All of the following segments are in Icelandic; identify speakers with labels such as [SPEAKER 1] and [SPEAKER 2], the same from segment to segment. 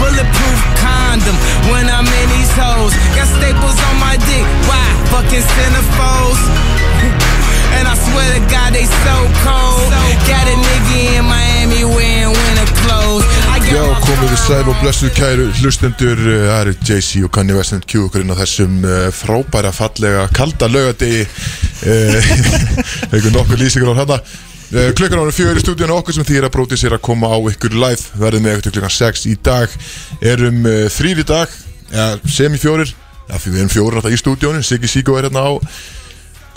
[SPEAKER 1] Bulletproof condom when I'm in these hoes. Got staples on my dick. Why? Fucking centerfolds. And I swear to God, they so cold. Got a nigga in Miami wearing winter clothes. I got
[SPEAKER 2] Já,
[SPEAKER 1] my
[SPEAKER 2] komið þið
[SPEAKER 1] phone
[SPEAKER 2] sæl og
[SPEAKER 1] on.
[SPEAKER 2] blessuð kæru hlustendur eh, Það eru JC og Kanye West and Q okkur inn á þessum eh, frábæra fallega kalda laugadegi Eh, einhver nokkur lýsingur á hérna Eh, Klukkan ára fjögur í stúdíunum okkur sem þýr að bróti sér að koma á ykkur live verðum með ykkur til klukkan 6 í dag erum eh, þrír í dag ja, sem í fjórir, ja, fyrir við erum fjórir náttúrulega í stúdíunum, Siggi Siggo er hérna á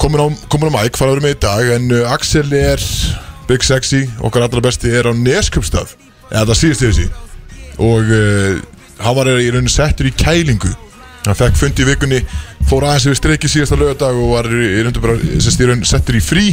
[SPEAKER 2] komin á, komin á mæk, hvað erum við í dag en uh, Axel er Big Sexy, okkar allra besti er á Neskjöpstað eða það síðast yfir síðan og uh, hann var í rauninu settur í kælingu hann fekk fundi í vikunni fór aðeins yfir streiki síðasta lögadag og var í rauninu bara sest, í raun, settur í frí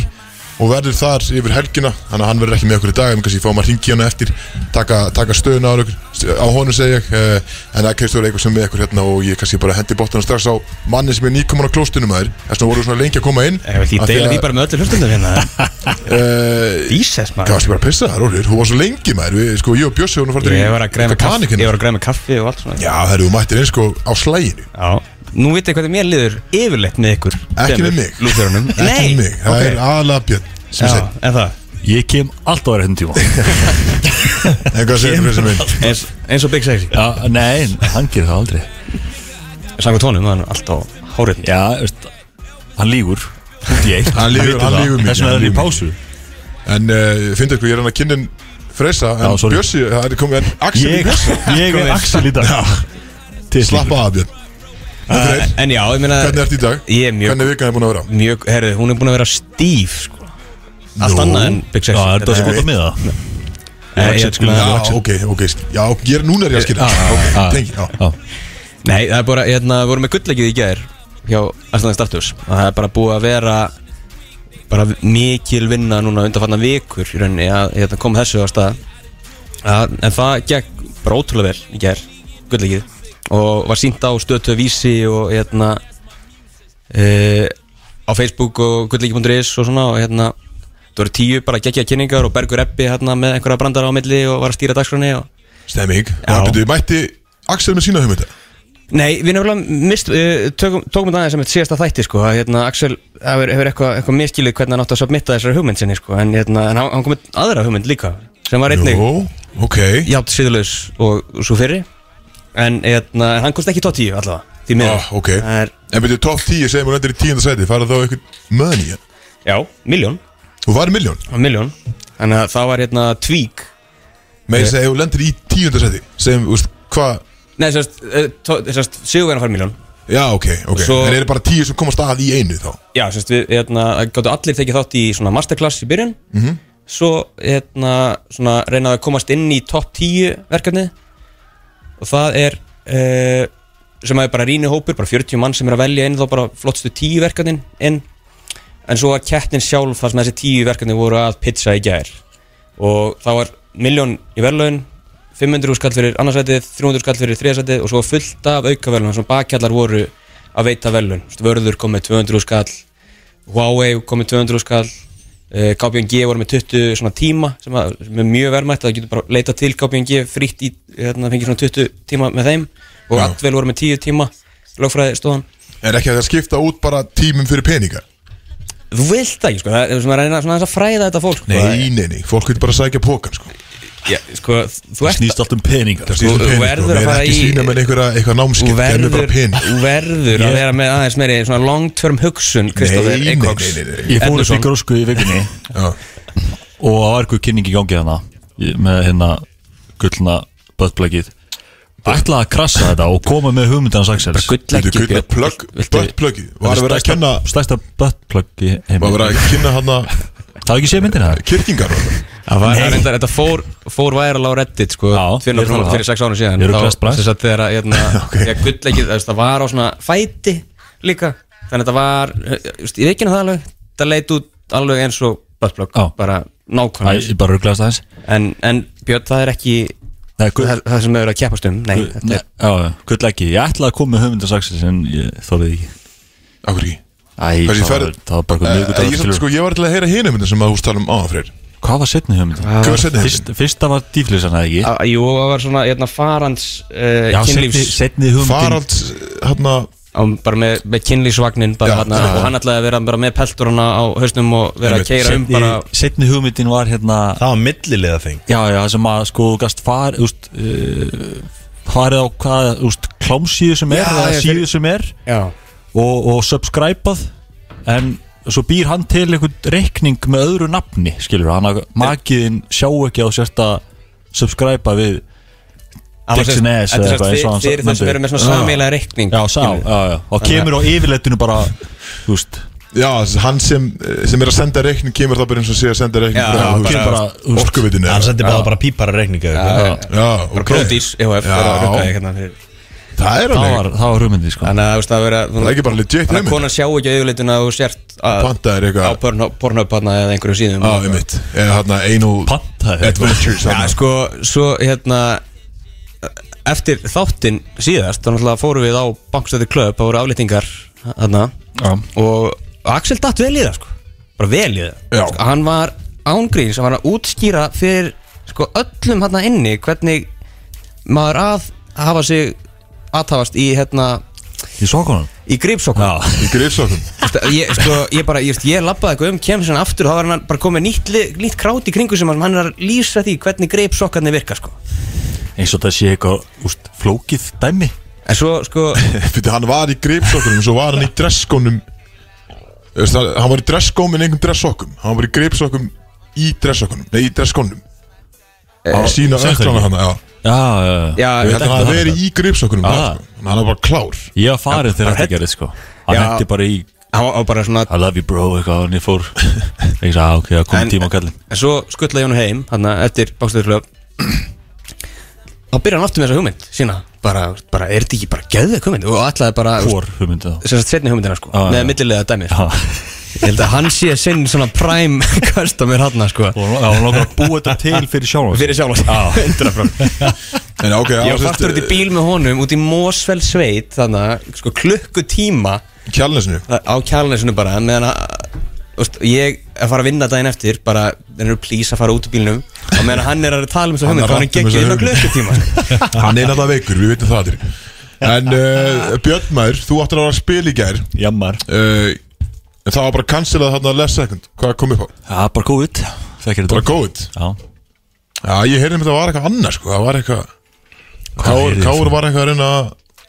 [SPEAKER 2] og verður þar yfir helgina þannig að hann verður ekki með okkur í dag en kannski fáum að ringi hann hérna eftir taka, taka stöðuna á, okkur- á honum segja ég uh, en það kemstur eitthvað sem er með okkur hérna og ég kannski bara hendi bóttan strax á manni sem er nýkomin á klóstunum þær þess vegna voru svona lengi að koma inn
[SPEAKER 3] Eh, Ég vil því
[SPEAKER 2] Af
[SPEAKER 3] deila því
[SPEAKER 2] að,
[SPEAKER 3] bara með öllu hlustundum hérna
[SPEAKER 2] uh,
[SPEAKER 3] Ísess
[SPEAKER 2] Það var
[SPEAKER 3] maður
[SPEAKER 2] ekki bara að pissa það, Rólir, hún var svo lengi maður, við, sko, ég og Bjössi, hún var farið
[SPEAKER 3] Ég var að græða með kaffi
[SPEAKER 2] panikinn.
[SPEAKER 3] Ég var að græða með kaffi og allt svona
[SPEAKER 2] Já, það eru mættir eins og á slæginu
[SPEAKER 3] Já Nú vitið hvernig mér liður yfirleitt með ykkur
[SPEAKER 2] Ekki með mig.
[SPEAKER 3] Lúþurunum
[SPEAKER 2] Ekki með mig, það
[SPEAKER 3] ok.
[SPEAKER 2] er aðalega Björn sem
[SPEAKER 3] Já,
[SPEAKER 2] segir
[SPEAKER 3] en það
[SPEAKER 4] Ég kem alltaf á réttum tíma
[SPEAKER 2] En hvað segir þú þessi minn?
[SPEAKER 3] eins, eins og Big Sexy
[SPEAKER 4] Já, nei, hann gerir það aldrei
[SPEAKER 3] Sangu tónum, það er alltaf hórið
[SPEAKER 4] Já, veist, hann lígur Út í eitt
[SPEAKER 2] Hann lýgur-
[SPEAKER 4] vitur
[SPEAKER 2] hann
[SPEAKER 4] það.
[SPEAKER 2] lýgur mikið,
[SPEAKER 4] Þess vegna
[SPEAKER 2] hann
[SPEAKER 4] er hann í
[SPEAKER 2] lýgur
[SPEAKER 4] pásu
[SPEAKER 2] En uh, finnst ykkur, ég er hann að kynnin freysa En
[SPEAKER 4] Já, sorry.
[SPEAKER 2] Bjössi, það er komið en Axel
[SPEAKER 4] Ég,
[SPEAKER 2] í húsa
[SPEAKER 4] ég er Axel í dag Til
[SPEAKER 2] Slappa af Björn Andrei,
[SPEAKER 3] En já, ég meina
[SPEAKER 2] Hvernig ertu í dag?
[SPEAKER 3] Ég er mjög-
[SPEAKER 2] Hvernig er vikan er búin að vera?
[SPEAKER 3] Mjög, herðu, hún er búin að vera stíf sko. Allt
[SPEAKER 2] Nú.
[SPEAKER 3] annað en Big
[SPEAKER 4] Já,
[SPEAKER 3] Sexy
[SPEAKER 4] er það svo gott sko. að miða
[SPEAKER 3] Nei, ég-
[SPEAKER 2] Já,
[SPEAKER 3] Já,
[SPEAKER 2] ok, ok sk- Já, ég er núna er ég að
[SPEAKER 3] Ah,
[SPEAKER 2] skilja Ok,
[SPEAKER 4] já.
[SPEAKER 2] tengi, já
[SPEAKER 3] Nei, það er bara, hérna, við vorum með gullleikið í gær hjá Arsenal Startus og það er bara búið að vera bara mikil vinna núna undanfarnar vikur í rauninni að hérna, koma þessu á stað að, en það gekk bara ótrúlega vel í gær gullleikið og var sínt á stötu vísi og hérna e, á Facebook og gullleiki.is og svona og hérna það voru tíu bara geggja kynningar og Bergur Eppi hérna með einhverja brandara á milli og var að stýra dagskránni og
[SPEAKER 2] Stemming Það betur, mætti Axel með sína hugmynda
[SPEAKER 3] Nei, við nefnilega mist, uh, tökum, tókum þetta aðeins sem eitt síðasta þætti sko, að hérna, Axel hefur, hefur eitthvað eitthva miskilið hvernig hann átti að submitta þessari hugmynd sinni sko, en, hérna, en hann, hann kom með aðra hugmynd líka sem var einnig
[SPEAKER 2] Jó, ok
[SPEAKER 3] játt síðulegs og svo fyrri en hérna, en hann komst ekki tótt í allavega því miður
[SPEAKER 2] Ah, ok.
[SPEAKER 3] Það er,
[SPEAKER 2] En betur, top 10 segjum hún endur í tíundasæti Farað þá eitthvað money ja.
[SPEAKER 3] Já, miljón
[SPEAKER 2] Þú farið miljón
[SPEAKER 3] Miljón Þannig að það var hérna tvík
[SPEAKER 2] Með þess að ef þú lendir í tíundasæti Segjum, úst, hvað
[SPEAKER 3] Nei, eh, sérst, sérst sigurverðan fær miljón
[SPEAKER 2] Já, ok, ok
[SPEAKER 3] Svo-
[SPEAKER 2] En eru bara tíu sem komast að í einu þá
[SPEAKER 3] Já, semst við, hérna, það gáttu allir tekið þátt í svona masterclass í byrjun -hmm. Svo, hérna, svona reynaðu að komast inn í topp 10 verkefnið Og það er, uh, sem að er bara rýni hópur, bara 40 mann sem er að velja inn Þá bara flottstu 10 verkefnin inn En svo var kettin sjálf þar sem þessi 10 verkefni voru að pizza í gær Og þá var miljón í verðlaun 500 skall fyrir annarsætið, 300 skall fyrir þriðasætið og svo var fullt af aukaverlun, svona bakkjallar voru að veita verðlaun, Þú veist, vörður kom með 200 skall Huawei kom með 200 skall eh, KPMG voru með 20 svona tíma sem, að, sem er mjög verðmætt það getur bara leita til KPMG fritt í hérna, fengið svona 20 tíma með þeim og
[SPEAKER 2] Já.
[SPEAKER 3] Atvel voru með 10 tíma lögfræði stóðan
[SPEAKER 2] Er ekki að það skipta út bara tímum fyrir peninga
[SPEAKER 3] þú vilt það ekki sko, það er sem að reyna svona aðeins að fræða þetta fólk sko.
[SPEAKER 2] Nei, nei, nei, fólk getur bara að sækja pókan sko.
[SPEAKER 3] ja, sko, þú ert
[SPEAKER 4] Snýst allt um peningar
[SPEAKER 2] Það snýst um
[SPEAKER 3] Þú- þú
[SPEAKER 2] pening, sko.
[SPEAKER 3] verður að
[SPEAKER 2] Við erum
[SPEAKER 3] fara
[SPEAKER 2] ekki
[SPEAKER 3] í-
[SPEAKER 2] sína með einhverja, eitthvað
[SPEAKER 3] Þú
[SPEAKER 2] námskip Verður
[SPEAKER 3] verður,
[SPEAKER 2] bara pening
[SPEAKER 3] þú verður að vera með aðeins meiri svona long term hugsun Kristoffer
[SPEAKER 2] Nei, nei,
[SPEAKER 3] Eikóks
[SPEAKER 2] nei, nei, nei.
[SPEAKER 4] Ég fór upp í
[SPEAKER 3] Edmundsson.
[SPEAKER 4] grósku í vikunni
[SPEAKER 2] Já.
[SPEAKER 4] Og það var eitthvað kynning í gangi hana Með hérna gullna böttblækið Ætlaði að krassa þetta og koma með hugmyndans Axels
[SPEAKER 2] Þetta er
[SPEAKER 3] Gullleggju
[SPEAKER 2] gull að
[SPEAKER 3] Björn.
[SPEAKER 2] plögg,
[SPEAKER 3] Viltu-
[SPEAKER 2] böttplöggi Var að vera að kenna
[SPEAKER 4] Stærsta böttblæk í heim
[SPEAKER 2] Var að vera að kynna hann að
[SPEAKER 4] Það er ekki séð myndina það
[SPEAKER 2] kyrkingar
[SPEAKER 3] Það var
[SPEAKER 4] Nei.
[SPEAKER 3] það reyndar, þetta fór, fór væral á Reddit sko,
[SPEAKER 4] Já,
[SPEAKER 3] fyrir,
[SPEAKER 4] ég er
[SPEAKER 3] fyrir,
[SPEAKER 4] það.
[SPEAKER 3] fyrir sex ánum síðan
[SPEAKER 4] Ég er rugglaðist bræðs.
[SPEAKER 3] þess að þegar að, hérna,
[SPEAKER 2] Ok.
[SPEAKER 3] okay. gullleikið það, það var á svona fæti líka þannig að þetta var, eh, just, ég veit ekki að það alveg það leit út alveg eins og buttplug,
[SPEAKER 4] Já.
[SPEAKER 3] bara
[SPEAKER 4] Æ,
[SPEAKER 3] nákvæmlega
[SPEAKER 4] ég bara rugglaðast aðeins
[SPEAKER 3] en, en Björn, það er ekki
[SPEAKER 4] Nei, gull,
[SPEAKER 3] það, það sem við erum að keppast um nei, þetta
[SPEAKER 4] ne,
[SPEAKER 3] er,
[SPEAKER 4] já, já, gull ekki Ég ætlaði að koma með hugmyndans Axels En ég þorðið ekki
[SPEAKER 2] Akkur ekki
[SPEAKER 4] Æ,
[SPEAKER 2] Hversu
[SPEAKER 4] það,
[SPEAKER 2] ferð-
[SPEAKER 4] var, það var bara
[SPEAKER 2] Eh,
[SPEAKER 4] eitthvað
[SPEAKER 2] Ég sko- samt,
[SPEAKER 4] miðgudagur skilur
[SPEAKER 2] hérna sko, ég var til að heyra hinum myndin sem að hús tala um áðan fyrir
[SPEAKER 4] Hvað var setni hugmyndin?
[SPEAKER 2] Hvað var seinni
[SPEAKER 4] Fyrst, Fyrsta var dýflissan eða ekki
[SPEAKER 3] Að- Jú, það var svona hérna, farans uh,
[SPEAKER 4] Já, setni,
[SPEAKER 3] kynlífs
[SPEAKER 4] setni hugmyndin
[SPEAKER 2] Farald, hann að
[SPEAKER 3] á, bara með, með kynlífsvagnin bara,
[SPEAKER 2] Já,
[SPEAKER 3] hérna,
[SPEAKER 2] já, já.
[SPEAKER 3] og hann ætlaði að vera bara með pelturana á hausnum og vera að
[SPEAKER 2] Einmitt,
[SPEAKER 3] keira um
[SPEAKER 4] setni,
[SPEAKER 3] bara
[SPEAKER 4] setni hugmyndin var hérna
[SPEAKER 5] Það var millilega þing
[SPEAKER 4] Já, já, það sem að sko þú gast far úst, uh, farið á hvað úst, klámsíðu sem er
[SPEAKER 3] Já,
[SPEAKER 4] eða
[SPEAKER 3] já,
[SPEAKER 4] síðu sem er
[SPEAKER 3] já.
[SPEAKER 4] og, og subscribað en svo býr hann til einhvern reikning með öðru nafni skilur hann að makiðin sjá ekki á sérst að subscriba við
[SPEAKER 3] Hann var sem-
[SPEAKER 4] Dixon S
[SPEAKER 3] þetta
[SPEAKER 4] eða
[SPEAKER 3] er
[SPEAKER 4] eitthvað, eins og
[SPEAKER 3] sem
[SPEAKER 4] hann
[SPEAKER 3] sagt fyrir það sem
[SPEAKER 4] myndi.
[SPEAKER 3] eru með svona
[SPEAKER 4] Já.
[SPEAKER 3] sameilega reikning
[SPEAKER 4] já, sá, já, já, og kemur á yfirleitinu bara þú veist,
[SPEAKER 2] Já, hann sem, eh, sem er að senda reikning kemur það bara eins og sé að senda reikning
[SPEAKER 3] Já,
[SPEAKER 2] frá,
[SPEAKER 4] já,
[SPEAKER 2] þú veist,
[SPEAKER 4] kemur bara, þú veist,
[SPEAKER 2] orkuvitinu
[SPEAKER 5] Hann sendi bara, bara pípara reikninga
[SPEAKER 3] já.
[SPEAKER 2] Já, ok
[SPEAKER 3] bara E Brodís EHF bara
[SPEAKER 2] Já.
[SPEAKER 3] rukkaði hérna fyrir
[SPEAKER 2] Það er
[SPEAKER 4] það
[SPEAKER 2] alveg,
[SPEAKER 4] var, það var hugmyndi sko.
[SPEAKER 3] Þannig að þú veist að vera
[SPEAKER 2] það er ekki bara legit
[SPEAKER 3] Þannig að
[SPEAKER 2] hugmynd
[SPEAKER 3] konan sjá ekki auðvitað að þú sért að
[SPEAKER 2] Pantaðir
[SPEAKER 3] á
[SPEAKER 2] eitthvað
[SPEAKER 3] Pornhub- Pornhub hann eða einhverju síðum
[SPEAKER 2] Já, ég mitt Eða hérna anal
[SPEAKER 4] pantaði þetta.
[SPEAKER 2] adventures
[SPEAKER 3] Já,
[SPEAKER 2] þarna.
[SPEAKER 3] sko, svo hérna eftir þáttinn síðast þá náttúrulega fórum við á Bankstæði Club það voru aflýtingar þarna
[SPEAKER 4] Já.
[SPEAKER 3] og Axel datt vel í það sko bara vel í
[SPEAKER 2] Já.
[SPEAKER 3] það sko, hann var ángrín sem var að útskýra fyrir sko öllum hérna inni hvernig maður að hafa sig aðhafast í hérna
[SPEAKER 4] ég svo konum
[SPEAKER 3] í gripsokkum
[SPEAKER 4] já,
[SPEAKER 2] Í grifsóknum
[SPEAKER 3] Þetta- ég, sko, ég bara, ég, ég labbaði eitthvað um kem sem aftur og þá var hann bara komið nýtt, li- nýtt krát í kringu sem hann er að lýsa því hvernig greip sokkarnir virka sko.
[SPEAKER 4] eins og það sé eitthvað úst, flókið dæmi
[SPEAKER 3] en svo sko
[SPEAKER 2] Fyrir hann var í gripsokkunum Svo var hann í dresskónum Þú veist, Hann hann var í dresskóm en engum dressokkum Hann var í gripsokkum í dressokkunum Nei, í dresskónum
[SPEAKER 3] Eh,
[SPEAKER 2] Að sína
[SPEAKER 4] sagði það
[SPEAKER 2] ökklana hann Já,
[SPEAKER 4] já, já, já.
[SPEAKER 3] já,
[SPEAKER 2] ég held að hann hafi
[SPEAKER 4] þetta.
[SPEAKER 2] verið í gripsokkunum
[SPEAKER 4] Ah.
[SPEAKER 2] þar, sko. Hann var bara klár
[SPEAKER 4] ég var farin þegar þetta gerðist sko. hann
[SPEAKER 3] Já.
[SPEAKER 4] hendi bara í
[SPEAKER 3] hann var- var bara svona
[SPEAKER 4] I love you bro eitthvað og hann fór ég sagði "Ah, ok, það
[SPEAKER 3] En-
[SPEAKER 4] kom tíma á kallin
[SPEAKER 3] en svo skuttlaði ég hann heim hann eftir bakstöðurklöf þá byrja hann aftur með þessa hugmynd sína bara, bara er þetta ekki bara geðveik hugmynd og ætlaði bara
[SPEAKER 4] hvor hugmyndi þá Ah,
[SPEAKER 3] sem sagt setni hugmyndina sko
[SPEAKER 4] Já, já.
[SPEAKER 3] með millilega dæmi sko.
[SPEAKER 4] Já.
[SPEAKER 3] ég held að hann sé sinn svona prime customer hann sko
[SPEAKER 4] og hann- já, hann lókar að búa þetta til fyrir sjálf
[SPEAKER 3] fyrir sjálf
[SPEAKER 4] Ah,
[SPEAKER 2] En ok,
[SPEAKER 3] Ég var fastur út í bíl með honum út í Mosfell sveit þannig að sko, klukkutíma
[SPEAKER 2] eh, Kjálnesinu
[SPEAKER 3] á kjálnesinu bara meðan að þú veist, ég að fara að vinna daginn eftir bara þannig að plís að fara út úr bílnum og meðan hann er að tala um þessu
[SPEAKER 2] Hann er
[SPEAKER 3] hugmynd þá er
[SPEAKER 2] að ratta
[SPEAKER 3] hann geggið
[SPEAKER 2] um
[SPEAKER 3] inn á klukkutíma
[SPEAKER 2] Hann er alltaf veikur, við veitum það þér En uh, Björn Mær, þú áttir að vera að spila í gær
[SPEAKER 4] jammar
[SPEAKER 2] uh, En það var bara cancelað þarna last second Hvað kom upp á?
[SPEAKER 4] já, bara COVID þekkir þetta
[SPEAKER 2] Bara góð
[SPEAKER 4] já
[SPEAKER 2] Já, ég heyrði um þetta var eitthvað annað sko Það var eitthvað Káur,
[SPEAKER 4] heyrðir
[SPEAKER 2] Káur
[SPEAKER 4] þú?
[SPEAKER 2] var eitthvað að reyna að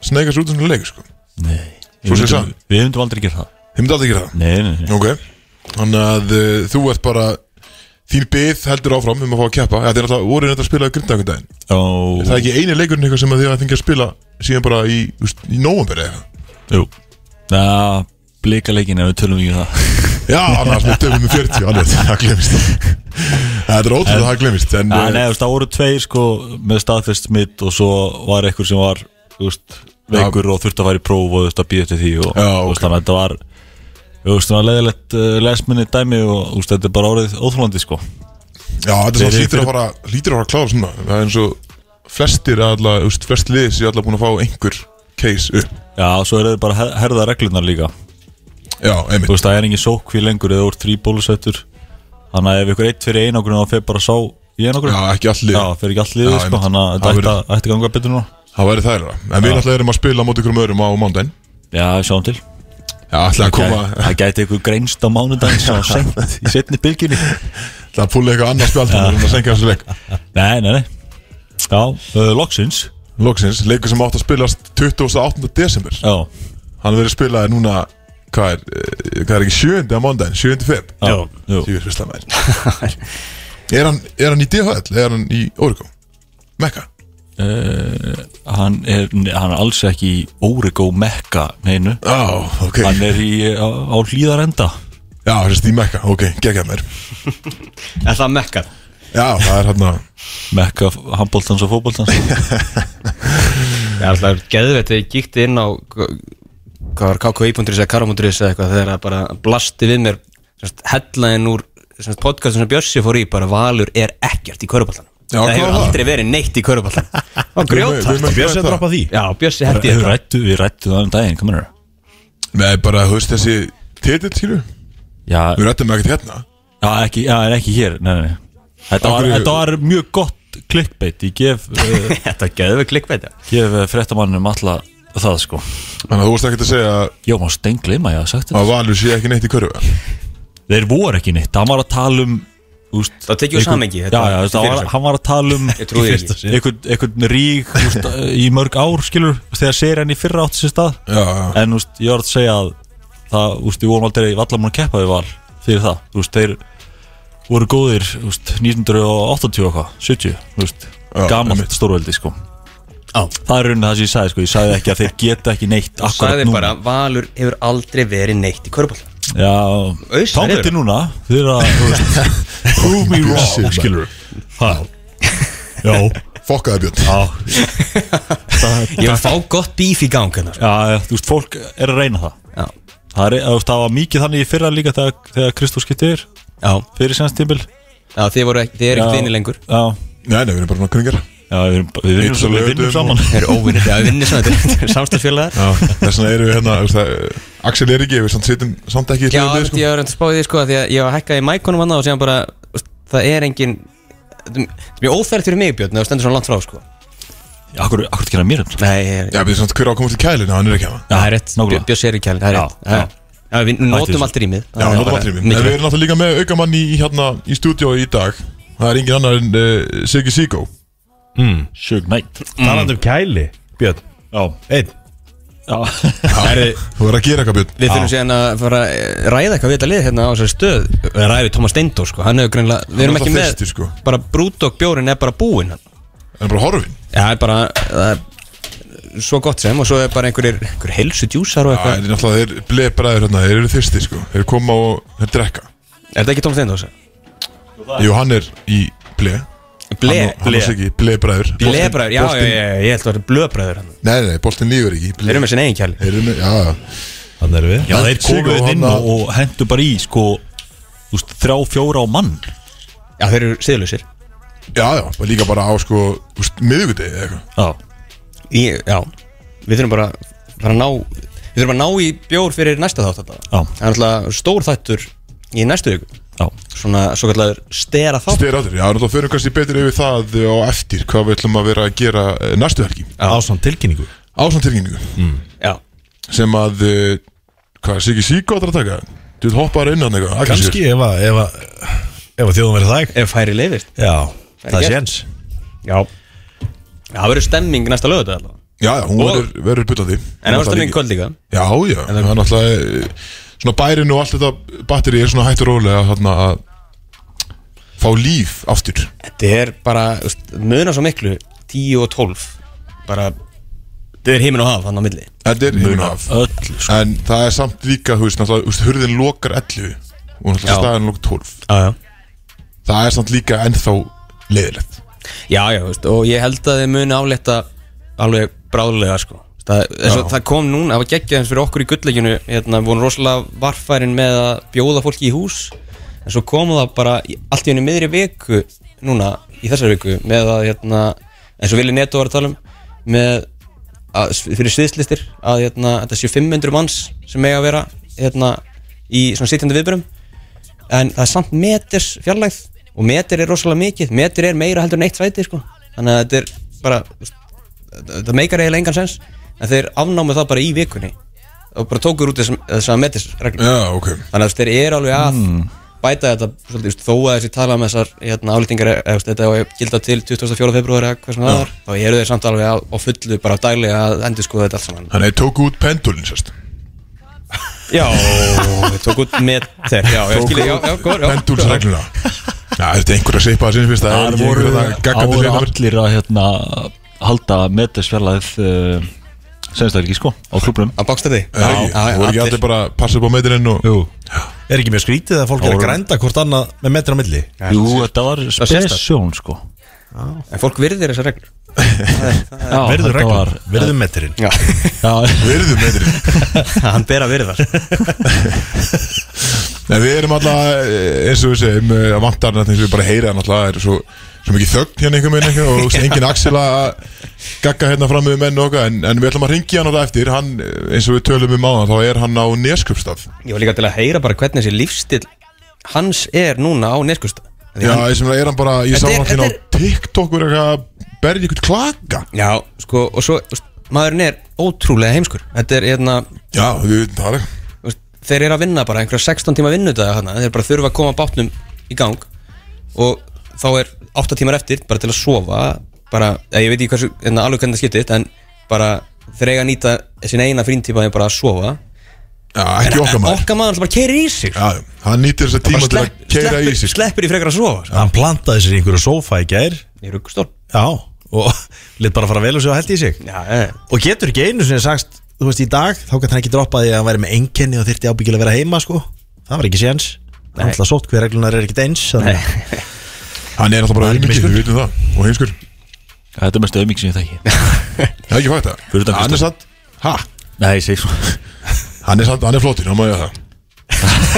[SPEAKER 2] sneika sér út um leik sko
[SPEAKER 4] nei
[SPEAKER 2] Svo sé
[SPEAKER 4] Við myndum-
[SPEAKER 2] það.
[SPEAKER 4] við myndum aldrei gera það
[SPEAKER 2] Þið myndi aldrei gera það
[SPEAKER 4] nei, nei, nei
[SPEAKER 2] Ok Þannig að uh, þú ert bara Þín bið heldur áfram um að fá að keppa Það er alltaf voru þetta að spila grindakundaginn
[SPEAKER 4] og
[SPEAKER 2] Það er ekki eini leikurinn eitthvað sem að þið að fengja að spila Síðan bara í, þú veist, í nóvamberi eitthvað
[SPEAKER 4] jú það blika leikin ef við tölum ekki um það
[SPEAKER 2] Já, annars með döfum með 40 Alveg, það glemist Það er ótrúlega, það glemist En
[SPEAKER 4] Já,
[SPEAKER 2] eh,
[SPEAKER 4] nei, þú veist, það voru tveir sko með staðfest smitt og svo var einhver sem var þú veist, veikur og þurfti að fara í próf og þú veist að býja eftir því og
[SPEAKER 2] Já,
[SPEAKER 4] þú
[SPEAKER 2] ok.
[SPEAKER 4] veist, þannig að þetta var þú veist, það var leðilegt uh, lesminni dæmi og þú veist, þetta er bara árið óþólandi sko
[SPEAKER 2] Já, þetta er svona
[SPEAKER 4] Fyrir-
[SPEAKER 2] lítur að
[SPEAKER 4] fyrir-
[SPEAKER 2] fara Lítur að fara að klára svona Það er eins og flestir alla, þú veist, flest lið Sér alla búin að fá einhver case upp
[SPEAKER 4] Já, og svo er þetta bara að herða reglunar líka
[SPEAKER 2] Já, einmitt
[SPEAKER 4] þú veist, það er engin sókví lengur eða úr þrý bólusettur þannig að ef ykkur eitt fyrir einogrun þá fer bara sá í einogrun
[SPEAKER 2] Já, ekki allir
[SPEAKER 4] Já, fyrir ekki allir
[SPEAKER 2] Já,
[SPEAKER 4] sko,
[SPEAKER 2] einmitt.
[SPEAKER 4] þannig að
[SPEAKER 2] Það
[SPEAKER 4] þetta ætti að- ætti að ganga betur núna
[SPEAKER 2] Það væri þærra En við
[SPEAKER 4] Já.
[SPEAKER 2] náttúrulega erum að spila Móti ykkur um öðrum á mándaginn
[SPEAKER 4] Já, sjáum til
[SPEAKER 2] Já, ætla að koma
[SPEAKER 4] Gæ- Það gæti ykkur greinst á mánudaginn sem var sent í setni bylginni
[SPEAKER 2] ætla að púla eitthvað annars spjald Þannig að senka þessu leik
[SPEAKER 4] Nei, nei, nei Já, uh, loksins
[SPEAKER 2] Loksins, leikur sem átt að spilast 28. desember
[SPEAKER 4] Já,
[SPEAKER 2] Hann verið spilaði núna Hvað er, eh, hvað er ekki, 7. á mándaginn, 7. feb
[SPEAKER 4] já, jú.
[SPEAKER 2] Jú, veist það maður er, hann, er hann í DHL? Er hann í Oregon? Mekka?
[SPEAKER 4] Eh, Hann, er, nei, hann er alls ekki í Órigó Mekka neinu
[SPEAKER 2] Já, ok
[SPEAKER 4] Hann er í, á, á hlýðarenda
[SPEAKER 2] Já, sérst í Mekka, ok, geggja mér
[SPEAKER 3] en sko. það mekkar
[SPEAKER 2] Já, það er hérna, hann að
[SPEAKER 4] Mekka handbóltans og fótbóltans
[SPEAKER 3] ég er alltaf geðveit þegar ég gíkti inn á hvað var kkv.is eða karamunduris eða eitthvað þegar það bara blasti við mér hellaðin úr sem sagt, podcastum sem Bjössi fór í bara Valur er ekkert í köruballanum
[SPEAKER 2] Já,
[SPEAKER 3] það
[SPEAKER 2] hvað
[SPEAKER 3] hefur
[SPEAKER 2] var það?
[SPEAKER 3] aldrei verið neitt í köruballanum og grjóta
[SPEAKER 2] Við- við- við-
[SPEAKER 5] Björns að droppa því
[SPEAKER 3] já Bjössi hætti
[SPEAKER 4] Við rættu, við rættu það um daginn, hvað mennur
[SPEAKER 2] Nei, bara, þú veist þessi titill, skilju
[SPEAKER 4] Já,
[SPEAKER 2] Við rættum ekkert hérna
[SPEAKER 4] Já, ekki, já, en ekki hér, nei, nei, nei Þetta var,
[SPEAKER 2] Af hverju-
[SPEAKER 4] þetta var mjög gott clickbait Ég gef, uh,
[SPEAKER 6] Þetta geðum við klikkbæti
[SPEAKER 4] gef fréttamannum alla það, sko
[SPEAKER 2] Þannig að þú varst ekki að segja að-
[SPEAKER 4] Jó, maður stenglima, ég hafði sagt þetta
[SPEAKER 2] að Valur sé ekki neitt í körfu
[SPEAKER 4] Þeir voru ekki neitt, hann var að tala um úst,
[SPEAKER 3] Það tekið við samhengi,
[SPEAKER 4] Já,
[SPEAKER 3] þetta-
[SPEAKER 4] já,
[SPEAKER 3] þetta
[SPEAKER 4] þetta var,
[SPEAKER 3] fyrirsögn.
[SPEAKER 4] hann var að tala um
[SPEAKER 3] Ég trúi því ekki.
[SPEAKER 4] einhvern, einhvern rík úst, í mörg ár, skilur Þegar segir henni fyrra átti sér stað
[SPEAKER 2] Já, já,
[SPEAKER 4] En úst, ég var að segja að það, úst, við vorum aldrei vallar múin að keppa við val fyrir það, úst, þeir voru góðir úst, 1980 og eitthvað, 70 úst,
[SPEAKER 2] Já,
[SPEAKER 4] gamalt stórveldi sko. það er raunin það sem ég sagði sko. ég sagði ekki að þeir geta ekki neitt akkurat
[SPEAKER 3] Sæði
[SPEAKER 4] núna
[SPEAKER 3] bara, Valur hefur aldrei verið neitt í körbólta
[SPEAKER 4] já,
[SPEAKER 3] Ausa
[SPEAKER 4] þannig
[SPEAKER 3] niður.
[SPEAKER 4] til núna þeir eru að þú veist, prove me wrong skilur já,
[SPEAKER 2] fokkaði Björn
[SPEAKER 4] já
[SPEAKER 3] Ég vil fá gott bíf í gang hérna, sko. hennar
[SPEAKER 4] Já, já, þú veist, fólk er að reyna það
[SPEAKER 3] Já.
[SPEAKER 4] Það, er, þú veist, það var mikið þannig í fyrra líka þegar, þegar Kristó skipti yfir
[SPEAKER 3] Já,
[SPEAKER 4] fyrir sennstímbil
[SPEAKER 3] já þið, voru ekki, þið er
[SPEAKER 4] Já.
[SPEAKER 3] ekki vinni lengur
[SPEAKER 4] Já,
[SPEAKER 2] Nei, nei, við erum bara svona kringar
[SPEAKER 4] Já, við, erum- við vinnum
[SPEAKER 2] Eins og
[SPEAKER 4] saman, við
[SPEAKER 2] lögðum
[SPEAKER 4] vinnum
[SPEAKER 2] og-
[SPEAKER 4] saman.
[SPEAKER 3] Þeir eru óvinnir, já, vinni svona þetta eru Samstagsfélagar
[SPEAKER 2] Þess vegna erum við hérna þú veist, það- Axel er ekki, við samt sittum samt ekki í
[SPEAKER 3] Já,
[SPEAKER 2] hliðum við,
[SPEAKER 3] ég
[SPEAKER 2] sko.
[SPEAKER 3] var reynd að spá í því sko af Því að ég var að hækka í mækonum hann og séðan bara þú veist, Það er engin Þetta er mjög óþært fyrir mig Björn þegar Það stendur svona langt frá sko
[SPEAKER 4] Akkur, akkur ekki hérna mér hérna
[SPEAKER 3] Nei, ég-
[SPEAKER 2] Já, við erum samt hver á að koma til kælinu, hann er ekki hérna. hann
[SPEAKER 3] það er rétt
[SPEAKER 4] nákvæmlega.
[SPEAKER 3] Björn sér í kælinn, það er
[SPEAKER 4] Já,
[SPEAKER 3] rétt Já,
[SPEAKER 4] já.
[SPEAKER 3] Já, við
[SPEAKER 4] Hættu þessu.
[SPEAKER 3] notum allt rýmið
[SPEAKER 2] Já,
[SPEAKER 3] Það er
[SPEAKER 2] notum
[SPEAKER 3] bara
[SPEAKER 2] allir minn En við
[SPEAKER 3] mikilvægt.
[SPEAKER 2] erum náttúrulega líka með aukamann í, hérna, í stúdíó í dag Það er engin annar en uh, Siggi Sigó
[SPEAKER 4] Sjög nætt
[SPEAKER 5] Talandi um kæli Björn
[SPEAKER 4] Já,
[SPEAKER 5] Einn
[SPEAKER 4] já
[SPEAKER 5] Herri,
[SPEAKER 2] Þú verður að gera eitthvað Björn
[SPEAKER 3] Við þurfum síðan að fara að ræða eitthvað við þetta lið hérna á þessari stöð Við ræðum Thomas Steindor sko, hann hefur greinlega Við erum
[SPEAKER 2] Hann er
[SPEAKER 3] ekki
[SPEAKER 2] alltaf
[SPEAKER 3] með,
[SPEAKER 2] þyrstur, sko.
[SPEAKER 3] bara Brúdók bjórin er bara búinn hérna. hann
[SPEAKER 2] Það er bara horfin
[SPEAKER 3] Já, það er bara, það er svo gott sem og svo er bara einhverjir, einhverjir heilsu djúsar
[SPEAKER 2] Það
[SPEAKER 3] og
[SPEAKER 2] er
[SPEAKER 3] eitthvað
[SPEAKER 2] náttúrulega, þeir blebræður hérna, þeir eru þyrsti sko Þeir koma og þeir drekka
[SPEAKER 3] Er þetta ekki Thomas Steindor?
[SPEAKER 2] Jú, hann er í ble
[SPEAKER 3] Ble,
[SPEAKER 2] Hann og- Hann og Siggi, blebræður
[SPEAKER 3] blebræður, já, já, já, já, ég held að það er blöbræður hann
[SPEAKER 2] Nei, nei, boltinn lífur ekki
[SPEAKER 3] Við erum með sinna eigin kjæli
[SPEAKER 2] Þeir eru með, já, já
[SPEAKER 5] Þannig erum við
[SPEAKER 4] Já, þeir komu
[SPEAKER 2] Sigurður,
[SPEAKER 4] við inn
[SPEAKER 2] hann
[SPEAKER 4] og,
[SPEAKER 2] að-
[SPEAKER 4] og hendu bara í sko þú veist, þrjá, fjóra á mann
[SPEAKER 3] Já, þeir eru siðlausir
[SPEAKER 2] Já, já, og líka bara á sko, þú veist, miðvikudegi eða eitthvað
[SPEAKER 4] Já,
[SPEAKER 3] Í- Já, við þurfum bara, bara að ná, við þurfum að ná í bjór fyrir næsta þátt þetta
[SPEAKER 4] Já.
[SPEAKER 3] Það er alltaf stór þættur í næstu viku
[SPEAKER 4] já,
[SPEAKER 3] Svona svo kallar stera þátt
[SPEAKER 2] Styrir áttur, já, náttúrulega förum kannski betur yfir það eh, á eftir Hvað við ætlum að vera að gera eh, næstu helgi
[SPEAKER 5] Ásand tilkynningu
[SPEAKER 2] Ásamt tilkynningu
[SPEAKER 3] Já,
[SPEAKER 2] Sem að, eh, hvað, Siggi Sigó ætlar að taka Þú veit, hoppaður inn hann eitthvað aggressífur.
[SPEAKER 5] Kanski ef að Ef að ef að þjóðum verið þæg
[SPEAKER 3] ef færi leifist
[SPEAKER 5] Já Það
[SPEAKER 3] gert.
[SPEAKER 5] er séns
[SPEAKER 3] Já Það verður stemming næsta lögut allavega
[SPEAKER 2] Já, já, hún
[SPEAKER 3] Og-
[SPEAKER 2] verður, verður bullandi
[SPEAKER 3] En það var stemming í kvöld líka
[SPEAKER 2] Já, já, það er náttúrulega eh, Svona bærin og allt þetta batteri er svona hægt og rólega Þarna að fá líf aftur
[SPEAKER 3] Þetta er bara, veist, munar svo miklu 10 og 12 Bara, þetta er heimin og haf þannig á milli
[SPEAKER 2] Þetta er himinn af
[SPEAKER 4] öll sko.
[SPEAKER 2] En það er samt líka, þú veist, náttúrulega þú veist, Hurðin lokar 11 og náttúrulega
[SPEAKER 3] Já.
[SPEAKER 2] staðan lokar 12
[SPEAKER 3] Já, já
[SPEAKER 2] Það er samt líka ennþá leiðilegt
[SPEAKER 3] Já, já, veist, og ég held að þið muni áletta alveg bráðlega sko. það, svo, það kom núna, það var geggjaðins fyrir okkur í gullleikinu hérna, voru rosalega varfærin með að bjóða fólki í hús en svo kom það bara í, allt í henni miðri viku núna, í þessari viku með að, hérna, eins og Vili Neto var að tala um með að, fyrir sviðslistir að hérna, þetta séu 500 manns sem eiga að vera hérna, í svona sittjandi viðbyrjum en það er samt meters fjarlægð og meter er rosalega mikið, meter er meira heldur en eitt sæti sko. þannig að þetta er bara þetta meikar eiginlega engan sens en þeir afnámu það bara í vikunni og bara tókur út þess þess að metisreglum
[SPEAKER 2] Já, ok
[SPEAKER 3] þannig að þú veist, þeir eru alveg að bæta þetta svolítið, þú veist, þó að þessi tala um þessar hérna, álýtingar, þetta á að gilda til 24. februar eða hvað sem það er þá eru þeir samt alveg á, á fullu bara daglega að endur skoða þetta allt saman
[SPEAKER 2] Þannig að ég tók út pendulinn, sérst
[SPEAKER 3] Já, við tók út meter Já, ég skil, já, já, góð, já
[SPEAKER 2] Pendulsregluna Já, þetta er einhver að seipa það sinni fyrst Það er
[SPEAKER 4] Það
[SPEAKER 2] ekki
[SPEAKER 4] voru,
[SPEAKER 2] einhver að
[SPEAKER 4] það
[SPEAKER 2] gaggandi
[SPEAKER 4] voru
[SPEAKER 2] leiðanverð
[SPEAKER 4] allir að hérna, halda metisverlaðið uh, sennstakilgi sko, á klubnum
[SPEAKER 3] Að báksta því
[SPEAKER 2] Já, það voru ekki allir bara að passa upp á meitinin og
[SPEAKER 5] Jú Er ekki mjög skrítið að fólk er að grænda hvort annað með metra á milli
[SPEAKER 4] Jú, þetta var
[SPEAKER 3] sést það.
[SPEAKER 4] spesjón sko
[SPEAKER 3] En fólk virðir þessar reglur
[SPEAKER 4] Já, þetta
[SPEAKER 5] Verðu
[SPEAKER 4] var
[SPEAKER 5] reglum Verðu metrin
[SPEAKER 3] Já,
[SPEAKER 4] já,
[SPEAKER 2] verðu meitinin
[SPEAKER 3] hann ber að virða
[SPEAKER 2] Nei, við erum alltaf, eh, eins og við segjum, eh, að vantar þetta eins og við bara heyra hann alltaf, er svo, svo mikið þögn hérna einhver minn einhver og þú veist, engin Axel að gagga hérna fram með menn og okkar, en, en við ætlum að ringja hann á það eftir, hann, eh, eins og við tölum um áðan, þá er hann á neskjöpstaf.
[SPEAKER 3] Ég var líka til að heyra bara hvernig þessi lífstil hans er núna á neskusta
[SPEAKER 2] Já, ég sem er hann bara, ég sá
[SPEAKER 3] Þetta er-
[SPEAKER 2] hann hérna á
[SPEAKER 3] þetta
[SPEAKER 2] TikTok og er eitthvað að berja ykkur klaka
[SPEAKER 3] já, sko, og svo þú veist, maðurinn er ótrúlega heimskur þetta er, hérna,
[SPEAKER 2] Já, við veitum það alveg
[SPEAKER 3] þú veist, þeir eru að vinna bara einhverja 16 tíma vinnudaga hana, þeir bara þurfa að koma bátnum í gang og þá er 8 tímar eftir bara til að sofa bara, eða, ég veit ekki hversu, hérna, alveg hvernig það skiptist en bara þeir eiga að nýta sín eina fríntíma þeir bara að sofa
[SPEAKER 2] Já, ekki okkar maður
[SPEAKER 3] okkar maður sem bara keirir í sig
[SPEAKER 2] Já, já, hann nýtir þessa
[SPEAKER 3] bara
[SPEAKER 2] tíma til að
[SPEAKER 3] slepp-
[SPEAKER 2] keira í
[SPEAKER 3] sleppir,
[SPEAKER 2] sig sko.
[SPEAKER 3] sleppir í frekar að sofa
[SPEAKER 5] Hann plantaði sér í einhverju sófa í gær
[SPEAKER 3] í ruggstól
[SPEAKER 5] Já Og lit bara fara vel og sér að held í sig
[SPEAKER 3] já, eh.
[SPEAKER 5] Og getur ekki einu sinni sagst Þú veist í dag Þá gæti hann ekki droppað því að hann væri með einkenni Og þyrfti ábyggilega að vera heima sko Það var ekki séns Það er
[SPEAKER 3] Nei.
[SPEAKER 5] alltaf sótt hver reglunar er ekkit eins þannig að-
[SPEAKER 2] Hann er alltaf bara
[SPEAKER 5] Hann er
[SPEAKER 2] auðmikið,
[SPEAKER 5] heimskur.
[SPEAKER 2] við veitum það Og heimskur,
[SPEAKER 4] Þetta er mest auðmikið sem ég þekki
[SPEAKER 2] það er ekki fægt það
[SPEAKER 4] Fyrir utan
[SPEAKER 2] Hann er
[SPEAKER 4] Kristján.
[SPEAKER 2] satt, ha,
[SPEAKER 4] Nei, ég segi svona
[SPEAKER 2] hann er satt, hann er flottur, hann má ég það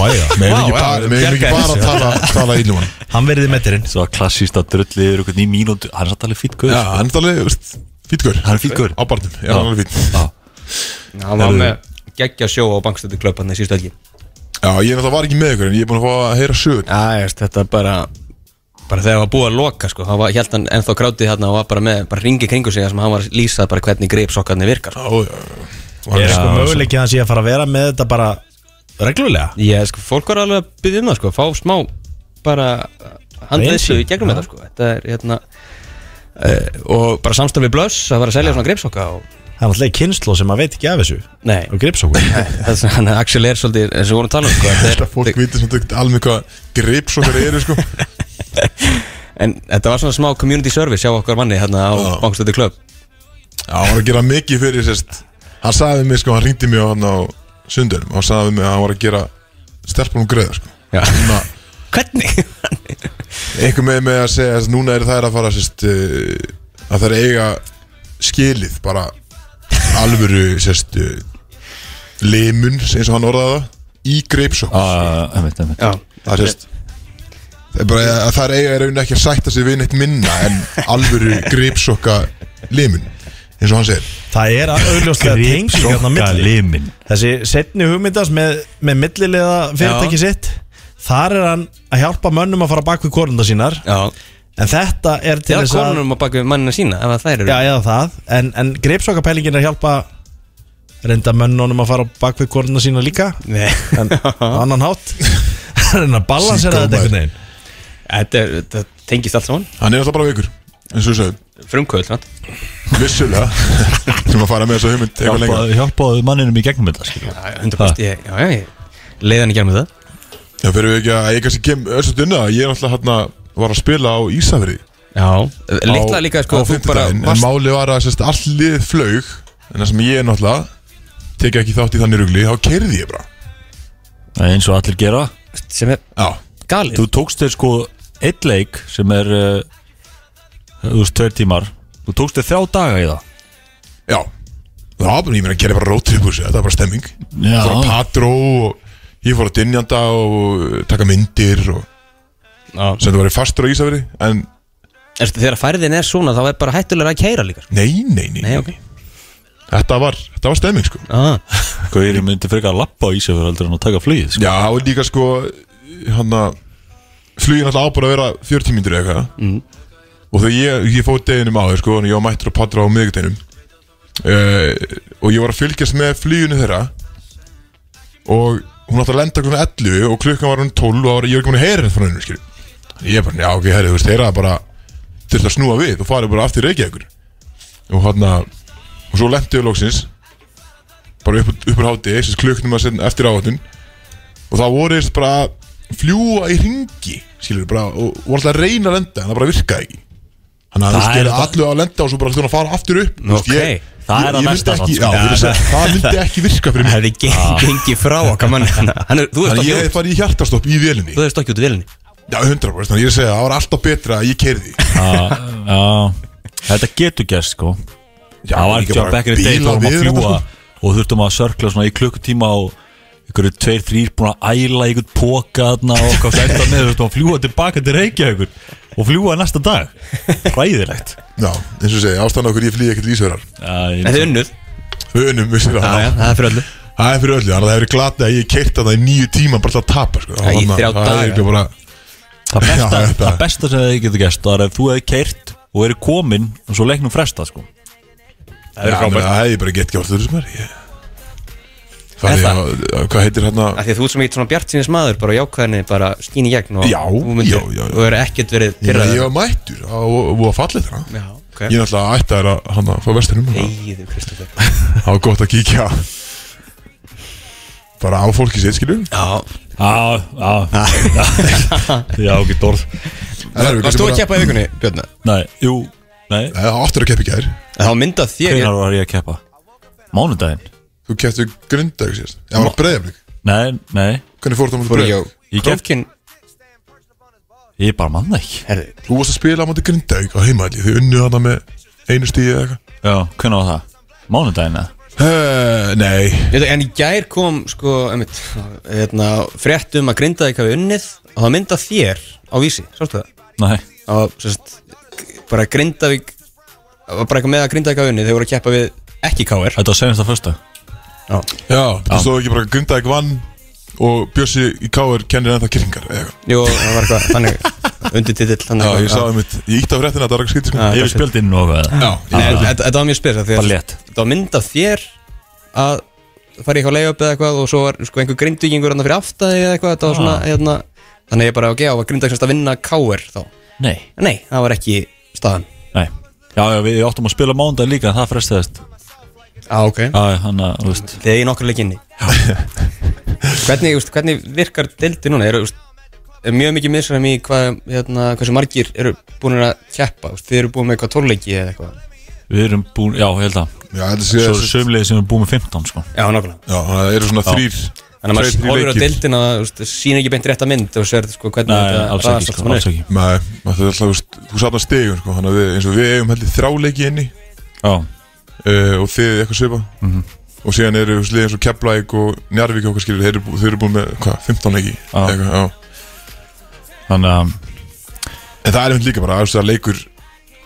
[SPEAKER 5] Mæja
[SPEAKER 2] Megum
[SPEAKER 3] Vá,
[SPEAKER 2] ekki
[SPEAKER 3] já,
[SPEAKER 2] bara, megum ekki
[SPEAKER 3] bjargaði
[SPEAKER 2] bara að tala, tala ílum hann
[SPEAKER 5] Hann verði sko. metterinn
[SPEAKER 4] Svo klassíst að drulli yfir einhvern í mínútu Hann er satt alveg fýtt guð
[SPEAKER 2] Já,
[SPEAKER 4] sko.
[SPEAKER 2] hann er alveg, veist, fítgur
[SPEAKER 4] Hann er fínn gaur.
[SPEAKER 2] Á barnum, já, hann er alveg fít
[SPEAKER 4] Já.
[SPEAKER 3] hann var með geggja sjó á bankstættu klöpan í síðustu helgi
[SPEAKER 2] Já, ég er alltaf var ekki með ykkur en ég er búin að fá að heyra sögur
[SPEAKER 3] já, ég veist, þetta er bara bara þegar það var búið að loka sko, þá held hann ennþá grátið hérna og var bara með bara ringi kringu sig þar sem hann var að lýsa bara hvernig greipsokkarnir virkar
[SPEAKER 2] Já, já, já. Var-
[SPEAKER 5] Er sko möguleiki að hann sé að fara að vera með þetta bara Reglulega
[SPEAKER 3] já, sko, fólk var alveg að byggja um það sko, fá smá bara handvissu
[SPEAKER 5] Reynslu.
[SPEAKER 3] í gegnum
[SPEAKER 5] Já.
[SPEAKER 3] þetta sko, þetta er hérna Uh, og bara samstafið blöss að vera að selja svona greipsokka og
[SPEAKER 5] Það er alltaf kynnsló sem maður veit ekki af þessu
[SPEAKER 3] nei,
[SPEAKER 5] Og gripsókur
[SPEAKER 3] þess að Axel er svolítið eins og við vorum að tala um sko, þetta er-
[SPEAKER 2] Þetta fólk viti sem þetta alveg hvað gripsokkar eru sko
[SPEAKER 3] En þetta var svona smá community service hjá okkar manni hérna á
[SPEAKER 2] Já.
[SPEAKER 3] Bankstöldi Club
[SPEAKER 2] Já, hann var að gera mikið fyrir sérst Hann sagði við mig sko, hann ringdi mig á hann á sundunum og hann sagði við mig að hann var að gera stelpunum greiða sko
[SPEAKER 3] Já.
[SPEAKER 2] Núna,
[SPEAKER 3] Hvernig?
[SPEAKER 2] einhver með mig að segja að núna eru þær að fara sérst uh, að þær eiga skilið bara alvöru sérst uh, limun eins og hann orðaði það í greipsokk
[SPEAKER 4] Ah, einmitt, einmitt.
[SPEAKER 3] Já,
[SPEAKER 2] það sést það er bara að það er eiga í rauninni ekki að sætta sig við neitt minna en alvöru gripsokka limun eins og hann segir
[SPEAKER 5] Það er auðljóslega tenging hérna á milli
[SPEAKER 4] limin
[SPEAKER 5] Þessi setni hugmyndast með, með millilega fyrirtæki sitt Þar er hann að hjálpa mönnum að fara bak við korunda sínar
[SPEAKER 3] já
[SPEAKER 5] En þetta er til
[SPEAKER 3] Til að
[SPEAKER 5] þess að
[SPEAKER 3] konunum að baka við mannina sína ef að þær eru
[SPEAKER 5] Já, eða það En, en greipsokapælingin er að hjálpa reynda mönnunum að fara bak við korunda sína líka
[SPEAKER 3] Nei
[SPEAKER 5] En á annan hátt Reynda að balansera
[SPEAKER 2] Sýkó
[SPEAKER 5] þetta einhvern veginn
[SPEAKER 3] Þetta, er, þetta tengist allt saman
[SPEAKER 2] hann er alltaf bara veikur eins og við sögum
[SPEAKER 3] Frumkvöld, rætt
[SPEAKER 2] vissulega sem að fara með þessa hugmynd eitthvað lengra
[SPEAKER 4] Hjálpaðu hjálpaðu manninum í gegnum þetta skilur við.
[SPEAKER 3] 100% ég, Ah. Já, já, ég leiði hann í gerð með það
[SPEAKER 2] já fyrir við ekki að ég kannski kem össu dynna ég er alltaf hann að var að spila á Ísafri
[SPEAKER 3] Já Littla líka,
[SPEAKER 2] á
[SPEAKER 3] sko, þú bara
[SPEAKER 2] fimmtudaginn en
[SPEAKER 3] varst
[SPEAKER 2] máli var að sérst all lið flaug en það sem ég er náttúrulega tekið ekki þátt í þannig rugli þá kerði ég bara
[SPEAKER 4] Það er eins og allir gera
[SPEAKER 3] sem er
[SPEAKER 2] já
[SPEAKER 3] galið
[SPEAKER 4] Þú tókst þér sko eitt leik sem er uh, þú veist, tveir tímar Þú tókst þér þrjá daga í það
[SPEAKER 2] Já Það var bara, ég meina, að gera bara róttripus Það var bara stemming
[SPEAKER 4] Já.
[SPEAKER 2] Fór að patró og ég fór að dynjanda og uh, taka myndir og
[SPEAKER 3] Já
[SPEAKER 2] sem það var fastur á Ísafri en
[SPEAKER 3] En Þegar færðin er svona þá er bara hættulega að keira líka sko.
[SPEAKER 2] nei, nei, nei,
[SPEAKER 3] Nei, ok
[SPEAKER 2] Þetta var, þetta var stemming sko
[SPEAKER 3] ah.
[SPEAKER 4] Gauðir myndi frekar að lappa á Ísafjörð heldur en að taka flugið sko.
[SPEAKER 2] Já, það var líka sko hann að flugin alltaf ábúin að vera 40 mínútur eða eitthvað og þegar ég, ég fóð deginum á þau sko og ég var mættur að patró á miðvikudeginum uh, og ég var að fylgjast með fluginu þeirra og hún átti að lenda klukkan 11 og klukkan var hún 12 og það var, ég var ekki búin að heyra þetta frá hennu skil ég bara, já ok, herri, þú veist, þeirra bara þurft að snúa við og farið bara aftur reykja ykkur og hann að og svo lendi ég loksins bara upp, upp úr háti, þessi klukknum að setja eftir áhættun og það voru þess bara að fljúa í ringi skilur, bara, og voru alltaf að reyna að lenda en það bara virkaði ekki þannig að
[SPEAKER 4] Það
[SPEAKER 2] þú
[SPEAKER 4] er
[SPEAKER 2] skilur
[SPEAKER 4] það-
[SPEAKER 2] allu að lenda og svo bara þurfa að fara aftur upp Þú veist,
[SPEAKER 3] Ok,
[SPEAKER 2] ég-
[SPEAKER 4] það
[SPEAKER 2] ég-
[SPEAKER 4] er að
[SPEAKER 2] ég
[SPEAKER 4] næsta
[SPEAKER 2] myndi ekki-
[SPEAKER 4] þátt,
[SPEAKER 2] já,
[SPEAKER 4] sko.
[SPEAKER 2] ég myndi segja, það myndi ekki virka fyrir mig
[SPEAKER 3] Hefði geng- gengið frá okkar mann Ah. Hann er, þú veist
[SPEAKER 2] þannig að
[SPEAKER 3] ekki
[SPEAKER 2] ég hef
[SPEAKER 3] út
[SPEAKER 2] farið í hjartastopp í vélinni
[SPEAKER 3] Þú veist ekki út í velinni
[SPEAKER 2] já, 100% þannig að ég er að segja það var alltaf betra að ég keirði
[SPEAKER 4] Já, já. Þetta getur gerst sko
[SPEAKER 2] já,
[SPEAKER 4] Það var ekki að back in the day þá varum að fljúa og þurftum að sörkla svona í klukkutíma og ykkur tveir, þrýr búin að æla ykkur póka þarna og hvað þetta með þurftum að fljúa tilbaka til Reykjavíkur og fljúa næsta dag Ræðilegt
[SPEAKER 2] já, eins og segja, ástæðan okkur ég flýði ekkert lísverðar
[SPEAKER 4] Já, ég-
[SPEAKER 3] Þetta er unnuð
[SPEAKER 2] við unum, við sér að
[SPEAKER 3] Já, já, það er fyrir öllu
[SPEAKER 2] Það er fyrir öllu, þannig að það hefur glatið að ég keirt að það í nýju tíma bara til að tapa sko.
[SPEAKER 3] Já, í
[SPEAKER 2] Þannig að
[SPEAKER 3] þrjá
[SPEAKER 2] Það er
[SPEAKER 3] daga.
[SPEAKER 2] ekki bara
[SPEAKER 4] Það
[SPEAKER 2] Já,
[SPEAKER 4] besta,
[SPEAKER 2] þetta-
[SPEAKER 4] það besta sem þið getur gæst Það er ef þú hefði keirt og verið komin Og svo leiknum fresta sko
[SPEAKER 2] Það er frábært Það hefði ég bara gett gert þurr sem er ég-
[SPEAKER 3] Er
[SPEAKER 2] Farið
[SPEAKER 3] það?
[SPEAKER 2] á- á- Hvað heitir hérna
[SPEAKER 3] Af því að þú ert svo mikið svona bjart sínis maður bara á jákvæðinni, bara skín í gegn og
[SPEAKER 2] Já,
[SPEAKER 3] þú myndir,
[SPEAKER 2] já, já, já.
[SPEAKER 3] og verður ekkert verið
[SPEAKER 2] Ég
[SPEAKER 3] pyrraður
[SPEAKER 2] ég var mættur á- og var fallið þarna
[SPEAKER 3] Já, ok
[SPEAKER 2] Ég náttúrulega ætti að vera hann að fá vestinum
[SPEAKER 3] Eyðu Kristoffer
[SPEAKER 2] Það var gott að kíkja bara á fólki sér skilju
[SPEAKER 3] Já,
[SPEAKER 4] Já, já Já, ekki dórð
[SPEAKER 3] varst þú að keppa í vikunni, Björn?
[SPEAKER 4] Nei, jú, nei
[SPEAKER 2] Það áttur að keppa í gær
[SPEAKER 3] Það var myndað þér
[SPEAKER 4] Hvenær var ég að keppa? Mánudaginn?
[SPEAKER 2] Þú kepptu grindag sérst Já, var breyðaflik
[SPEAKER 4] Nei, nei
[SPEAKER 2] Hvernig fór það mútið
[SPEAKER 3] Fór ég á
[SPEAKER 2] breyðaflik?
[SPEAKER 4] Ég gekk-
[SPEAKER 3] Krókin
[SPEAKER 4] Ég bara manna ekki
[SPEAKER 3] Herði,
[SPEAKER 2] Þú varst að spila á mútið grindag á heimaðli Þið unnu hana með einu stíði eða eitthvað
[SPEAKER 4] Já, hvenær var það? Mánudaginn eða?
[SPEAKER 2] Eh, Nei
[SPEAKER 3] Þetta, en í gær kom sko einmitt, hérna, frétt um að grinda ekki hafi unnið og það mynda þér á vísi, sástu það
[SPEAKER 4] Nei
[SPEAKER 3] það var sérst, bara Grindavík það var bara eitthvað með að Grindavík hafi unnið þeir voru að keppa við ekki KR
[SPEAKER 4] Þetta var senast að fyrsta
[SPEAKER 3] Já.
[SPEAKER 2] Já, þú stóðu ekki bara að grindag vann Og Bjössi í K.R. kennir ennþá kyrringar eða eitthvað
[SPEAKER 3] Jú, það var eitthvað þannig undir titill þannig
[SPEAKER 2] Já,
[SPEAKER 3] eitthvað.
[SPEAKER 2] ég sagði mitt Ég ítti á fréttina að það var ekki skýrt sko.
[SPEAKER 3] Já.
[SPEAKER 4] Yfir spjöldinn og eitthvað
[SPEAKER 2] Já,
[SPEAKER 3] Nei, þetta- þetta þetta var mjög spes af því
[SPEAKER 4] Bara
[SPEAKER 3] að
[SPEAKER 4] létt.
[SPEAKER 3] þetta var mynd af þér að fara í eitthvað leiðjöp eða eitthvað og svo var sko, einhver grindvíkingur hérna fyrir aftæði eða eitthvað þetta var svona
[SPEAKER 2] Ah.
[SPEAKER 3] hérna, þannig ég bara ok, á að grinda ekki að vinna káir þá
[SPEAKER 4] Nei
[SPEAKER 3] En nei, það var ekki staðan
[SPEAKER 4] Nei Já, já, við áttum að spila mánudaginn líka en Það frestaðist Já,
[SPEAKER 3] ah, okay.
[SPEAKER 4] já, hann að, þú veist
[SPEAKER 3] þegar ég nokkur leikinni hvernig, þú veist, hvernig virkar deildi núna er, er mjög mikið misræmi í hvað, hérna, hversu margir eru búin að keppa, þú veist, þið eru búin með eitthvað tórleiki eða eitthvað
[SPEAKER 4] Við erum búin, já, ég held að
[SPEAKER 2] já þetta sé
[SPEAKER 4] Svo er sömlegið sem er búin með 15, sko
[SPEAKER 3] já, nokkulega
[SPEAKER 2] Já, það eru svona þrýr
[SPEAKER 3] Þannig
[SPEAKER 2] tveir,
[SPEAKER 3] að maður
[SPEAKER 2] þrír
[SPEAKER 3] horfir á
[SPEAKER 2] leikir.
[SPEAKER 3] deildina það sína ekki beint rétt að mynd og sér sko, hvernig
[SPEAKER 4] Nei, alls
[SPEAKER 3] raðast allt
[SPEAKER 4] ekki, sko,
[SPEAKER 3] saman
[SPEAKER 4] alls
[SPEAKER 3] upp.
[SPEAKER 4] ekki
[SPEAKER 2] Nei, það er alltaf, þú veist, þú satnar stegum sko, þannig að við, eins og við eigum heldur þráleiki inni
[SPEAKER 4] Já,
[SPEAKER 2] uh, og þið eitthvað svipa og síðan eru sliðið eins og Keflæk og Njarvík og okkur skilur, þeir eru, bú- þeir eru búin með hvað, 15 leiki
[SPEAKER 4] Já.
[SPEAKER 2] eitthvað, já.
[SPEAKER 4] þannig að
[SPEAKER 2] en það er einhvern líka bara, þú veist, það er leikur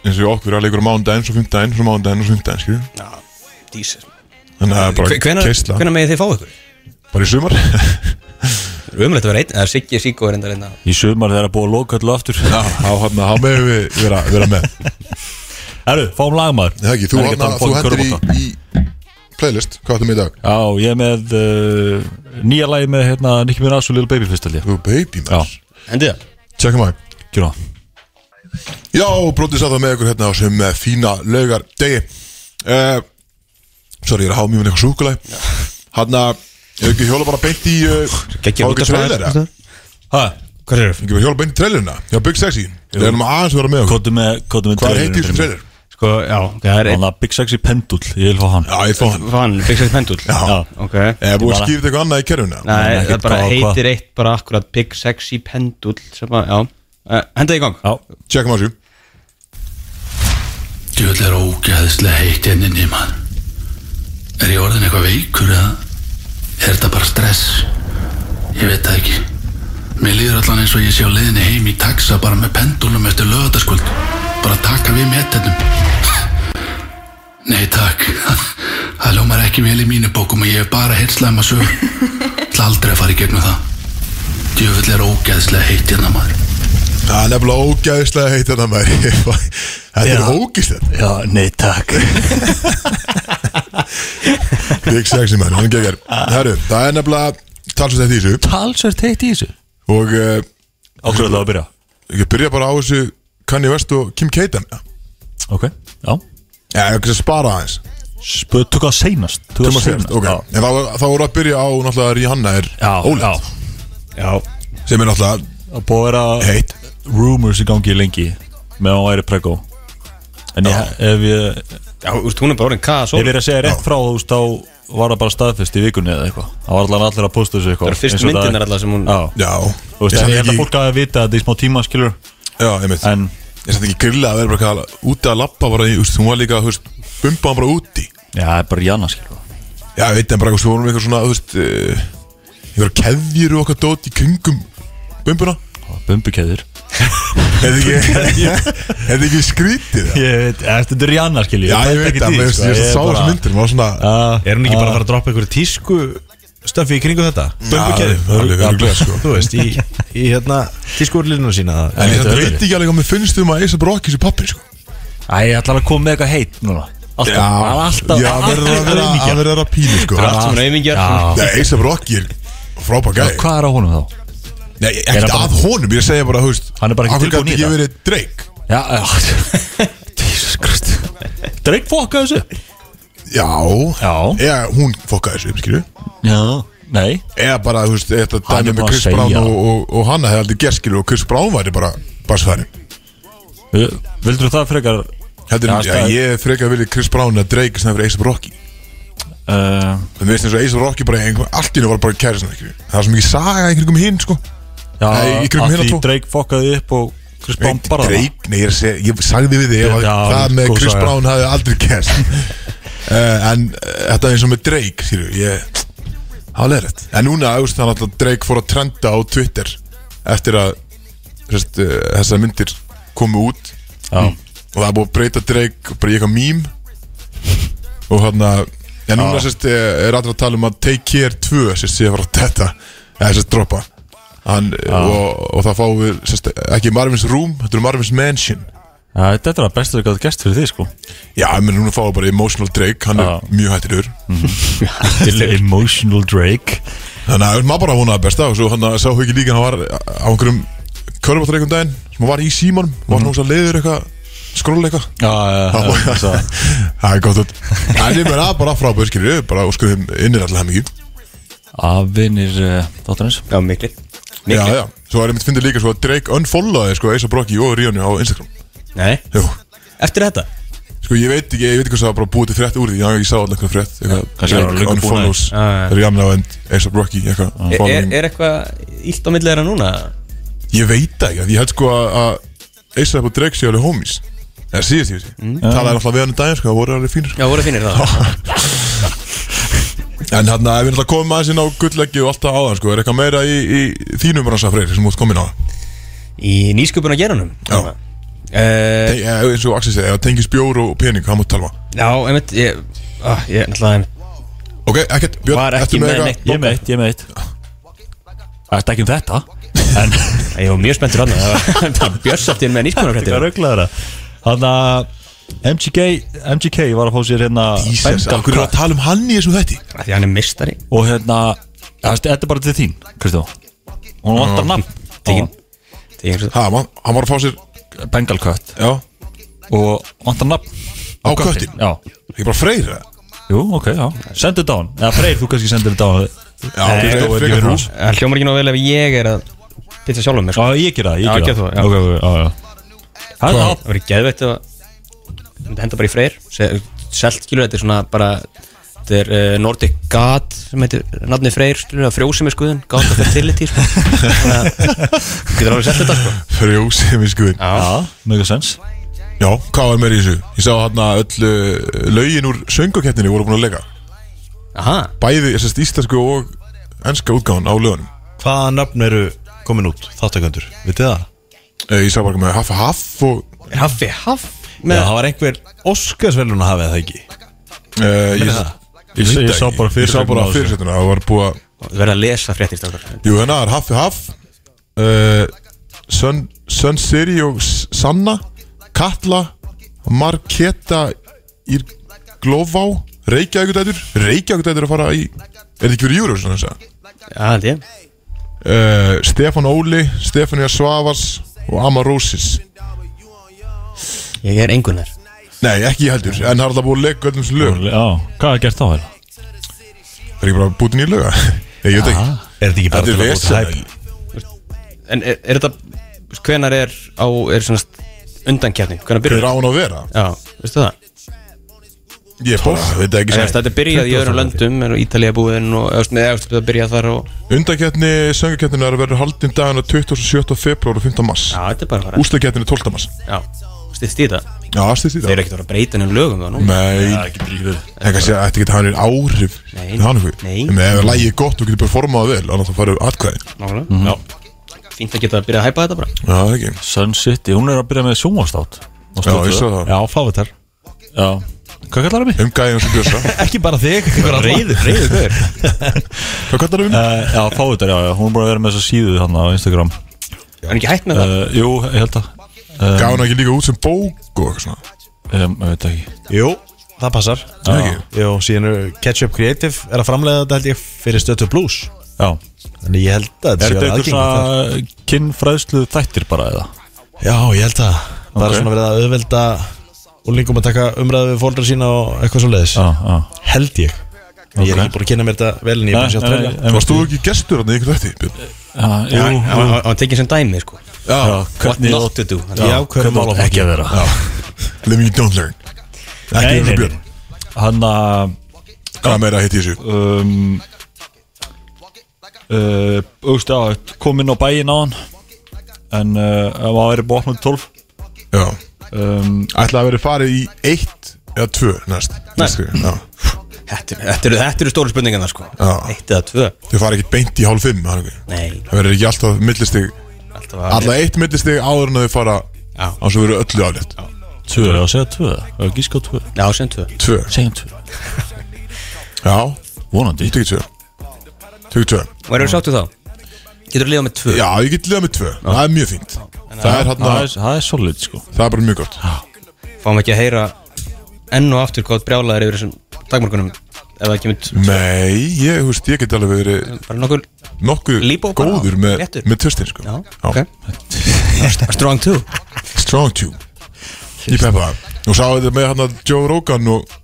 [SPEAKER 2] eins og í okkur, það er leikur á mándaginn, svo 15 svo mándaginn og svo 15, skilur
[SPEAKER 3] Dísir.
[SPEAKER 2] þannig að það er bara
[SPEAKER 3] Hve- Hvenær
[SPEAKER 2] keisla,
[SPEAKER 3] hvenær megið þið fá ykkur?
[SPEAKER 2] bara í sumar
[SPEAKER 3] Það er umrætt að vera einn, eða Siggi Siggo er enda reyna
[SPEAKER 4] í sömar þeirra búið að loka öllu aftur
[SPEAKER 2] Já, hérna, þá hann að meðum við vera, vera með
[SPEAKER 4] Herru, fáum lagmaður
[SPEAKER 2] Það er ekki, þú,
[SPEAKER 4] Það er ekki
[SPEAKER 2] hana,
[SPEAKER 4] að tala
[SPEAKER 2] þú
[SPEAKER 4] um fólk í
[SPEAKER 2] hendur í,
[SPEAKER 4] körfubolta.
[SPEAKER 2] í playlist, hvað áttu með í dag?
[SPEAKER 4] Já, ég er með uh, nýja lagi með hérna Nicky Minaj og Lil Baby fyrst held ég
[SPEAKER 2] Þú baby
[SPEAKER 4] Já,
[SPEAKER 2] maður,
[SPEAKER 3] Endið það?
[SPEAKER 2] tjekkum að
[SPEAKER 4] gjör það
[SPEAKER 2] Já, brótið satt það með ykkur hérna á sem uh, fína laugar degi uh, Sorry, ég er að hafa mjög með eitthvað súkuleg Hann að, ef ekki hjóla bara beint í uh,
[SPEAKER 3] Gekkið
[SPEAKER 2] Má ekki trailer, eða?
[SPEAKER 4] Hæ,
[SPEAKER 3] Hvað er það?
[SPEAKER 2] Ekki bara hjóla beint í trailerina Já, Big Sexy Við erum aðeins að vera með okkur
[SPEAKER 4] kóttu með, kóttu með
[SPEAKER 2] Hvað
[SPEAKER 4] trailerinn
[SPEAKER 2] heitir þessu
[SPEAKER 4] fyrir mig.
[SPEAKER 2] trailer?
[SPEAKER 3] Sko, já, það er einn
[SPEAKER 4] Hann að Big Sexy Pendul, ég vil fá hann
[SPEAKER 2] Já, ég fá hann
[SPEAKER 3] Fann, Big Sex Pendul
[SPEAKER 2] Já.
[SPEAKER 3] Ok
[SPEAKER 2] Eða búið að
[SPEAKER 4] bara-
[SPEAKER 2] skýra eitthvað annað í kerfinu eða?
[SPEAKER 3] Nei,
[SPEAKER 4] ekkert
[SPEAKER 3] það bara
[SPEAKER 4] hvað og hvað.
[SPEAKER 3] heitir eitt bara akkurat Big Sexy Pendul sem að, já Eh, Henda í gang
[SPEAKER 4] Já,
[SPEAKER 2] Tjekkum að þessu
[SPEAKER 6] Djöfull er ógæðislega heitt hérna inn í maður. Er ég orðin eitthvað veikur eða? Er þetta bara stress? Ég veit það ekki. Mér líður allan eins og ég sé á leiðinni heim í taxa bara með pendulum eftir lögataskvöld. Bara taka við metinum. Nei takk. Það lómar ekki vel í mínu bókum og ég hef bara heyrt slæma sögur. Það aldrei að fara í gegnum það. Djöfull er ógæðislega heitt hérna maður.
[SPEAKER 2] Það er nefnilega ógæðislega heitt hérna, þetta með Þetta er ógæðislega
[SPEAKER 4] já nei takk
[SPEAKER 2] Big Sexy maður, hann geggar Herru, það er nefnilega talsvægt eftir þessu
[SPEAKER 4] Talsvært heitt í þessu
[SPEAKER 2] Og uh,
[SPEAKER 4] Ákveður það að byrja
[SPEAKER 2] ég byrja bara á þessu Kanye West og Kim K. dæmi, já.
[SPEAKER 4] Ok, já
[SPEAKER 2] Já, ég kannski spara aðeins
[SPEAKER 4] Spöð, tók það seinast Tók
[SPEAKER 2] Thomas Swift, ok
[SPEAKER 4] Já,
[SPEAKER 2] En þá, þá voru að byrja á náttúrulega Rihanna er
[SPEAKER 4] já, já.
[SPEAKER 2] ólétt
[SPEAKER 3] Já
[SPEAKER 2] Sem er náttúrulega
[SPEAKER 4] Það búið að vera
[SPEAKER 2] heitt
[SPEAKER 4] rumors í gangi lengi með að hún væri pregó En ég, ef ég
[SPEAKER 3] Já, úrst, hún er bara orðin kaða svo
[SPEAKER 4] Ef ég er að segja rétt frá þú veist, þá var það bara staðfest í vikunni eða eitthvað Það var allan allir að posta þessu eitthvað
[SPEAKER 3] Það eru fyrstu
[SPEAKER 4] Eins og
[SPEAKER 3] myndirnar allar sem hún-
[SPEAKER 4] Já,
[SPEAKER 2] Já
[SPEAKER 4] þú
[SPEAKER 2] Ég
[SPEAKER 4] veist, en
[SPEAKER 2] samt
[SPEAKER 4] ég held að
[SPEAKER 2] ekki-
[SPEAKER 4] fólk að vita þetta í smá tíma skilur
[SPEAKER 2] Já, ég veit
[SPEAKER 4] En,
[SPEAKER 2] Ég sætti ekki grilla að vera bara kalla Úti að lappa bara í, þú veist, hún var líka, þú veist Bumba hann bara úti
[SPEAKER 4] já, það er bara Janna skilur
[SPEAKER 2] Já, ég veit en bara, þú vorum eitthvað svona, þú veist eh, Einhverjar keðjir og okkar dót í kringum Bumbuna
[SPEAKER 4] bumbukeður
[SPEAKER 2] Er þið ekki, er þið ekki skrítið? það?
[SPEAKER 4] Ég veit, eða, þetta er Rihanna skilji
[SPEAKER 2] Já, ég veit það,
[SPEAKER 4] sko,
[SPEAKER 2] ég sá þessu myndir maður svona
[SPEAKER 5] Er hún ekki bara að fara að droppa einhverju tísku stöfi í kringu þetta?
[SPEAKER 2] það er alveg örugglega, sko.
[SPEAKER 5] Þú veist, í, í hérna tískurlinu sína
[SPEAKER 2] En ég
[SPEAKER 4] þetta
[SPEAKER 2] veit
[SPEAKER 4] er
[SPEAKER 2] ekki alveg hvað mér finnst um að Eisa Brokki sem pappin sko.
[SPEAKER 4] Æ, ég ætla að koma með eitthvað heit núna Alltaf, Það er alltaf,
[SPEAKER 2] já,
[SPEAKER 4] alltaf,
[SPEAKER 2] verður að vera að
[SPEAKER 4] alltaf
[SPEAKER 2] vera að pínu sko.
[SPEAKER 3] Allt sem er auðvingjar
[SPEAKER 4] Já.
[SPEAKER 2] Eisa Brokki er frábær
[SPEAKER 4] Já,
[SPEAKER 2] gæði
[SPEAKER 4] Hvað er á honum þá?
[SPEAKER 2] Nei,
[SPEAKER 4] Er
[SPEAKER 2] ekkert
[SPEAKER 4] hann bara-
[SPEAKER 2] að honum, ég segja bara, þú veist
[SPEAKER 4] Hann er bara ekki
[SPEAKER 2] af hverju
[SPEAKER 4] tilbúinn
[SPEAKER 2] gat
[SPEAKER 4] í
[SPEAKER 2] ekki verið Drake
[SPEAKER 4] þetta. Já, já Jesus Christ Drake fokka þessu
[SPEAKER 2] Já,
[SPEAKER 4] Já.
[SPEAKER 2] eða hún fokkaði þessu, skilju
[SPEAKER 4] Já Nei
[SPEAKER 2] Eða bara, þú veist, þetta
[SPEAKER 4] Hann er
[SPEAKER 2] dæmi með
[SPEAKER 4] bara að
[SPEAKER 2] Chris
[SPEAKER 4] segja.
[SPEAKER 2] Brown og, og, og hanna hefði aldrei gert, skilju Og Chris Brown væri bara, bara sværi
[SPEAKER 4] Vildur þú það frekar
[SPEAKER 2] Heldur,
[SPEAKER 4] Já,
[SPEAKER 2] já,
[SPEAKER 4] staðið.
[SPEAKER 2] ég frekar vilja Chris Brown að Drake sem fyrir Ace of Rocky
[SPEAKER 4] uh,
[SPEAKER 2] En við veist eins og Ace of Rocky bara einhver, allt í hennu var bara kæri svona, skilju Það er svo mikið saga í kringum hinn, sko
[SPEAKER 4] Já,
[SPEAKER 2] Nei, í kringum
[SPEAKER 4] að
[SPEAKER 2] hérna
[SPEAKER 4] því
[SPEAKER 2] tvo.
[SPEAKER 4] Drake fokkaði upp og Chris Brown bara
[SPEAKER 2] Drake, nei, ég, er að segja, ég sagði við þig að
[SPEAKER 4] Já,
[SPEAKER 2] það sko, með
[SPEAKER 4] góð
[SPEAKER 2] Chris
[SPEAKER 4] saga.
[SPEAKER 2] Brown hafði aldrei kæst uh, En uh, þetta er eins og með Drake, skilju Ég, það er rétt En núna, þú veist, þannig að Drake fór að trenda á Twitter Eftir að sest, uh, þessar myndir komu út Mm.
[SPEAKER 4] Já,
[SPEAKER 2] og það er búið að breyta Drake bara í eitthvað mím og hann að en núna sérst eh, er allra að tala um að Take Care 2 sérst sé að fara að tetta eða sérst droppa hann, og, og það fáum við sérst ekki Marvin's Room, þetta er Marvin's Mansion
[SPEAKER 4] Já, þetta er að bestu þau gæti gæst fyrir þig sko
[SPEAKER 2] já, menn núna fáum við bara Emotional Drake hann
[SPEAKER 4] Já.
[SPEAKER 2] er mjög hættilegur
[SPEAKER 4] Emotional Drake
[SPEAKER 2] þannig að maður bara vonaði besta og svo hann að sá ekki líka hann var á einhverjum körfáttarleikum daginn sem hann var í símanum, var hann ósað leiður eitthvað skróla eitthvað
[SPEAKER 4] Já, Mhm. já,
[SPEAKER 2] Já,
[SPEAKER 4] já,
[SPEAKER 2] já.
[SPEAKER 4] já
[SPEAKER 2] Það er gott út En ég meina bara frábæð skilur við Bara óskum þeim innir alltaf mikið
[SPEAKER 4] Afinir þáttanins
[SPEAKER 3] Já, miklir
[SPEAKER 2] Já,
[SPEAKER 3] Miklir
[SPEAKER 2] já Svo er einmitt fyndið líka svo að Drake unfollowaði sko Eisa Brokki og Ríonu á Instagram
[SPEAKER 3] Nei,
[SPEAKER 2] Jú
[SPEAKER 3] eftir þetta
[SPEAKER 2] Sko ég veit ekki, ég veit ekki hvað það var bara búið til frétt úr því Já, ég sá alltaf einhverja frétt eitthvað,
[SPEAKER 4] kannski var hann
[SPEAKER 2] Drake
[SPEAKER 4] löngu
[SPEAKER 2] unfollows
[SPEAKER 3] búinn að því.
[SPEAKER 2] Ríonu á end Eisa Brokki eitthvað
[SPEAKER 3] Er, er,
[SPEAKER 2] following.
[SPEAKER 3] er eitthvað illt á millið þeirra núna?
[SPEAKER 2] Ég veit það ekki, ég held sko að- að Eisa og Drake séu alveg homies Það síðast ég
[SPEAKER 3] Mm.
[SPEAKER 2] þessi Talaði alltaf við hann um daginn sko, það voru alveg fínir sko
[SPEAKER 3] Já, voru fínir það
[SPEAKER 2] En hann að við erum alltaf komið aðeins inn á gullleggi og alltaf áðan sko Er eitthvað meira í, í þínum bransa freyri sem út komin á það?
[SPEAKER 3] Í nýsköpun að geranum
[SPEAKER 2] Já.
[SPEAKER 3] Eh,
[SPEAKER 2] Te- eh, eins og Axel segi, ef það tengis bjór og pening, hvað mútt talma?
[SPEAKER 3] Já, einmitt Ég, ah, ég náttúrulega einmitt
[SPEAKER 2] Ok, ekkert, Björn,
[SPEAKER 3] Var ekki
[SPEAKER 2] ertu
[SPEAKER 3] með
[SPEAKER 2] eitthvað-
[SPEAKER 3] neitt.
[SPEAKER 4] Ég er meitt, ég er meitt Það er ekki um þetta En
[SPEAKER 3] Ég var mjög spenntur hann Það var björsaftir með
[SPEAKER 4] Þetta er
[SPEAKER 3] nýskunarfrættir
[SPEAKER 4] röglaður Þannig að MGK, MGK var að fá sér hérna
[SPEAKER 2] Jesus,
[SPEAKER 4] Bengal
[SPEAKER 2] af hverju er að tala um hann í þessum þætti?
[SPEAKER 3] Því hann er mistari
[SPEAKER 4] Og hérna það- Þetta er bara til þín, Kristján Hún vantar nafn
[SPEAKER 3] Tíkin Tíkin
[SPEAKER 2] Ha, man, hann var að fá sér,
[SPEAKER 4] Bengal kött
[SPEAKER 2] já,
[SPEAKER 4] Og vantar nafn
[SPEAKER 2] á köttin
[SPEAKER 4] Já
[SPEAKER 2] Ég bara freyr það
[SPEAKER 4] Jú, ok, já Sendu þetta á hann Eða Freyr, þú kannski sendir þetta á hann
[SPEAKER 2] Já, Freyr,
[SPEAKER 4] Kristó er ekki
[SPEAKER 2] frekar
[SPEAKER 4] vinur
[SPEAKER 2] þú
[SPEAKER 4] hans.
[SPEAKER 3] Það hljómar ekki nóg vel ef ég er að Pizza sjálfum mér
[SPEAKER 4] Já,
[SPEAKER 3] sko
[SPEAKER 4] ég gera það,
[SPEAKER 3] Já, gerð
[SPEAKER 4] ég gera
[SPEAKER 3] þú, já.
[SPEAKER 4] það Ok, ok, já, já Það er það
[SPEAKER 3] Það verður geðveitt að Það myndi henda bara í freyr Se- Selt skilur þetta er svona bara Þetta er uh, Nordic God sem heitir nafni Freyr skilur það frjósi með skoðun God of Fertility sko Þannig að Getur alveg sett þetta sko
[SPEAKER 2] Frjósið við skuðin
[SPEAKER 4] Já, mjög sens
[SPEAKER 2] Já, hvað var meira í þessu? Ég sá hann að öll uh, lögin úr söngakettinni voru búin að leika
[SPEAKER 3] Aha
[SPEAKER 2] Bæði, ég sérst, íslensku og enska útgáðan á lögunum
[SPEAKER 5] Hvaða nöfn eru komin út, þáttakandur, vitið það?
[SPEAKER 2] Eh, Ég sá bara með Hafa Haff og
[SPEAKER 5] Haffi Haff?
[SPEAKER 3] Með-
[SPEAKER 5] Já, það var einhver Óskarsvelun að hafa það ekki
[SPEAKER 2] uh, Ég,
[SPEAKER 5] það?
[SPEAKER 2] ég,
[SPEAKER 4] Ég-
[SPEAKER 2] veit
[SPEAKER 4] ég
[SPEAKER 2] það
[SPEAKER 4] sá
[SPEAKER 2] ekki.
[SPEAKER 4] bara
[SPEAKER 2] Ég sá
[SPEAKER 4] fyrirsögnina á
[SPEAKER 2] bara
[SPEAKER 4] þessu.
[SPEAKER 2] fyrirsögnina Það var búið að
[SPEAKER 3] Þú verður að lesa fréttir strákar
[SPEAKER 2] Jú, hérna það er Haffi Haff uh, Sun, Sun Siri og S- Sanna Katla Marketa Ír Glófá Reykjavíkudætur Reykjavíkudætur að fara í Er þetta ekki fyrir júru svona þess að
[SPEAKER 3] Já, held ég
[SPEAKER 2] uh, Stefán Óli Stefania Svavars og Amma Rósis
[SPEAKER 3] Ég er engunar
[SPEAKER 2] Nei, ekki ég heldur En það er alltaf búið að leika öllum sem lög
[SPEAKER 4] Já, hvað er gert þá hérna?
[SPEAKER 2] Er ekki bara búin í löga? Nei, ég veit ekki
[SPEAKER 5] Er þetta ekki
[SPEAKER 2] Þetta er
[SPEAKER 5] bara til að búta
[SPEAKER 2] vesen
[SPEAKER 5] hæp?
[SPEAKER 3] En er, er þetta Hvenar er á Er svona undankjarni Hvenar
[SPEAKER 2] Hver
[SPEAKER 3] byrjar
[SPEAKER 2] á hann að vera?
[SPEAKER 3] Já, veistu það
[SPEAKER 2] Ég bara, veit það ekki
[SPEAKER 3] Ég veist, Þetta er byrjað í öðrum löndum er á Ítalía búin og eða, eða, eða, þetta byrjað þar og
[SPEAKER 2] Undakettni söngakettnina verður haldin dagana 27. februar og 15. mars
[SPEAKER 3] Já, þetta er bara að fara
[SPEAKER 2] Úslakettni 12. mars
[SPEAKER 3] Já, stýtti í það
[SPEAKER 2] Já, stýst í
[SPEAKER 3] Þeir
[SPEAKER 2] það
[SPEAKER 3] eru ekkert að vera að breyta nefnum lögum það nú
[SPEAKER 2] Nei,
[SPEAKER 4] ekki bríður
[SPEAKER 2] það kannski að þetta geta hann er áhrif
[SPEAKER 3] Nei.
[SPEAKER 2] Það hann ykkur
[SPEAKER 3] Nei.
[SPEAKER 2] En ef lægi er gott og getur performað vel Þannig að það farið atkvæði
[SPEAKER 3] Nákvæmlega. Já. fínt að geta að byrja að hæpa þetta bara
[SPEAKER 2] Mm. Já, það er ekki
[SPEAKER 4] Sun City, hún er að byrja með sjónvastátt
[SPEAKER 2] Já, ég svo það
[SPEAKER 5] Já, fávitar
[SPEAKER 4] Já, hvað kallar það mig?
[SPEAKER 2] Um gæðin sem bjösa
[SPEAKER 5] Ekki bara þig, ykkur alla
[SPEAKER 4] Reyður, reyður, hver?
[SPEAKER 2] Hvað kallar það um?
[SPEAKER 4] Eh, Já, fávitar, já, já, hún er bara að vera með þessa síðu hann á Instagram
[SPEAKER 3] Það er ekki hægt með það
[SPEAKER 4] uh, Jú, ég held að
[SPEAKER 2] Gaf hann ekki líka út sem bók og eitthvað svona
[SPEAKER 4] um, Ég veit ekki
[SPEAKER 5] Jú, það passar
[SPEAKER 2] Það er ekki
[SPEAKER 5] Jú, síðan er Ketchup Creative er að framlega þetta held ég fyrir stötu blues
[SPEAKER 4] Já,
[SPEAKER 5] Þannig ég held að
[SPEAKER 4] er
[SPEAKER 5] þetta sé
[SPEAKER 4] þetta
[SPEAKER 5] alveg
[SPEAKER 4] eitthvað
[SPEAKER 5] aðgengið
[SPEAKER 4] svona kinnfræðslu þættir bara eða?
[SPEAKER 5] þar. Já, ég held að
[SPEAKER 4] Ok.
[SPEAKER 5] Það er svona verið að auðvelda úlingum að taka umræðu við fóldra sína og eitthvað svo leiðis
[SPEAKER 4] Já, já
[SPEAKER 5] Held ég Ég
[SPEAKER 4] Ok.
[SPEAKER 5] er ekki búin að kynna mér þetta vel en ég er búin að sjá treyla
[SPEAKER 4] nei,
[SPEAKER 2] Varst þú ekki gestur hann í eitthvað þetta? Björn?
[SPEAKER 4] Já, jú,
[SPEAKER 3] Það
[SPEAKER 4] jú
[SPEAKER 3] var- það var tekið sem dæmi sko
[SPEAKER 4] Já,
[SPEAKER 3] What
[SPEAKER 4] hvernig
[SPEAKER 3] not to do
[SPEAKER 5] Já,
[SPEAKER 3] Já,
[SPEAKER 4] Hvernig átt
[SPEAKER 5] hvernig málaflokki?
[SPEAKER 4] ekki að vera
[SPEAKER 2] Living you don't learn Ekki
[SPEAKER 4] Nei,
[SPEAKER 2] eins
[SPEAKER 4] nei,
[SPEAKER 2] og
[SPEAKER 4] nei
[SPEAKER 2] Björn
[SPEAKER 4] Hann að
[SPEAKER 2] Hvað meira hitt í þessu?
[SPEAKER 4] um, uh, Úst, já, kom inn á bæinn á hann En uh, hann var að vera bótt með 12
[SPEAKER 2] Já
[SPEAKER 4] um,
[SPEAKER 2] Ætla að vera farið í eitt eða tvö næst Næst Já
[SPEAKER 3] Þetta eru- þetta eru þetta eru stóru spurningarna sko
[SPEAKER 2] Já.
[SPEAKER 3] Eitt eða tvö
[SPEAKER 2] Þau fara ekki beint í hálf fimm það er ekki.
[SPEAKER 3] Nei,
[SPEAKER 2] Það verður ekki alltaf millistig
[SPEAKER 3] alltaf að
[SPEAKER 2] Alltaf eitt millistig áður en þau fara
[SPEAKER 3] Já.
[SPEAKER 2] Án svo verður öllu aflétt
[SPEAKER 4] Tvö, ég var að segja tvö Það var gíska á tvö
[SPEAKER 3] Já, sem tvö
[SPEAKER 2] Tvö
[SPEAKER 4] Segjum tvö
[SPEAKER 2] Já
[SPEAKER 4] Vonandi
[SPEAKER 2] Tökir tvö Tökir tvö
[SPEAKER 3] Og erum við sáttu þá? Getur þú liðað með tvö?
[SPEAKER 2] Já, ég get liða með tvö Það er mjög fínt Það er hann
[SPEAKER 4] Það er, það er solid sko
[SPEAKER 2] Það er bara mjög gott
[SPEAKER 3] Fáum ekki að heyra enn og aftur hvað brjálaðir yfir þessum dagmorgunum Ef það kemur t-
[SPEAKER 2] Nei, ég, þú veist, ég get alveg verið
[SPEAKER 3] bara nokkur
[SPEAKER 2] nokkuð
[SPEAKER 3] Líbó bara
[SPEAKER 2] góður
[SPEAKER 3] á,
[SPEAKER 2] með,
[SPEAKER 3] léttur.
[SPEAKER 2] með töstin sko.
[SPEAKER 3] Já, ok A Strong two
[SPEAKER 2] Strong Tube Í Peppa Nú sá þetta með hann að Joe Rogan og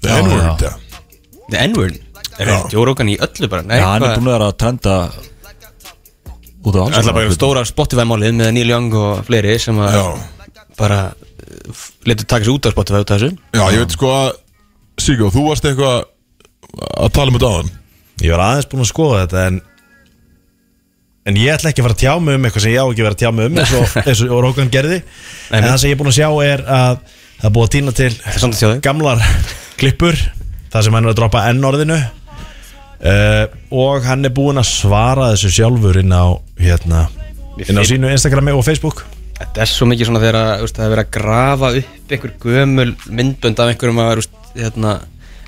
[SPEAKER 2] The
[SPEAKER 4] Já,
[SPEAKER 2] N-Word
[SPEAKER 4] já.
[SPEAKER 2] ja.
[SPEAKER 3] The N-word Er
[SPEAKER 2] Já.
[SPEAKER 3] það Jórókan í öllu bara? Nei,
[SPEAKER 4] Já, hann er
[SPEAKER 3] hvað-
[SPEAKER 4] búin að vera að trenda Út af alls
[SPEAKER 3] Það er bara
[SPEAKER 4] konar.
[SPEAKER 3] stóra Spotify-málið með Neil Young og fleiri sem að
[SPEAKER 2] já
[SPEAKER 3] bara uh, letur taka sig út af Spotify út af þessu
[SPEAKER 2] Já, ég veit sko að Sigurð, þú varst eitthvað að tala um þetta áðan
[SPEAKER 5] Ég var aðeins búin að skoða þetta en En ég ætla ekki að fara að tjá mig um eitthvað sem ég á ekki að vera að tjá mig um eins og, eins og Rókan gerði En
[SPEAKER 3] nei.
[SPEAKER 5] það sem ég er búin að sjá er að það er búið að týna til
[SPEAKER 3] er samt að sjá þau.
[SPEAKER 5] gamlar klippur Það sem hann er að droppa N-orðinu uh, Og hann er búin að svara þessu sjálfur inn á hérna inn á
[SPEAKER 3] finn-
[SPEAKER 5] sínu Instagrami og Facebook
[SPEAKER 3] Þetta er svo mikið svona þegar að, veist, það er verið að grafa upp einhver gömul myndbönd af einhverjum að veist, hérna,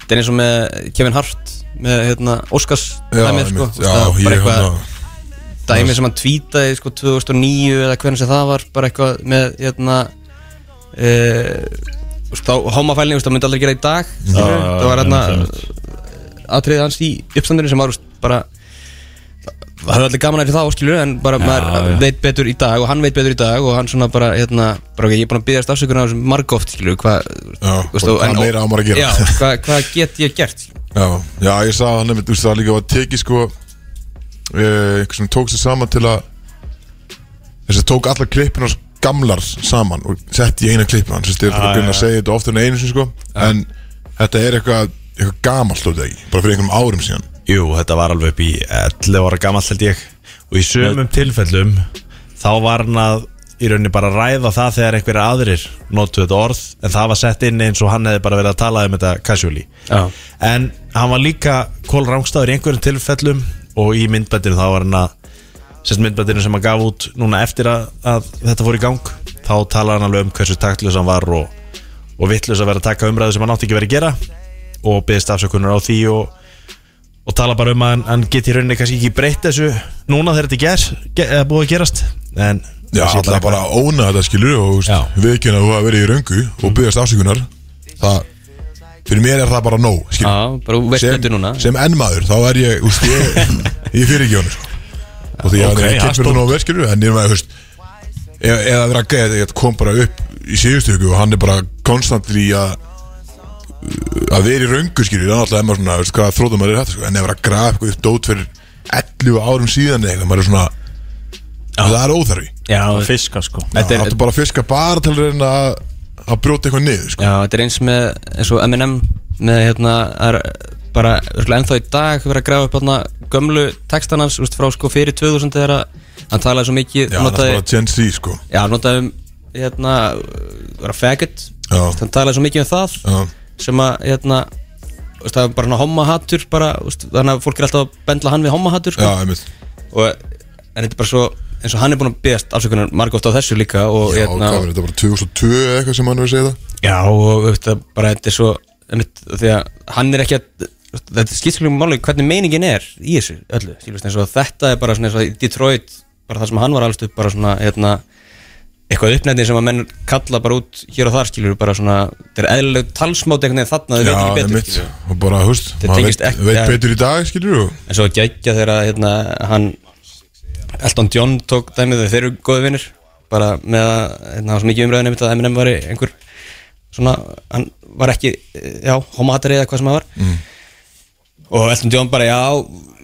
[SPEAKER 3] þetta er eins og með Kevin Hart með hérna, Oscars
[SPEAKER 2] Já,
[SPEAKER 3] dæmið sko,
[SPEAKER 2] einmitt.
[SPEAKER 3] veist, það
[SPEAKER 2] já
[SPEAKER 3] var bara
[SPEAKER 2] ég hérna- hann
[SPEAKER 3] eitthvað
[SPEAKER 2] að
[SPEAKER 3] dæmið sem hann tweetaði sko 2009 eða hvernig sem það var bara eitthvað með hérna uh, veist, á homafælni veist, það myndi aldrei gera í dag
[SPEAKER 4] Já,
[SPEAKER 3] skilurðu.
[SPEAKER 4] já,
[SPEAKER 3] það var hérna
[SPEAKER 4] einmitt,
[SPEAKER 3] atriðið hans í uppstandinu sem var veist, bara það höfði allir gaman að það áskilur en bara maður
[SPEAKER 4] já.
[SPEAKER 3] veit betur í dag og hann veit betur í dag og hann svona bara hérna bara ok, ég er búin að byggja stafsökunar á þessum margóft skilur hvað
[SPEAKER 2] Já,
[SPEAKER 3] veist,
[SPEAKER 2] og
[SPEAKER 3] og-
[SPEAKER 2] hvað
[SPEAKER 3] en-
[SPEAKER 2] meira á maður að gera?
[SPEAKER 3] já, hvað, hvað get ég gert
[SPEAKER 2] Já, já, ég sá hann nefnir, þú veist, það líka var tekið sko eh, einhver sem tók sér saman til að þess að tók allar klippin og gamlar saman og sett í eina klippin hann, þess að ég er búin að segja þetta ofta en einu sinni sko en þetta er eitthvað eitthvað gamalt og þetta ekki, bara fyrir einhverjum árum síðan
[SPEAKER 5] Jú, þetta var alveg upp í 11 ára gamall held ég og í sumum tilfellum þá var hann að í rauninni bara ræða það þegar einhverja aðrir notu þetta orð en það var sett inn eins og hann hefði bara verið að tala um þetta casually
[SPEAKER 3] Já.
[SPEAKER 5] en hann var líka kól rángstæður í einhverjum tilfellum og í myndbættinu þá var hann að sérst myndbættinu sem hann gaf út núna eftir að, að þetta fór í gang þá talaði hann alveg um hversu taktljus hann var og, og vittljus að vera að taka umræðu sem hann átti ekki verið að gera og byggðist afsökunar á því og, og tala bara um að hann, hann geti í rauninni kannski ekki breytt þessu núna þegar þetta ger, ger, eða búið að gerast en
[SPEAKER 2] Já,
[SPEAKER 5] það sé
[SPEAKER 2] alltaf bara að óna þetta skilur og
[SPEAKER 5] Já.
[SPEAKER 2] viðkjöna að þú hafa verið í röngu og byggjast afsökunar það, fyrir mér er það bara nóg skilur,
[SPEAKER 3] já, bara þú veist betur núna
[SPEAKER 2] sem enn maður, þá er ég úst, ég, ég fyrir ekki honum sko. og því að
[SPEAKER 4] Ok,
[SPEAKER 2] okay, ég
[SPEAKER 4] það
[SPEAKER 2] kemur
[SPEAKER 4] stórt.
[SPEAKER 2] það nóg verð skilur en ég er maður, veist eða eða vera að gæða, ég kom bara upp í síðustu ykkur og hann er bara konstant í að uh, að vera í röngu skilur, það er alltaf emma svona veist, hvað þróðum maður er þetta, sko. en ef vera að grafa eitthvað upp dót fyrir 11 árum síðan eða eitthvað, maður er svona það er óþarfi
[SPEAKER 3] já,
[SPEAKER 4] Fiska sko
[SPEAKER 3] þetta
[SPEAKER 2] Það
[SPEAKER 3] er,
[SPEAKER 2] áttu bara að fiska bara til að reyna að- að brjóta eitthvað niður sko.
[SPEAKER 3] Já, þetta er eins með eins og M&M með hérna er, bara örgulega ennþá í dag verið að grafa upp hérna gömlu textan hans úst, frá sko fyrir 2000 þegar að hann talaði svo
[SPEAKER 2] Já,
[SPEAKER 3] mikið
[SPEAKER 2] það er
[SPEAKER 3] notaði,
[SPEAKER 2] bara Gen Z sko.
[SPEAKER 3] já, notaði um hérna, vera faggot
[SPEAKER 2] Já.
[SPEAKER 3] Úst, hann talaði svo mikið um það
[SPEAKER 2] Já.
[SPEAKER 3] sem að hérna úst, það er bara svona homahattur bara, úst, þannig að fólk er alltaf að bendla hann við homahattur
[SPEAKER 2] Já,
[SPEAKER 3] sko,
[SPEAKER 2] einmitt
[SPEAKER 3] og, en þetta er bara svo eins og hann er búin að beðast afsökunar margótt á þessu líka og
[SPEAKER 2] Já,
[SPEAKER 3] hérna,
[SPEAKER 2] hvað var þetta bara 2002 eða eitthvað sem hann verið að segja það
[SPEAKER 3] já og auðvitað bara þetta er svo einmitt, því að hann er ekki að þetta skýrskilum máli hvernig meiningin er í þessu öllu, skilvist eins og þetta er bara svona eins og í Detroit, bara það sem hann var alveg upp bara svona hérna eitthvað uppnefni sem að menn kalla bara út hér og þar skilur bara svona, þetta er eðlileg talsmáti einhvern veginn þarna, þau veit ekki betur
[SPEAKER 2] einmitt.
[SPEAKER 3] skilurðu.
[SPEAKER 2] og bara, húst,
[SPEAKER 3] Þetta
[SPEAKER 2] maður
[SPEAKER 3] tengist
[SPEAKER 2] veit,
[SPEAKER 3] ekki-
[SPEAKER 2] veit
[SPEAKER 3] ja.
[SPEAKER 2] betur í dag, skilur þú
[SPEAKER 3] En svo geggja þegar að, hérna, hann Elton John tók dæmið þegar þeir eru góði vinnir bara með að hérna, það var svo mikið umræðin einmitt að Eminem var einhver svona, hann var ekki já, homahatari eða hvað sem það var og Elton John bara já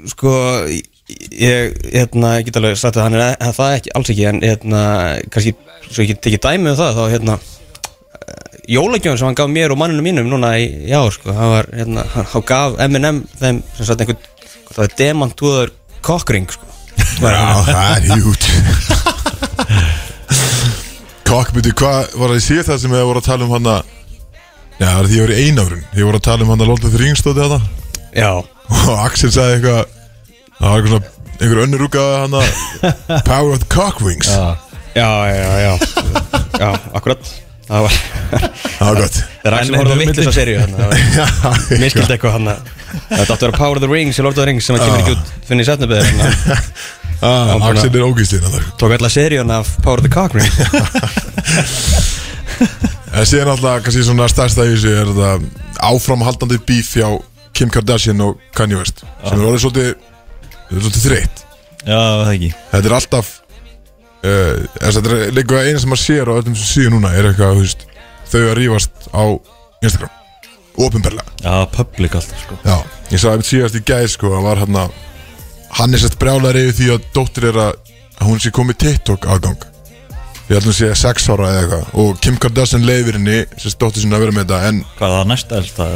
[SPEAKER 3] sko ég, ég, hérna, ég get alveg sagt að hann er að, það er ekki, alls ekki en hérna, kannski, svo ég get tekið dæmið um það þá hérna jólagjöfum sem hann gaf mér og manninu mínum núna í, í ár sko, hann var, hérna, hann, hann gaf M&M þeim sem sagt einhvern hvað það var demantúður kokkring sko.
[SPEAKER 2] Já, það er hjút Kokkbytti, hvað var það í síð það sem við voru að tala um hann að Já, það er því ég voru í einárun Ég voru að tala um hann að Lolta Þringstóti þetta
[SPEAKER 3] já,
[SPEAKER 2] Og Axel sagði eitthvað Það var eitthvað svona, einhver önnur rúkaði hann að Power of the Cockwings
[SPEAKER 3] já, já, já já, akkurat það var,
[SPEAKER 2] Það var gott
[SPEAKER 3] það er
[SPEAKER 5] En-
[SPEAKER 3] aðeins horfða
[SPEAKER 5] en-
[SPEAKER 3] vitlis að serju hann
[SPEAKER 2] Já,
[SPEAKER 3] mér skildi eitthvað Ah. hann að þetta átti að vera Power of the Rings, Lord of the Rings sem að kemur ekki út finn í setnabæðir
[SPEAKER 2] ah,
[SPEAKER 3] Hann
[SPEAKER 2] Axel er ógýstinn hann
[SPEAKER 3] tók alla seríun af Power of the Cockring sko.
[SPEAKER 2] En síðan alltaf, kannski svona stærsta í þessu er þetta áframhaldandi bíf hjá Kim Kardashian og Kanye West sem er orðið svolítið, svolítið þreytt
[SPEAKER 4] Já, það ekki
[SPEAKER 2] þetta er alltaf uh, þetta er líka eina sem maður sér á öllum sem síðan núna er eitthvað þú veist, þau að rífast á Instagram ofinberlega
[SPEAKER 4] Já, public alltaf sko
[SPEAKER 2] Já. ég sagði einmitt síðast í gæð sko að var hann að hann er sett brjálar yfir því að dóttir er að að hún sé komið TikTok aðgang ég held að hún sé 6 ára eða eitthvað og Kim Kardashian leifir henni sérst dóttir sinna að vera með þetta en
[SPEAKER 4] Hvað er það næsta elsta?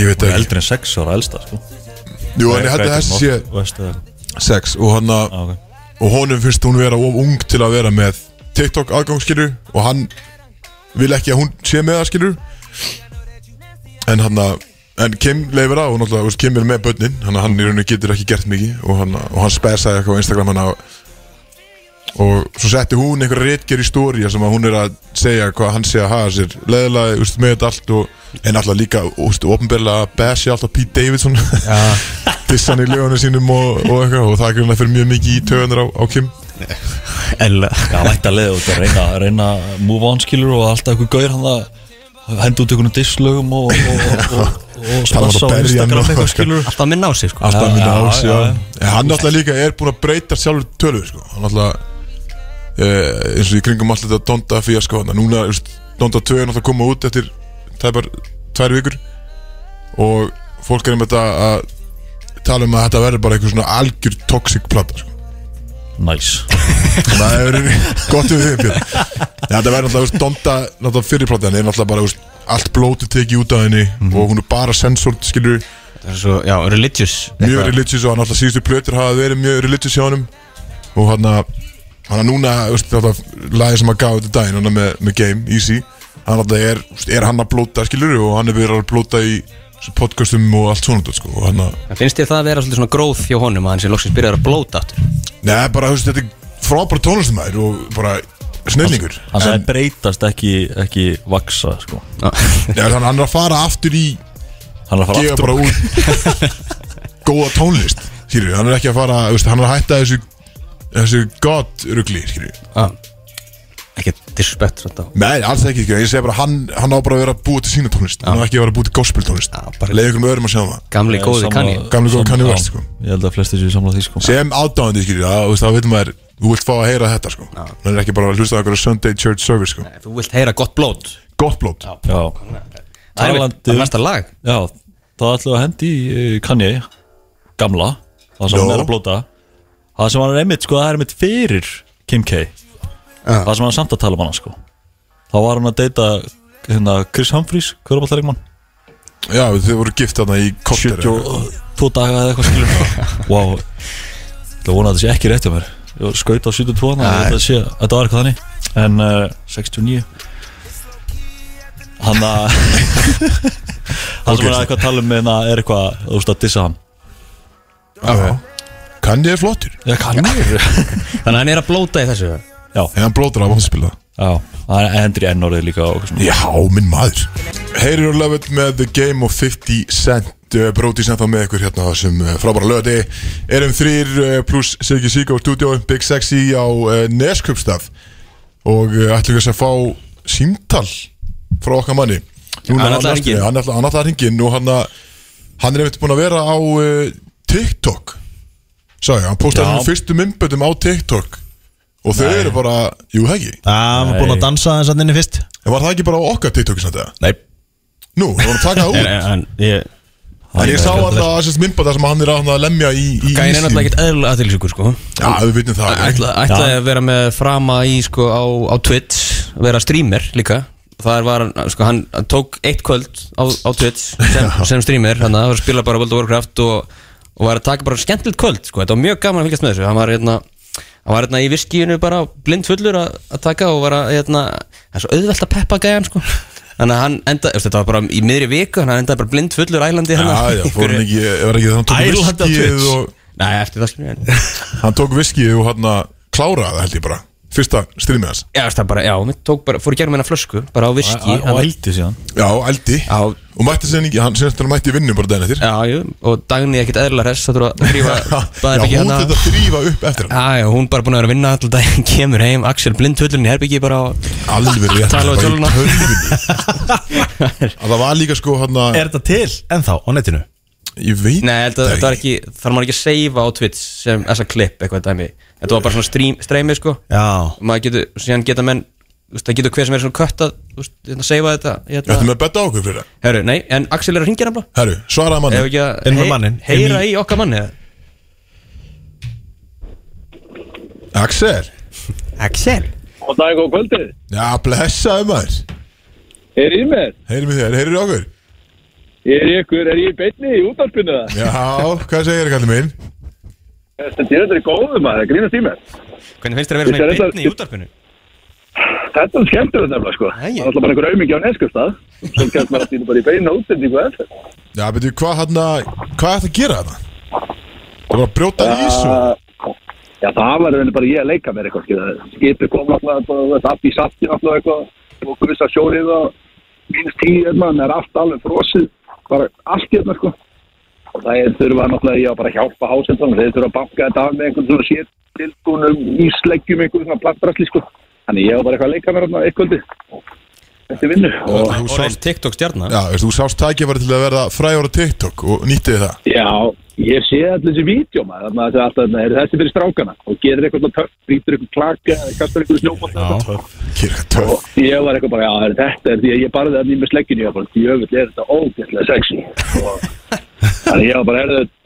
[SPEAKER 2] ég veit
[SPEAKER 4] Það er
[SPEAKER 2] ekki
[SPEAKER 4] eldri en sex ára elsta sko
[SPEAKER 2] Jú, en ég held að þessi sé
[SPEAKER 4] Vestu það
[SPEAKER 2] 6 og hann að
[SPEAKER 4] Já, ok
[SPEAKER 2] og honum finnst hún vera of ung til að vera með TikTok aðgangsskilur og hann vil ekki að hún sé með það skilur en hann að en Kim leifir á og náttúrulega þú veist, Kim er með börnin hann að hann í rauninu getur ekki gert mikið og hann, og hann spesaði eitthvað á Instagram hann að og svo setti hún einhver reitger í stóri sem að hún er að segja hvað hann sé að hafa sér leðilega, úst, með þetta allt og, en alltaf líka, úst, ofnbjörlega bæsi alltaf Pete Davidson dissan í lögunum sínum og, og eitthvað og það er grunlega fyrir mjög mikið í töðunar á, á Kim
[SPEAKER 3] Ella
[SPEAKER 4] Já, mætti að leiða út að reyna, reyna að move on skilur og alltaf eitthvað gauðir hann að henda út einhvern disslögum og, og, og, og, og
[SPEAKER 2] Hann var að
[SPEAKER 4] spassa á
[SPEAKER 2] berja
[SPEAKER 4] Instagram
[SPEAKER 2] hann um og-
[SPEAKER 4] eitthvað skilur
[SPEAKER 3] alltaf minn á sig sko
[SPEAKER 2] Alltaf
[SPEAKER 4] Já,
[SPEAKER 2] að minna
[SPEAKER 4] já,
[SPEAKER 2] ás, já
[SPEAKER 4] já, já.
[SPEAKER 2] En hann náttúrulega líka er búinn að breyta sjálfur tölur sko. Hann náttúrulega eh, eins og í kringum allt þetta Donda fyrir sko. Þannig að Núna, you know, Donda 2 er náttúrulega að koma út eftir tæpar tvær vikur og fólk er um þetta að tala um að þetta verður bara einhver svona algjör toxic plata sko.
[SPEAKER 4] Nice
[SPEAKER 2] Það er gott við þeim Björn Já, Þetta verður náttúrulega, you know, Donda náttúrulega fyrir plata en er náttúrulega bara you know, allt blótið tekið út af henni
[SPEAKER 4] Mhm.
[SPEAKER 2] og hún er bara sensort skilur
[SPEAKER 3] það er svo, já, religious
[SPEAKER 2] mjög religious og hann alltaf síðustu plötur hafa verið mjög religious hjá honum og hann að hann að núna, veist, alltaf lagið sem að gaf þetta daginn, hann að með, með Game, Easy hann alltaf er, veist, er hann að blóta, skilur og hann er verið að blóta í svo podcastum og allt svona, dót, sko, og hann að
[SPEAKER 3] En finnst þér það að vera svolítið svona gróð hjá honum að hann sé loksins byrjar að blóta aftur?
[SPEAKER 2] neða, bara, veist, þetta er frábæra tónlistumæður og bara snillingur
[SPEAKER 4] Hann sagði
[SPEAKER 2] en,
[SPEAKER 4] breytast ekki, ekki vaksa sko
[SPEAKER 3] Ah.
[SPEAKER 2] ja, hann hann er að fara aftur í
[SPEAKER 4] Hann er að fara
[SPEAKER 2] gefa bara út góða tónlist, skilur, hann er ekki að fara veist, hann er að hætta þessu þessu god rugli, skilur
[SPEAKER 3] Ah. Ekki disrespect svona á
[SPEAKER 2] Nei, alls ekki, sko. ég segi bara hann, hann á bara að vera að búa til sína tónlist Hann á ekki að vera að búa til gospel tónlist
[SPEAKER 3] Já, bara-
[SPEAKER 2] Leif ykkur með öðrum að sjá um það
[SPEAKER 3] Gamli góði
[SPEAKER 4] Sama-
[SPEAKER 3] kanni
[SPEAKER 2] Gamli góði
[SPEAKER 4] sama-
[SPEAKER 2] Kanye
[SPEAKER 4] já,
[SPEAKER 2] West, sko.
[SPEAKER 4] Ég held að flestir séu samla því sko
[SPEAKER 2] Sem aðdáðandi, skilur, það, þú veist, þá veitum maður Þú vilt fá að heyra þetta, sko Hann er ekki bara að hlusta okkur á Sunday Church Service, sko
[SPEAKER 3] Þú vilt heyra gott blót
[SPEAKER 2] Gott blót
[SPEAKER 4] Já
[SPEAKER 3] Það er
[SPEAKER 4] Talandi-
[SPEAKER 3] það er næsta lag
[SPEAKER 4] Já, það ætlum við að hendi í Kanye Gamla Það sem
[SPEAKER 2] Jó.
[SPEAKER 4] hann er að blóta Það sem hann er einmitt sko, það er einmitt fyrir Kim K Það sem hann er samt að tala um hann sko Þá var hann að deyta hérna, Chris Humphries, hver var alltaf leikmann?
[SPEAKER 2] Já, þau voru gift þarna í Kotter
[SPEAKER 4] 72 daga eða eitthvað skilur Wow Það vona að þetta sé ekki rétt hjá mér Ég var skaut á 72 þannig að þetta sé Þetta var eitthvað þannig En uh, 69 Hann að Það sem hann er eitthvað að tala um hérna Er eitthvað, þú veist að dissa hann
[SPEAKER 2] Já, Kanye er flottur
[SPEAKER 4] Já, kannir
[SPEAKER 3] Þannig að hann er að blóta í þessu
[SPEAKER 2] En hann blótur af að spila það
[SPEAKER 4] Já, það er endri ennórið líka og eitthvað svona.
[SPEAKER 2] Já, minn maður Heyrir og löfut með The Game of 50 Cent Bróti sem þá með ykkur hérna á þessum eh, frábæra löði Erum eh, þrýr pluss Siggi Siggo Studio Big Sexy á eh, Neskjöpstað Og eh, ætlum við þess að fá símtal frá okkar manni Núna,
[SPEAKER 3] hann ætlaði að hringja.
[SPEAKER 2] Hann ætlaði hann ætlaði að hringin og hann, að- hann er einmitt búin að vera á eh, TikTok Sæði, hann
[SPEAKER 4] Já.
[SPEAKER 2] postaði hann fyrstu myndböndum á TikTok Og þau eru bara, jú hegji
[SPEAKER 5] Það Ah, var búin að dansa þess að inni fyrst
[SPEAKER 2] En var það ekki bara á okkar TikTok samt eða?
[SPEAKER 5] Nei
[SPEAKER 2] Nú, það var að taka það út
[SPEAKER 3] En ég
[SPEAKER 2] En ég sá alltaf að þessast myndbæð þar sem hann er að, hann að lemja í, í
[SPEAKER 3] Gæin er
[SPEAKER 2] ísinn.
[SPEAKER 3] náttúrulega ekkert eðlulega aðtilsjúkur sko
[SPEAKER 2] Já, við vitum það
[SPEAKER 3] Ætla- Ætlaði að vera með frama í sko á, á Twitch að vera streamer líka Það var, hann- sko, hann hann tók eitt kvöld á, á Twitch sem, sem streamer Þannig að það var að spila bara World of Warcraft og, og var að taka bara skemmtilegt kvöld sko Þetta var mjög gaman að fylgjast með þessu Hann var hérna Hann var hérna í viskíinu bara blind fullur að að taka og var að hérna Það er svo auðvelt að peppa gæjan sko Þannig að hann enda, veist, þetta var bara í miðri viku Þannig að hann endaði bara blind fullur ælandi
[SPEAKER 2] Já,
[SPEAKER 3] hérna
[SPEAKER 2] já,
[SPEAKER 3] í
[SPEAKER 2] fór hann
[SPEAKER 3] einhverju-
[SPEAKER 2] ekki, var ekki þannig að hann
[SPEAKER 5] Ærland á
[SPEAKER 2] tók viskið
[SPEAKER 5] Twitch.
[SPEAKER 2] og
[SPEAKER 3] Nei, eftir það skilur ég
[SPEAKER 2] hann tók viskið og hann að klára það held ég bara Fyrsta strímið hans
[SPEAKER 3] Já, það bara, já, mér tók bara, fór í gegnum hennar flösku bara á viski
[SPEAKER 4] Og- Og eldi síðan
[SPEAKER 2] Já, eldi
[SPEAKER 3] Já.
[SPEAKER 2] Og mætti sér ekki, hann sér hann mætti í vinnu bara daginn eftir
[SPEAKER 3] Já, jú, og Dagný ekkert eðla hress það þurfa að þrýfa
[SPEAKER 2] Já, hún þetta þrýfa upp eftir hann
[SPEAKER 3] hérna. Já, já, hún bara búin að vera að vinna alltaf daginn, kemur heim, Axel blindhullin í herbyggi bara á
[SPEAKER 2] Alveg rétt,
[SPEAKER 3] Tala
[SPEAKER 2] bara í
[SPEAKER 3] við tölvuna.
[SPEAKER 2] tölvunni. Að Það var líka sko hann að
[SPEAKER 5] Er þetta til ennþá á netinu?
[SPEAKER 2] Ég veit
[SPEAKER 3] Nei, þetta, þetta var ekki, þarf maður ekki að seifa á Twitch sem þessa klipp eitthvað dæmi Þetta var bara svona stream, streymi, sko
[SPEAKER 5] Já
[SPEAKER 3] Maður getur, síðan geta menn, þú veist, það getur hver sem er svona kött að, þú veist, hérna, seifa þetta
[SPEAKER 2] Þetta er
[SPEAKER 3] hérna.
[SPEAKER 2] með að betta á okkur fyrir það
[SPEAKER 3] Herru, nei, en Axel er að ringja nefnilega
[SPEAKER 2] Herru, svaraði manni
[SPEAKER 3] Ef ekki að
[SPEAKER 5] Inn með manninn.
[SPEAKER 3] heyra í okkar manni eða?
[SPEAKER 2] Axel
[SPEAKER 3] Axel?
[SPEAKER 7] Og dag og kvöldið,
[SPEAKER 2] Já, blessaði maður
[SPEAKER 7] er í mér?
[SPEAKER 2] Heyrum við þér, heyrum við okkur
[SPEAKER 7] Er ég ykkur, er ég í beinni í útarpinu það?
[SPEAKER 2] Já, hvað segir kallið minn?
[SPEAKER 7] Þetta er þetta er góðum maður, það grínast í mér.
[SPEAKER 3] Hvernig finnst þér að vera svona
[SPEAKER 7] Ég
[SPEAKER 3] í
[SPEAKER 7] sé
[SPEAKER 3] beinni í útarpinu?
[SPEAKER 7] Þetta er skemmtilegt nefnilega sko. Það
[SPEAKER 3] Æi.
[SPEAKER 7] er alltaf bara einhver aumingi á neskustad. Svo kemst maður alltaf bara í beina útendingu eftir.
[SPEAKER 2] Já, betur, hvað hann að, hvað ætti að gera þetta? Það var að brjóta
[SPEAKER 7] Ah.
[SPEAKER 2] í þessu
[SPEAKER 7] Já, það var raunin bara ég að leika mér eitthvað. skilja. Skipið kom alltaf, þetta allt í safti alltaf eitthvað. Og guðs að sjórið og minnst tíu hérna, en það er allt alveg frosið. Bara allt hérna sko. Og það er þurfa náttúrulega ég að bara hjálpa hásendan. Þeir þurfa að banka þetta af með einhvern svona sér tilbúnum ísleggjum einhvern svona plattbrasli sko. Þannig ég var bara eitthvað að leika mér hérna eitthvöldi. Þetta er vinnu. Og
[SPEAKER 2] og þú
[SPEAKER 3] Og
[SPEAKER 2] sást,
[SPEAKER 3] reist TikTok stjarnar?
[SPEAKER 2] já, veist, þú sást tækifæri til að verða fræður á TikTok og nýttið það
[SPEAKER 7] Já, ég sé allir þessi vídjóma þannig að það er alltaf, nei, er þessi fyrir strákana og gerir eitthvað svona töff, brýtur eitthvað klaka eða kastar eitthvað snjófall
[SPEAKER 2] Kirka töff
[SPEAKER 7] og ég var eitthvað bara, já, er þetta er því að ég barði það nýjum með slegginu, ég var bara, djöfull er þetta ógætlega sexy og þannig ég var bara, er þetta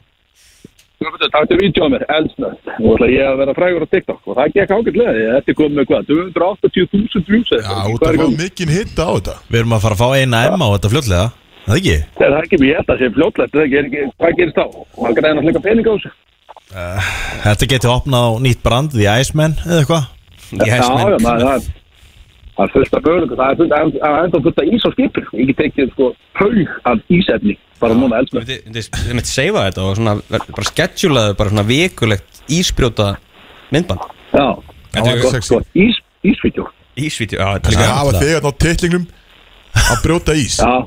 [SPEAKER 7] Guðmundur, taktu vídjóma mér, elsnöð og ætla ég að vera frægur á TikTok og það gekk ágætlega, ég þetta kom með hvað 280.000 views eða
[SPEAKER 2] Já,
[SPEAKER 7] eitthvað,
[SPEAKER 2] og
[SPEAKER 7] hvað
[SPEAKER 2] það
[SPEAKER 7] er í
[SPEAKER 2] var
[SPEAKER 7] gangi?
[SPEAKER 2] mikinn hitta á þetta
[SPEAKER 5] Við erum að fara að fá eina M á þetta fljótlega Er Það ekki?
[SPEAKER 7] Nei, það er ekki mér, þetta sé fljótlegt, það er ekki- hvað gerist þá? Hvað græðir náttúrulega pening á þessu?
[SPEAKER 5] Þetta getur opnað á nýtt brand The Iceman eða eitthvað
[SPEAKER 3] Ég
[SPEAKER 7] Já,
[SPEAKER 3] hef sem
[SPEAKER 7] já, maður, það er það er fullt af bölugu, það er fullt af, það er enda fullt af ís á skipir. Ég get tekið sko haug af ísefni, bara
[SPEAKER 3] Þú
[SPEAKER 7] núna elsku.
[SPEAKER 3] myndi- þú myndi seifa þetta og svona, bara schedulaðu bara svona vikulegt ísbrjóta myndband
[SPEAKER 7] Já,
[SPEAKER 3] Þetta er
[SPEAKER 7] gott,
[SPEAKER 2] sexy.
[SPEAKER 7] sko, ís, ísvídjó.
[SPEAKER 3] Ísvítjó, já, þetta er
[SPEAKER 2] Það
[SPEAKER 3] líka
[SPEAKER 2] var hafa þig þarna á titlingnum að brjóta ís
[SPEAKER 7] Já,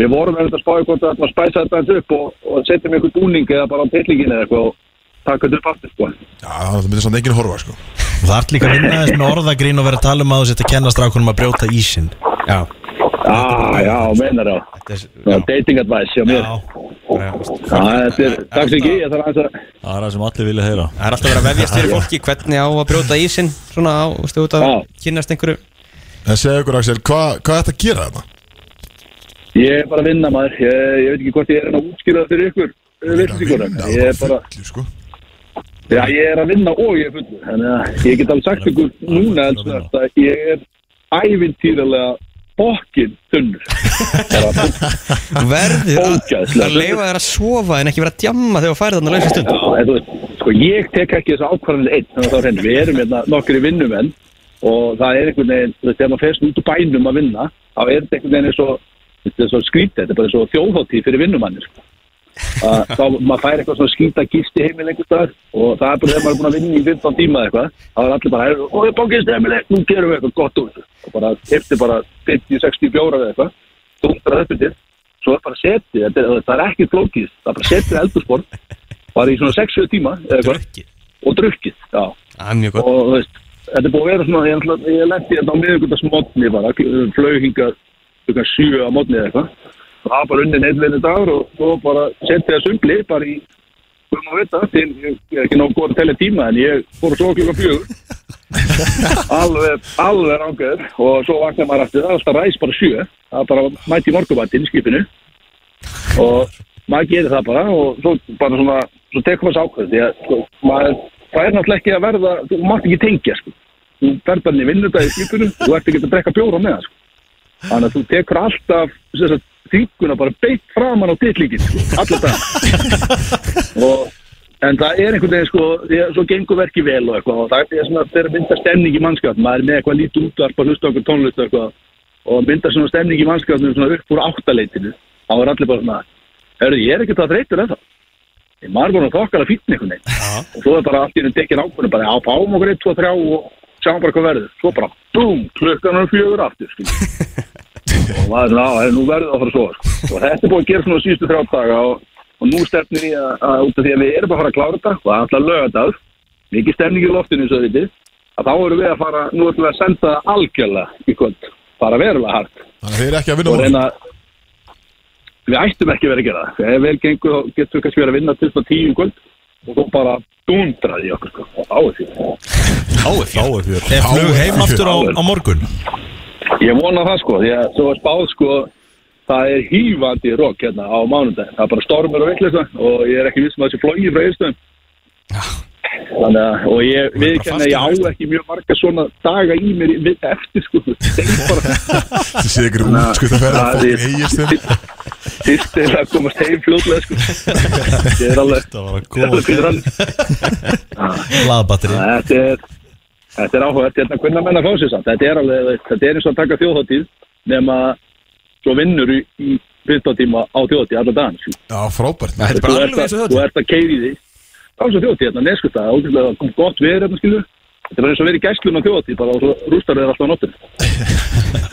[SPEAKER 7] við vorum með þetta spáði hvort að maður spæsa þetta eins upp og, og setja með einhver búning eða bara á tillingin eða eitthvað og taka þetta upp aftur, sko.
[SPEAKER 2] Já, það myndi samt enginn horfa, sko
[SPEAKER 5] Og Það ert líka að vinna þess með orðagrín og vera að tala um að þú setja að kenna strákunum að brjóta ísin
[SPEAKER 3] Já,
[SPEAKER 7] Já, já, meinar það.
[SPEAKER 3] þetta er
[SPEAKER 7] Já,
[SPEAKER 3] já,
[SPEAKER 7] dating advice hjá mér.
[SPEAKER 3] bara-
[SPEAKER 7] Já, þetta er, takk sem ekki, ég þarf aðeins að,
[SPEAKER 4] Það er það sem allir vilja heyra
[SPEAKER 3] Það er alltaf verið að vefjast fyrir fólki hvernig á að brjóta ísinn svona á, þú veist, út að
[SPEAKER 7] Já.
[SPEAKER 3] kynnast einhverju
[SPEAKER 2] En segja okkur, Axel, hvað hva ætti að gera þetta?
[SPEAKER 7] ég er bara að vinna maður. Ég, ég veit ekki hvort ég er enn að útskýra það fyrir ykkur,
[SPEAKER 2] vinna,
[SPEAKER 7] veitlýsingurinn.
[SPEAKER 2] þú
[SPEAKER 7] Ég
[SPEAKER 2] er
[SPEAKER 7] er bara,
[SPEAKER 2] bara fullu, sko
[SPEAKER 7] Já, ég er að vinna og ég er fullur Þannig að ég get alveg sagt ykkur núna
[SPEAKER 4] að vinna.
[SPEAKER 7] elsku, að ég er ævintýralega bókin þunnur Bara,
[SPEAKER 3] Þú verður að,
[SPEAKER 7] Ógeðslega.
[SPEAKER 3] að leifa þér að sofa en ekki vera að djamma þegar þú færið þarna lausast stund
[SPEAKER 7] Já, en þú veist, sko ég tek ekki þessu ákvarðanir einn þannig að það er henni, við erum hérna nokkri vinnumenn og það er einhvern veginn, þú veist, þegar maður ferst út úr bænum að vinna þá er þetta einhvern veginn svo, þetta er svo skrítið, þetta er bara svo þjóðhóttíð fyrir vinnumannir sko. að þá maður fær eitthvað svona skýta gifti heimil einhvers staðar og það er bara þegar maður er búin að vinna í 15 tíma eða eitthvað þá er allir bara, ó ég bókist heimil nú gerum við eitthvað gott úr þessu." og bara hefti bara 50-60 bjórar eða eitthvað þúndra upp til svo er bara setið, þetta er- það er ekki flókist það er bara setið eldurspor bara í svona 60 tíma eða eitthvað
[SPEAKER 5] Drukkið.
[SPEAKER 7] og drukkið, já
[SPEAKER 3] Það er mjög gott
[SPEAKER 7] og þú veist, þetta er búið að vera svona ég, ætla- ég lendi þetta á miðugundas mótni bara, flauhinga klukkan sjö á mótni eða eitthvað og það var bara unni neitleinu dagur og svo bara setti það sumbli bara í um að vita, til, ég, ég er ekki nóg góð að telja tíma en ég fór að svo klukka fjögur alveg, alveg rángur og svo vaknaði maður aftur, það var alltaf ræs bara sjö það var bara mæti í morgumattin í skipinu og maður gerir það bara og svo bara svona svo tekur maður ákveð því að sko, maður, það er náttúrulega ekki að verða þú mátt ekki tengja sko. þú verð bara inn í vinnudag í skipunum þú ert ekki að drekka bjóra með það sko. þannig að þú tekur alltaf sem sagt, þinguna bara beitt framan á ditlíkin sko, alla dag og En það er einhvern veginn sko, því að svo gengur verki vel og eitthvað og það er svona þegar mynda stemning í mannskapn, maður er með eitthvað lítið útvarp og hlusta okkur tónlist og eitthvað og mynda svona stemning í mannskapnum svona upp úr áttaleitinu, þá er allir bara svona, Hörðu, ég er ekkert að þreytur ennþá. Ég maður búin að þokkala fítni einhvern veginn. Og svo er bara allt í henni tekinn ákvörðin, bara á fáum okkur 1, 2, 3 og sjáum bara hvað verður. Svo bara, búm, klukkan er fjögur aftur, skiljum. og maður, ná, er nú verður það að fara að sofa, sko. Og þetta er búin að gera svona síðustu þrjá daga og, og nú stefnir ég að, að út af því að við erum bara að fara að klára þetta og það er alltaf lögadag, mikið stemning í loftinu, svo þið, að þá erum við að fara, nú ætlum við að senda það algjörlega í kvöld, bara verulega hart
[SPEAKER 2] Þannig að þeir eru ekki að vinna
[SPEAKER 7] og
[SPEAKER 2] múlum
[SPEAKER 7] reyna við ættum ekki að vera að gera það ef vel gengur þá getum við kannski verið að vinna til svona tíu í kvöld og þú bara dundraði í okkur sko og á því
[SPEAKER 2] Áfjör
[SPEAKER 5] Er flug heim aftur á, á morgun?
[SPEAKER 7] ég vona það sko því að svo er spáð sko það er hýfandi rokk hérna á mánundaginn það er bara stormur og vittlega og ég er ekki vissum að þessi flógi frá eðstöðum Þannig að, og ég viðkenni að ég á ekki mjög marga svona daga í mér í- við- eftir sko, þeim bara
[SPEAKER 2] Það sé ykkur útskrift að ferða
[SPEAKER 7] Það
[SPEAKER 2] að
[SPEAKER 7] er-
[SPEAKER 2] fokkin eigist þeim
[SPEAKER 7] Fyrst er að komast heim fljóðlega sko. Ég er alveg
[SPEAKER 5] Það var að
[SPEAKER 7] Ég er alveg fyrir hann.
[SPEAKER 5] Hlaðbatteri
[SPEAKER 7] Þetta er Þetta er áhugað, hérna hvernig menna fá sér samt Þetta er alveg, þú veist, þetta er eins og að taka þjóðháttíð nema svo vinnur í, í 15 tíma á þjóðháttíð allan dagann sko.
[SPEAKER 2] Já, frábært
[SPEAKER 3] Það er
[SPEAKER 7] Þú
[SPEAKER 3] bara
[SPEAKER 7] ert
[SPEAKER 3] alveg
[SPEAKER 7] að-
[SPEAKER 3] eins og
[SPEAKER 7] Þú
[SPEAKER 3] þetta
[SPEAKER 7] ert að keiri því Það er svo þjóðháttíð hérna, neskuð það ótrúlega kom gott verið hérna skilur Þetta er bara eins og verið í gæstlun á þjóðháttíð bara og svo rústar þeir alltaf á nóttin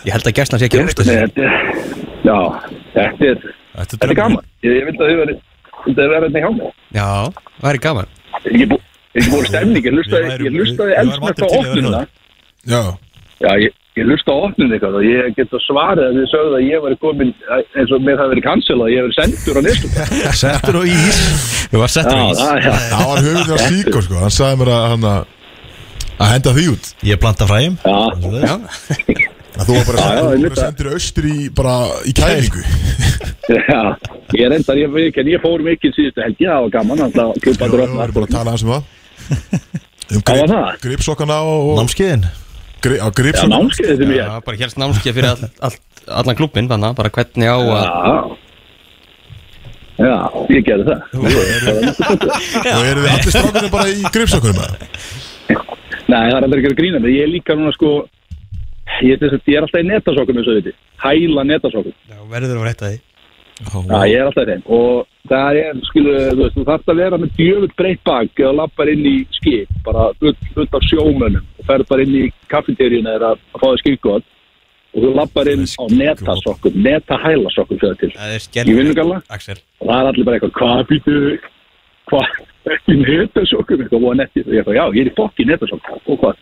[SPEAKER 3] Ég held að gæstna sé ekki rúmstuð
[SPEAKER 7] Nei, þetta er Já, þetta er
[SPEAKER 4] Þetta
[SPEAKER 7] Þetta er gaman Ég, ég vildi að þau verið Þetta er verið hérna hjá mig
[SPEAKER 3] Já, það er gaman
[SPEAKER 7] Ég er ekki bú- ég er ekki búin stemning Ég hlustaði,
[SPEAKER 4] værum-
[SPEAKER 7] ég hlustaði
[SPEAKER 4] við- við værum allir
[SPEAKER 7] elsmest á
[SPEAKER 4] til í að vera
[SPEAKER 7] opnuna
[SPEAKER 4] hérna.
[SPEAKER 2] Já,
[SPEAKER 7] Já, ég, ég lusta á opninu eitthvað og ég get að svara að þið sögðu að ég var komin eins og mér það verið cancelað, ég verið sendur á nýstu.
[SPEAKER 5] Settur og ís
[SPEAKER 3] Við varum settur í ís
[SPEAKER 7] já, já,
[SPEAKER 2] það var höfðin að síkó sko Hann sagði mér að hann að að henda því út
[SPEAKER 5] Ég planta fræjum
[SPEAKER 7] já,
[SPEAKER 3] Já,
[SPEAKER 2] að Þú var bara
[SPEAKER 7] Já, já,
[SPEAKER 2] sendur- þú var
[SPEAKER 7] einmitt.
[SPEAKER 2] sendur austur í bara í kælingu
[SPEAKER 7] já, ég reyndar, ég, ég, ég fór mikið síðustu helgi, það var gaman, alltaf
[SPEAKER 2] Við
[SPEAKER 7] klubbandur
[SPEAKER 2] erum
[SPEAKER 7] opnar.
[SPEAKER 2] bara að tala hans um það Um
[SPEAKER 7] Það var
[SPEAKER 2] grip,
[SPEAKER 7] það?
[SPEAKER 2] gripsokkana og, og
[SPEAKER 5] Námskeiðin
[SPEAKER 2] gri, á,
[SPEAKER 4] um
[SPEAKER 7] Já,
[SPEAKER 2] gripsokkana
[SPEAKER 7] námskeið sem ég.
[SPEAKER 3] Já, bara helst námskeið fyrir all, all, allan klubin þannig að bara hvernig á að
[SPEAKER 7] Já, já, ég gerði það.
[SPEAKER 2] Og eru þið allir strákunum bara í gripsokkunum með það?
[SPEAKER 7] Nei, það er aldrei ekki að grína mig, ég er líka núna sko, ég, þess að, ég er alltaf í netasokkum eins og þetta, hæla netasokkum.
[SPEAKER 3] Já, verður að reyta því
[SPEAKER 7] Já, ég er alltaf reynd og það er, skilu, þú veist, þú þarfst að vera með djöfull breytt bak eða lappar inn í skip, bara ut, ut af sjómönnum og ferð bara inn í kaffeteríuna eða að fá það skipgótt og þú lappar inn á netasokkum, netahælasokkum fyrir til,
[SPEAKER 3] Það er
[SPEAKER 7] í
[SPEAKER 3] skellt
[SPEAKER 7] vinnugalla
[SPEAKER 3] Axel
[SPEAKER 7] og það er allir bara eitthvað, hvað býtu, hvað, ekki netasokkum, eitthvað, og netti, og ég eitthvað, já, ég er í fokki netasokkum, og hvað,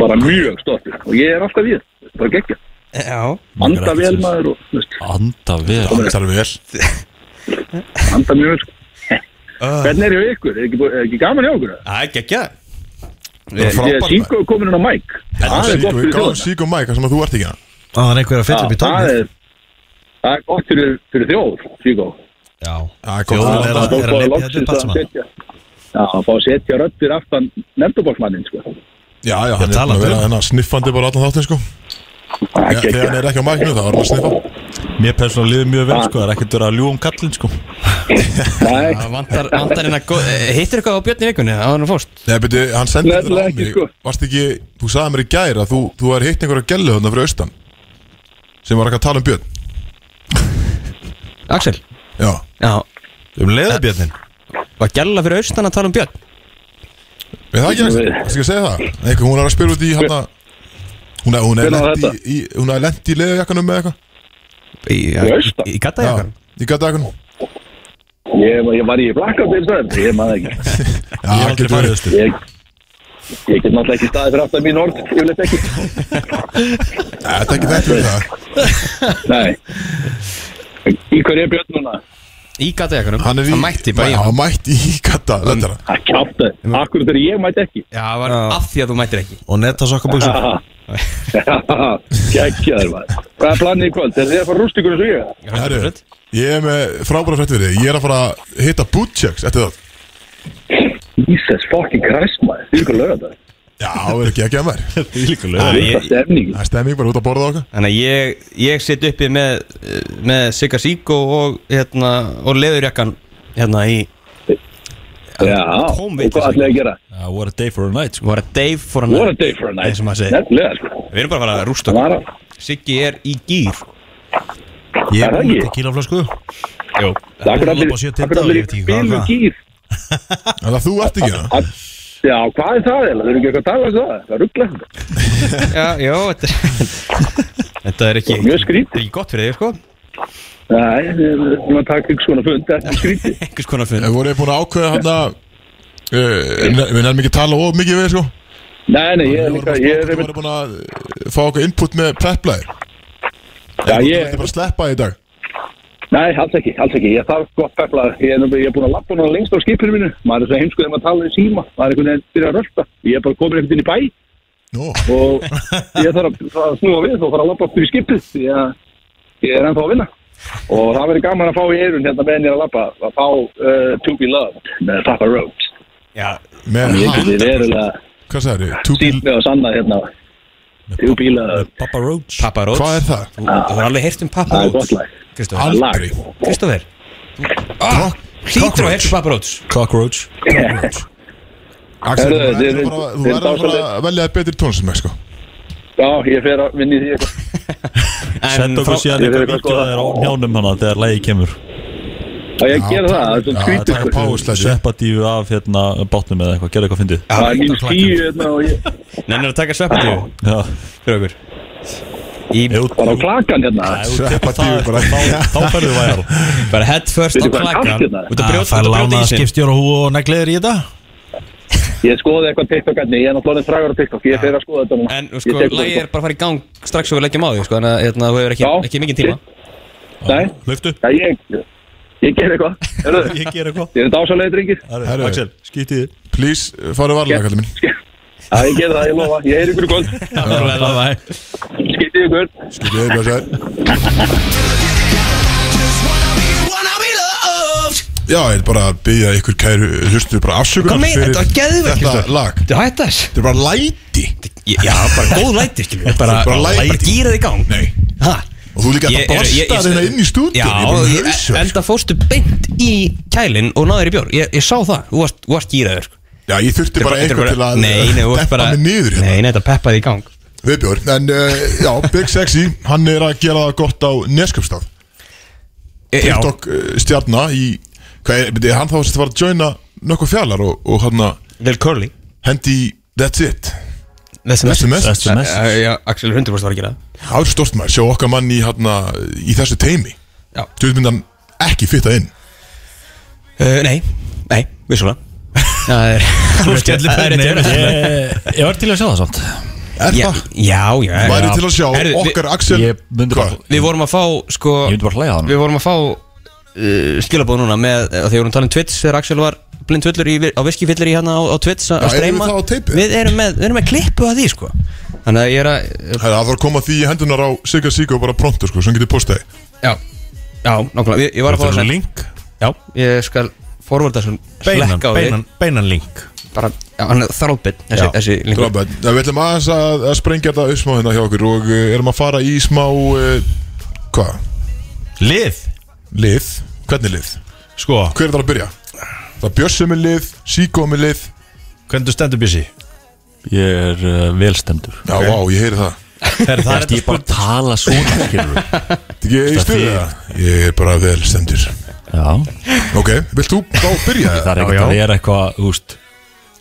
[SPEAKER 7] bara mjög stoltur og ég er alltaf við, bara geggja,
[SPEAKER 3] Já,
[SPEAKER 7] anda vel maður og, þú veist,
[SPEAKER 4] Anda vel
[SPEAKER 2] Það er vel
[SPEAKER 7] anda mjög vel. sko. Hvernig er hjá ykkur? Er ekki, bú- er ekki gaman hjá okkur?
[SPEAKER 3] það er geggja
[SPEAKER 2] Það er
[SPEAKER 7] Ég er
[SPEAKER 2] frábært maður.
[SPEAKER 7] síku komin inn á mæk. Það er
[SPEAKER 2] Síkó,
[SPEAKER 7] gott
[SPEAKER 2] við
[SPEAKER 7] fyrir
[SPEAKER 2] gáðum
[SPEAKER 7] þjóðina.
[SPEAKER 2] Síkó Mike, það sem að þú ert ekki hérna. hann
[SPEAKER 5] Það var einhver að fylla upp í
[SPEAKER 7] Já, Það
[SPEAKER 5] tónið
[SPEAKER 7] er- það er gott fyrir, fyrir þjóð, síku.
[SPEAKER 5] Já
[SPEAKER 2] Það er
[SPEAKER 5] Þjóðin
[SPEAKER 2] gott að
[SPEAKER 5] er að- lyfja
[SPEAKER 7] Það er að
[SPEAKER 5] þetta upp
[SPEAKER 7] loksins
[SPEAKER 5] allt
[SPEAKER 7] að
[SPEAKER 5] saman.
[SPEAKER 7] setja. Já, að fá að setja röddir aftan nefndabólsmannin, sko.
[SPEAKER 2] Já, já, hann er búin að
[SPEAKER 5] talandi
[SPEAKER 2] vera
[SPEAKER 5] um.
[SPEAKER 2] hérna sniffandi bara allan þáttinn sko
[SPEAKER 7] Það er
[SPEAKER 2] Þegar
[SPEAKER 7] ekki
[SPEAKER 2] þegar hann
[SPEAKER 7] ekki.
[SPEAKER 2] er ekki á mæknu þá er hann að sniffa
[SPEAKER 4] Mér persónulega liður mjög
[SPEAKER 7] Ah.
[SPEAKER 4] vel sko Það er ekkert verið að ljúga um kallinn sko
[SPEAKER 7] Nei,
[SPEAKER 3] Það vantar, vantar hennar góð Hittir eitthvað á Björn í vikunni, það var nú fórst
[SPEAKER 2] Nei, beti, hann sendi
[SPEAKER 7] Nefnilega
[SPEAKER 2] þetta á
[SPEAKER 7] ekki,
[SPEAKER 2] mig
[SPEAKER 7] sko.
[SPEAKER 2] Varst ekki, þú sagði mér í gæri að þú, þú er hitt einhverja gælu þarna fyrir austan Sem var ekki að tala um Björn
[SPEAKER 3] Axel,
[SPEAKER 2] Já,
[SPEAKER 3] Já,
[SPEAKER 5] Um leiðabjörnin
[SPEAKER 3] var gæla fyrir austan að tala um björn
[SPEAKER 2] við það ekki Það skal ég segja það Einhver, hún er að spila út í hann Hún er, hún er
[SPEAKER 7] Hvenær var
[SPEAKER 2] lent í, í, hún er lent í leðajakkanum með eitthvað
[SPEAKER 3] Í,
[SPEAKER 7] Í austan?
[SPEAKER 3] í, í gattajakkanum
[SPEAKER 2] í gatajakkanum
[SPEAKER 7] Ég, ég var í blakkaði eins og þetta, ég maður ekki.
[SPEAKER 2] Já,
[SPEAKER 4] Ég hef aldrei
[SPEAKER 2] getur
[SPEAKER 4] farið
[SPEAKER 2] verið.
[SPEAKER 4] austur
[SPEAKER 7] Ég, ég get náttúrulega ekki staðið fyrir aftan mín orð, ég vil ekki.
[SPEAKER 2] Nei, Þetta er ekki þetta fyrir það
[SPEAKER 7] Nei. Í hverju er Björn núna?
[SPEAKER 3] Í gattajakkanum,
[SPEAKER 2] Hann er í
[SPEAKER 3] mætti bara í
[SPEAKER 2] Já,
[SPEAKER 3] hann
[SPEAKER 2] hann mætti í gata Þetta er
[SPEAKER 7] Það kjátt það. Akkur þegar ég mæti ekki.
[SPEAKER 3] Já, það var af því að þú mættir ekki
[SPEAKER 5] Og netta sokkabúksum
[SPEAKER 7] Kækjaður maður. Hvað er planið í kvöld? Er þið að fara rúst ykkur eins og ég?
[SPEAKER 2] Herru, ég er með frábæra frétt fyrir þig Ég er að fara að hitta Butcheks eftir það
[SPEAKER 7] Jesus fucking Christ maður. Þið ykkur lögða það.
[SPEAKER 2] Já, það er ekki ekki að mér Það
[SPEAKER 7] Það er stefning.
[SPEAKER 2] er stemning bara út að borða okkar
[SPEAKER 3] Þannig að ég, ég sitt uppi með, með Sigga Síko og, hérna, og leðurjakkan hérna í
[SPEAKER 7] Já. Og
[SPEAKER 3] Tómveitis-
[SPEAKER 7] hvað ætlaði að gera?
[SPEAKER 4] Uh, What a day for a night sko.
[SPEAKER 3] What a day for a night
[SPEAKER 7] What a day for a night.
[SPEAKER 3] Eins og maður segir.
[SPEAKER 7] Nefnilega, sko.
[SPEAKER 3] Við erum bara að fara að rústa
[SPEAKER 7] Það
[SPEAKER 3] okkur.
[SPEAKER 7] var að.
[SPEAKER 3] Siggi er í gýr
[SPEAKER 5] Ég
[SPEAKER 7] Er
[SPEAKER 5] er
[SPEAKER 7] það
[SPEAKER 5] búin
[SPEAKER 7] ekki?
[SPEAKER 5] að kíla flösku
[SPEAKER 3] Jó
[SPEAKER 7] Það er
[SPEAKER 5] Ég
[SPEAKER 7] allir,
[SPEAKER 5] var bara að sé
[SPEAKER 7] það
[SPEAKER 5] tinda
[SPEAKER 7] er
[SPEAKER 5] og
[SPEAKER 7] allir
[SPEAKER 5] ég veit
[SPEAKER 7] í
[SPEAKER 5] ekki hvað
[SPEAKER 7] bílu
[SPEAKER 5] var.
[SPEAKER 7] gýr.
[SPEAKER 2] Þannig að þú ert ekki það
[SPEAKER 7] Já, hvað er það eða? Þau eru ekki eitthvað að tala um það? Það er rugglega.
[SPEAKER 3] Já, jó, þetta, þetta er ekki
[SPEAKER 7] Mjög skrítið.
[SPEAKER 3] Ekki gott fyrir þig, sko
[SPEAKER 7] Nei, við erum búin að taka ykkur svona fund. Þetta er skrítið.
[SPEAKER 3] Einhvers konar fund
[SPEAKER 2] Við vorum búin að ákveða hann að Við nefnum ekki að tala of mikið við sko
[SPEAKER 7] Nei, nei, ég
[SPEAKER 2] Við
[SPEAKER 7] er
[SPEAKER 2] vorum
[SPEAKER 7] líka,
[SPEAKER 2] bara að spá hvort
[SPEAKER 7] ég er einmitt,
[SPEAKER 2] Við vorum búin að eh, fá okkar input með preplæðir
[SPEAKER 7] já,
[SPEAKER 2] Þú
[SPEAKER 7] ég,
[SPEAKER 2] ætti bara að sleppa í dag
[SPEAKER 7] nei, alls ekki, alls ekki, ég þarf gott peflað, ég er, nú- ég er búin að lappa hana lengst á skipinu mínu, maður er svo heimskuð þegar maður tala í síma, maður er einhvern veginn fyrir að rölda, ég er bara komin ekkert inn í bæ
[SPEAKER 2] Nú,
[SPEAKER 7] og ég þarf að, að snúa við og fara að lappa aftur í skipið, því að ég er ennþá að vinna og það verður gaman að fá í eirun hérna meðan ég er að lappa, að fá uh, To Be Loved með Papa Roach,
[SPEAKER 3] Já,
[SPEAKER 2] með
[SPEAKER 7] ég
[SPEAKER 2] hann
[SPEAKER 7] geti verulega
[SPEAKER 2] Hvað sagði
[SPEAKER 7] sýnt
[SPEAKER 2] þið?
[SPEAKER 7] með að sanna hérna, To Be Loved,
[SPEAKER 4] Papa Roach
[SPEAKER 3] Papa Róts
[SPEAKER 2] Hvað er það?
[SPEAKER 3] Þú þú hefur alveg heyrt um Papa
[SPEAKER 7] það er
[SPEAKER 3] Róts
[SPEAKER 7] gott lag,
[SPEAKER 3] Kristófer
[SPEAKER 7] lag.
[SPEAKER 2] Aldrei
[SPEAKER 3] Kristófer Ah,
[SPEAKER 2] Rock-
[SPEAKER 3] Hlýtur og heyrt um Papa Róts
[SPEAKER 4] Cockroach
[SPEAKER 2] Roach. Axel,
[SPEAKER 7] Herðu,
[SPEAKER 2] þú
[SPEAKER 7] þið-
[SPEAKER 2] verður bara- þú
[SPEAKER 7] þið-
[SPEAKER 2] verður
[SPEAKER 7] þið-
[SPEAKER 2] bara að velja þér betri tónsum sko.
[SPEAKER 7] já, ég fer að vinna í því eitthvað,
[SPEAKER 4] Sett okkur síðan
[SPEAKER 7] Ég veit
[SPEAKER 4] eitthvað vídeo
[SPEAKER 7] ekki hvað
[SPEAKER 4] að
[SPEAKER 7] skoða.
[SPEAKER 4] þeir á njánum hana þegar lægi kemur
[SPEAKER 7] og ég gera það, það er
[SPEAKER 2] Já,
[SPEAKER 7] svona skrítið,
[SPEAKER 2] taka
[SPEAKER 7] sko.
[SPEAKER 2] páfuslæti.
[SPEAKER 4] Sveppadífu af hérna bátnum eða eitthvað, gerðu eitthvað fyndið
[SPEAKER 7] Það er mínus tíu hérna og ég
[SPEAKER 3] Nennir að taka sveppatíu
[SPEAKER 4] Já,
[SPEAKER 3] Fyrir okkur Í
[SPEAKER 4] ef þú-
[SPEAKER 7] bara á klakan hérna
[SPEAKER 4] ef þú tekur
[SPEAKER 2] Sveppadífu
[SPEAKER 4] það,
[SPEAKER 2] bara.
[SPEAKER 4] þá- Þá ferðu væjar
[SPEAKER 3] bara head first á
[SPEAKER 7] Veitu hvað er
[SPEAKER 3] klakan
[SPEAKER 7] kalt hérna?
[SPEAKER 3] Þú ert að brjóta- þú ert
[SPEAKER 5] Það
[SPEAKER 3] að
[SPEAKER 5] er
[SPEAKER 3] brjóta
[SPEAKER 5] lánað
[SPEAKER 3] ísinn
[SPEAKER 5] skipstjóra hú og negleðir í þetta
[SPEAKER 7] Ég skoði eitthvað TikTok hérna, ég er náttúrulega orðinn frægur á TikTok Ég fer að skoða þetta núna
[SPEAKER 3] En
[SPEAKER 7] Ég
[SPEAKER 3] sko,
[SPEAKER 7] tek það,
[SPEAKER 3] lagið er bara að fara í gang strax og við leggjum á því, sko, þannig að hérna, þú hefur ekki,
[SPEAKER 7] Já.
[SPEAKER 3] ekki mikið tíma.
[SPEAKER 7] Nei,
[SPEAKER 4] Lauftu,
[SPEAKER 7] já, ég, ég ger eitthvað Hörðu,
[SPEAKER 4] ég ger eitthvað
[SPEAKER 7] Þið eru dásalegi drengir
[SPEAKER 2] Herru.
[SPEAKER 4] Herru, Axel, skýtið
[SPEAKER 2] Please, uh, farðu varlega, kallið minn
[SPEAKER 7] Já, ég ger það, ég lofa, ég er ykkur í kvöld Skitið ykkur
[SPEAKER 2] Skilja þig, blessaður Já, ég er bara að byggja ykkur kæru hlustu bara afsökunar
[SPEAKER 3] Hvað meina,
[SPEAKER 2] fyrir
[SPEAKER 3] þetta var geðveikt, Kristján.
[SPEAKER 2] Þetta lag
[SPEAKER 3] Þú hætti þess?
[SPEAKER 2] Þetta er bara læti
[SPEAKER 3] Já, bara góð læti, skiljum við. Bara,
[SPEAKER 2] Bara læti.
[SPEAKER 3] bara gýra þig í gang.
[SPEAKER 2] Nei
[SPEAKER 3] Ha?
[SPEAKER 2] Og þú líka
[SPEAKER 3] Ég-
[SPEAKER 2] þetta
[SPEAKER 3] ég- ég-
[SPEAKER 2] blastar
[SPEAKER 3] ég-
[SPEAKER 2] hérna inn í stúdíun
[SPEAKER 3] Já, ég-
[SPEAKER 2] sko.
[SPEAKER 3] enda fórstu beint í kælinn og náður í bjór. Ég, ég sá það, þú varst, þú varst gýraður, sko.
[SPEAKER 2] Já, ég þurfti bara
[SPEAKER 3] Þetta er
[SPEAKER 2] einhver til að
[SPEAKER 3] Nei, nei, þú varst
[SPEAKER 2] Deppa
[SPEAKER 3] bara...
[SPEAKER 2] mig niður
[SPEAKER 3] Nei,
[SPEAKER 2] hérna
[SPEAKER 3] nei, þetta peppaði í gang.
[SPEAKER 2] Viðbjörn, en uh, já, Big Sexy Hann er að gera það gott á Neskjöpstað
[SPEAKER 3] E, já,
[SPEAKER 2] TikTok uh, stjarna í Hvað er, byrja, hann þá sem þetta var að joina Nökkva fjallar og, og hann að
[SPEAKER 3] Lil Curly.
[SPEAKER 2] hendi í That's it
[SPEAKER 3] Þessi
[SPEAKER 2] That's the message
[SPEAKER 4] Þessi mest
[SPEAKER 3] Já, Axel 100% var að gera það.
[SPEAKER 2] Það er stort maður, sjá okkar mann í, hana, í þessu teimi
[SPEAKER 3] Já.
[SPEAKER 2] Þú myndi hann ekki fitta inn
[SPEAKER 3] Uh, Nei, nei, vissulega. Það er... Það er rétt hjá þér.
[SPEAKER 4] Ég var til að sjá það samt
[SPEAKER 2] Er
[SPEAKER 3] Já,
[SPEAKER 2] það?
[SPEAKER 3] já, já.
[SPEAKER 2] Væri til að sjá
[SPEAKER 3] Herðu, við-
[SPEAKER 2] okkar Axel
[SPEAKER 4] Ég myndi bara,
[SPEAKER 2] Hvað?
[SPEAKER 3] Við vorum að fá, sko
[SPEAKER 4] ég myndi bara hlæja hann
[SPEAKER 3] Við vorum að fá uh, skilabóð núna með, uh, þegar við vorum talað um Twitch þegar Axel var blind tvillur í, á viskifillir í hérna á, á Twitch að
[SPEAKER 2] Já,
[SPEAKER 3] að
[SPEAKER 2] erum
[SPEAKER 3] streyma
[SPEAKER 2] við þá á teipi?
[SPEAKER 3] Við erum með, við erum með klippu að því sko Þannig að ég er að uh,
[SPEAKER 2] Herra, Það þarf að koma því í hendunar á Sigga Sigga og bara pronto sko, sem getur postaði
[SPEAKER 3] Já, já, nákvæmlega Ég, ég var að fá
[SPEAKER 4] Þetta
[SPEAKER 3] að
[SPEAKER 4] er
[SPEAKER 3] senda
[SPEAKER 4] link
[SPEAKER 3] Já, ég skal forvarda þessum
[SPEAKER 5] Beinan,
[SPEAKER 3] slekka á því
[SPEAKER 5] beinan, beinan link
[SPEAKER 3] Bara, já, hann er þrálbit þessi,
[SPEAKER 5] Já.
[SPEAKER 3] þessi linkur
[SPEAKER 2] Drábæð, við ætlum aðeins að, að sprengja þetta upp smá hérna hjá okkur og uh, erum að fara í smá uh, hvað?
[SPEAKER 5] Lið
[SPEAKER 2] Lið? Hvernig lið?
[SPEAKER 5] Sko,
[SPEAKER 2] Hver er það að byrja? Það er Bjössi með lið, Sigga með lið
[SPEAKER 5] hvernig þú stendur bjössi?
[SPEAKER 4] Ég er uh, velstendur
[SPEAKER 2] Já, vá, ég heyri það
[SPEAKER 5] Herra, það er
[SPEAKER 4] Ég
[SPEAKER 5] þetta
[SPEAKER 4] bara
[SPEAKER 5] spurning
[SPEAKER 4] tala svona skilur
[SPEAKER 2] Þetta ekki í stuði
[SPEAKER 4] þýðir?
[SPEAKER 2] það? Ég er bara vel stendur
[SPEAKER 4] Já,
[SPEAKER 2] Ok, vilt þú þá byrja?
[SPEAKER 4] það er ekkert að vera eitthvað, þú veist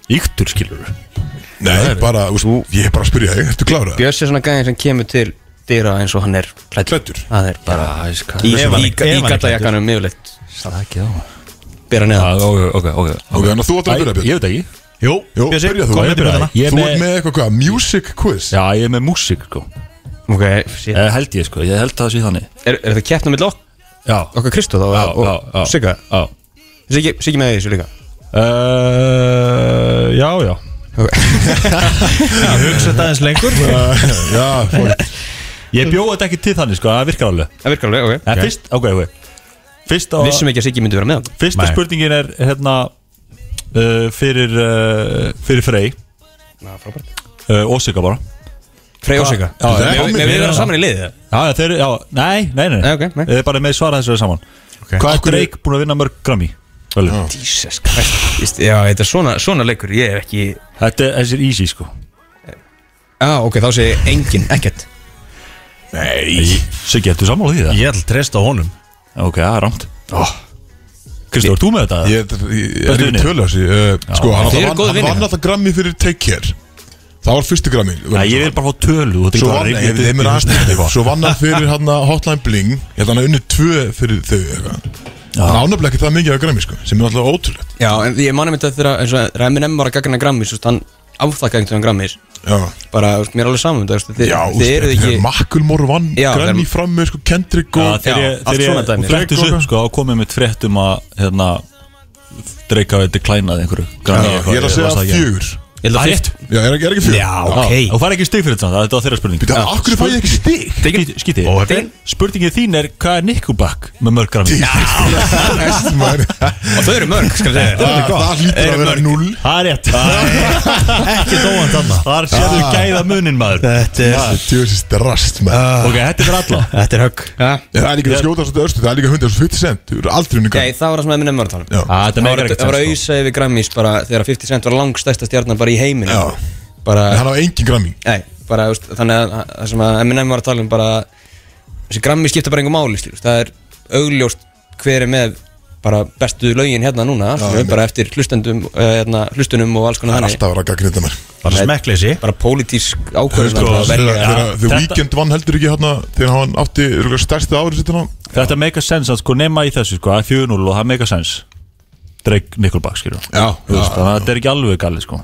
[SPEAKER 4] Íktur skilur
[SPEAKER 2] Nei, bara, úst, ég er bara að spyrja þig, ertu klára?
[SPEAKER 3] Björs er svona gæðin sem kemur til dyra eins og hann er klættur
[SPEAKER 2] Klæddur.
[SPEAKER 3] Það er sko- bara í,
[SPEAKER 5] Ef hann-
[SPEAKER 3] í, í,
[SPEAKER 5] ef
[SPEAKER 3] í
[SPEAKER 5] hann er
[SPEAKER 3] gallajakkanum yfirleitt
[SPEAKER 4] Slakið á
[SPEAKER 3] Bera neða
[SPEAKER 4] Ok, ok, ok
[SPEAKER 2] Ok, þannig að þú átt að byrja,
[SPEAKER 4] Æ,
[SPEAKER 2] Björn
[SPEAKER 4] Ég veit ekki
[SPEAKER 5] Jú,
[SPEAKER 2] Jú,
[SPEAKER 5] Bjössi,
[SPEAKER 2] byrja þú,
[SPEAKER 5] kom
[SPEAKER 2] ég
[SPEAKER 5] með
[SPEAKER 4] byrja
[SPEAKER 5] byrjunina.
[SPEAKER 4] Ég er
[SPEAKER 2] Þú
[SPEAKER 4] með-
[SPEAKER 2] ert með eitthvað, hvað, music quiz?
[SPEAKER 4] Já, ég er með músík sko
[SPEAKER 3] Ok, shit.
[SPEAKER 4] Ég held ég sko, ég held að það sé þannig
[SPEAKER 3] er, er það keppna mill ok-
[SPEAKER 4] Já,
[SPEAKER 3] okkar Kristóð og,
[SPEAKER 4] já, já,
[SPEAKER 3] og,
[SPEAKER 4] já
[SPEAKER 3] og Sigga?
[SPEAKER 4] Já
[SPEAKER 3] Siggi Siggi með í þessu líka
[SPEAKER 4] Uh, Já, já
[SPEAKER 5] Ég hugsa þetta aðeins lengur
[SPEAKER 2] Já, fólk
[SPEAKER 4] Ég bjóði þetta ekki til þannig sko, það virkar alveg
[SPEAKER 3] Það virkar alveg,
[SPEAKER 4] En fyrst, ok, ok Fyrsta,
[SPEAKER 3] ok Vissum ekki að Siggi myndi vera með hann
[SPEAKER 4] fyrsta
[SPEAKER 5] Nei.
[SPEAKER 4] spurningin er hérna uh, Fyrir, uh, fyrir Frey
[SPEAKER 3] Ná, frábært
[SPEAKER 4] uh, Og Sigga bara
[SPEAKER 3] Frey og Sigga
[SPEAKER 4] Já, já,
[SPEAKER 3] Með við vera saman í liði
[SPEAKER 4] já, þeir, já, nei, nei, nei,
[SPEAKER 3] Nei, ok, nei.
[SPEAKER 4] Þið er bara með svara þessu saman Hvað er
[SPEAKER 2] Akkur-
[SPEAKER 4] Drake búin að vinna mörg Grammy? Völu.
[SPEAKER 3] Jesus Christ Já, þetta er svona, svona leikur Ég er ekki
[SPEAKER 4] Þetta er þessi er easy sko
[SPEAKER 3] Já, Ah, ok, þá segir engin, ekkert
[SPEAKER 4] Nei Siggi, ertu sammála því það?
[SPEAKER 5] Ég ætla að treysta á honum
[SPEAKER 4] Ok, það er rámt Kristóf, ert þú með þetta?
[SPEAKER 2] Ég er- ég er
[SPEAKER 4] Bestu
[SPEAKER 2] ekki
[SPEAKER 4] vinir.
[SPEAKER 2] tölur þessi uh, Sko, hann
[SPEAKER 3] Þið eru
[SPEAKER 2] hann-
[SPEAKER 3] góðir
[SPEAKER 2] hann
[SPEAKER 3] vinir.
[SPEAKER 2] vann alltaf grammi fyrir Take Care Það var fyrsti grammi
[SPEAKER 4] Nei, ég vil bara fá tölu þú
[SPEAKER 2] Svo vann,
[SPEAKER 4] ert ekki bara að
[SPEAKER 2] ég,
[SPEAKER 4] reyna-
[SPEAKER 2] þeim er aðstæðið
[SPEAKER 4] eitthvað.
[SPEAKER 2] Svo vann hann fyrir hann Hotline Bling Ég held hann að unni tvö fyrir þau eitthvað Hann ánöfnilega ekki það mikið af græmi sko Sem er náttúrulega ótrúlegt
[SPEAKER 3] Já, en ég mani mitt að þegar eins og Ræmin M var að gagna Grammys, þú veist, hann afþakkaði einhvern veginn Grammys,
[SPEAKER 2] Já,
[SPEAKER 3] bara, þú veist, mér er alveg saman, þú veist, þið,
[SPEAKER 2] já
[SPEAKER 3] þið eruð ekki
[SPEAKER 2] Makulmór vann
[SPEAKER 3] Já,
[SPEAKER 2] græmi
[SPEAKER 3] þeir-
[SPEAKER 2] fram með sko Kendrick
[SPEAKER 4] Já,
[SPEAKER 2] og
[SPEAKER 4] Þegar
[SPEAKER 3] Já,
[SPEAKER 4] ég-
[SPEAKER 3] allt
[SPEAKER 4] þegar
[SPEAKER 3] svona dæmi.
[SPEAKER 4] ég flætti þessu upp sko og komið mitt frétt um að hérna Drake hafi deklænað einhverju
[SPEAKER 2] Já,
[SPEAKER 4] Grammy
[SPEAKER 2] Ég er að segja fjögur
[SPEAKER 3] Ég held að
[SPEAKER 4] Æ,
[SPEAKER 3] fyrst-
[SPEAKER 2] Já, er ekki er ekki fjögur
[SPEAKER 5] Já,
[SPEAKER 4] Ok Þú fær ekki stig fyrir þetta, þetta var þeirra spurning
[SPEAKER 2] Býta, af hverju fæ ég ekki stig?
[SPEAKER 4] Skítið, skítið
[SPEAKER 5] Óheppin.
[SPEAKER 4] Spurningið þín er hvað er Nickelback með mörg Grammy?
[SPEAKER 2] Þessi maður.
[SPEAKER 3] og þau eru mörg, skal ég segja
[SPEAKER 2] Það það hlýtur að vera null
[SPEAKER 4] Það er rétt Ekki dóan þarna Þar séðu gæða munin maður
[SPEAKER 5] Þetta
[SPEAKER 3] Ah.
[SPEAKER 5] er,
[SPEAKER 2] Tjóðsist rast maður
[SPEAKER 4] Ok, þetta er fyrir alla
[SPEAKER 5] þetta er högg
[SPEAKER 3] Nei,
[SPEAKER 2] Það er líka að skjóta svona östu Það er líka 150 cent Þú eru aldrei unni græmi
[SPEAKER 3] það var það sem Ræmin M var að tala um.
[SPEAKER 2] Já.
[SPEAKER 4] Þetta
[SPEAKER 3] Það var-
[SPEAKER 4] meikar ekkert
[SPEAKER 3] það var
[SPEAKER 4] sens, sko.
[SPEAKER 3] auðsa yfir Grammys bara þegar 50 Cent var langstæsta stjarnan bara í heiminu.
[SPEAKER 2] Já. En
[SPEAKER 3] Bara,
[SPEAKER 2] hann hafa engin græmi
[SPEAKER 3] nei, bara, þú veist, þannig að það sem að Eminem var að tala um bara, þessi Grammys skipta bara engu máli, skilur, þú veist, það er augljóst hver er með bara bestu lögin hérna núna, skilur,
[SPEAKER 2] einmitt.
[SPEAKER 3] bara eftir hlustendum, eh, hérna, hlustunum og alls konar
[SPEAKER 2] Það er
[SPEAKER 3] þannig.
[SPEAKER 2] alltaf að vera að gagnrýnda mér
[SPEAKER 5] Bara smekkleysi
[SPEAKER 3] bara pólitísk ákvörðun
[SPEAKER 2] Sko,
[SPEAKER 3] að
[SPEAKER 2] þegar-
[SPEAKER 3] velja
[SPEAKER 2] þegar The
[SPEAKER 4] Þetta-
[SPEAKER 2] Weeknd vann heldur ekki hérna Þegar hann átti örugglega stærsta árið sitt hérna? hann
[SPEAKER 4] Þetta meikar sens að sko nema í þessu sko að 4-0 og það meikar sens Drake Nickelback skilur
[SPEAKER 2] Já,
[SPEAKER 4] Þú veist, Þannig að þetta er ekki alveg galið sko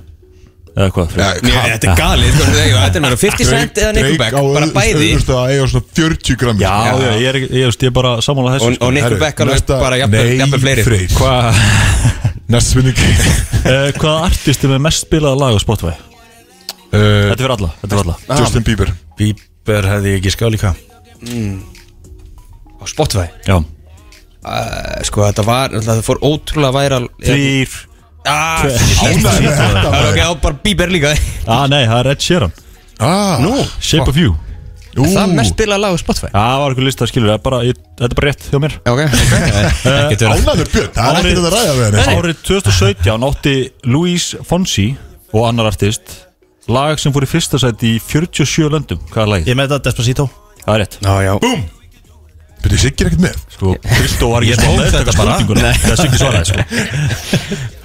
[SPEAKER 4] Eða hvað fyrir
[SPEAKER 3] Mér- Þetta er galið, sko, þegar- þetta er meira 50 cent eða Nickelback, bara bæði
[SPEAKER 2] Þú veist að eiga svona 40 græmi
[SPEAKER 4] Já, já, ég er, ekki- ég, veist, ég er bara samanlega
[SPEAKER 3] og,
[SPEAKER 4] þessu
[SPEAKER 3] og Nickelback alveg bara jafnvel jafnvel fleiri
[SPEAKER 2] Freyr
[SPEAKER 4] sko. Hva,
[SPEAKER 2] Næst spurning
[SPEAKER 4] uh, Hvaða artist er með mest spilaða lag á Spotify? Þetta er fyrir alla, þetta er fyrir alla.
[SPEAKER 3] Ah.
[SPEAKER 2] Justin Bieber
[SPEAKER 5] Bíber hefði ég ekki skáð líka
[SPEAKER 3] á Spotify
[SPEAKER 4] Já,
[SPEAKER 3] Eh, Sko þetta var, það fór ótrúlega væral
[SPEAKER 4] þrýr
[SPEAKER 3] Ah, shit. Það var ok, á bara Bieber líka
[SPEAKER 4] Ah, nei, það er Ed Sheeran
[SPEAKER 2] Ah,
[SPEAKER 3] Nú,
[SPEAKER 4] Shape of You
[SPEAKER 2] ú,
[SPEAKER 3] það mest spilað lag á Spotify
[SPEAKER 4] Já, það var eitthvað lista, skilur, það er bara, ég, þetta er bara rétt hjá mér
[SPEAKER 3] Já, Ok,
[SPEAKER 4] Eh,
[SPEAKER 3] ekkert verið
[SPEAKER 2] Ánæður Björn, það er
[SPEAKER 4] Árið-
[SPEAKER 2] ekkert að ræða við henni
[SPEAKER 4] Árið 2017 átti Luis Fonsi og annar artist lag sem fór í fyrsta sæti í 47 löndum Hvað er lagið?
[SPEAKER 5] Ég með þetta Despacito
[SPEAKER 4] Það er rétt
[SPEAKER 3] Já, já
[SPEAKER 2] Byrði sikkir ekkert með
[SPEAKER 4] Sko, Kristó var ekki
[SPEAKER 5] tók
[SPEAKER 4] svaraði
[SPEAKER 5] þetta
[SPEAKER 4] þetta
[SPEAKER 5] bara.
[SPEAKER 4] spurninguna Það er sikki svaraði, sko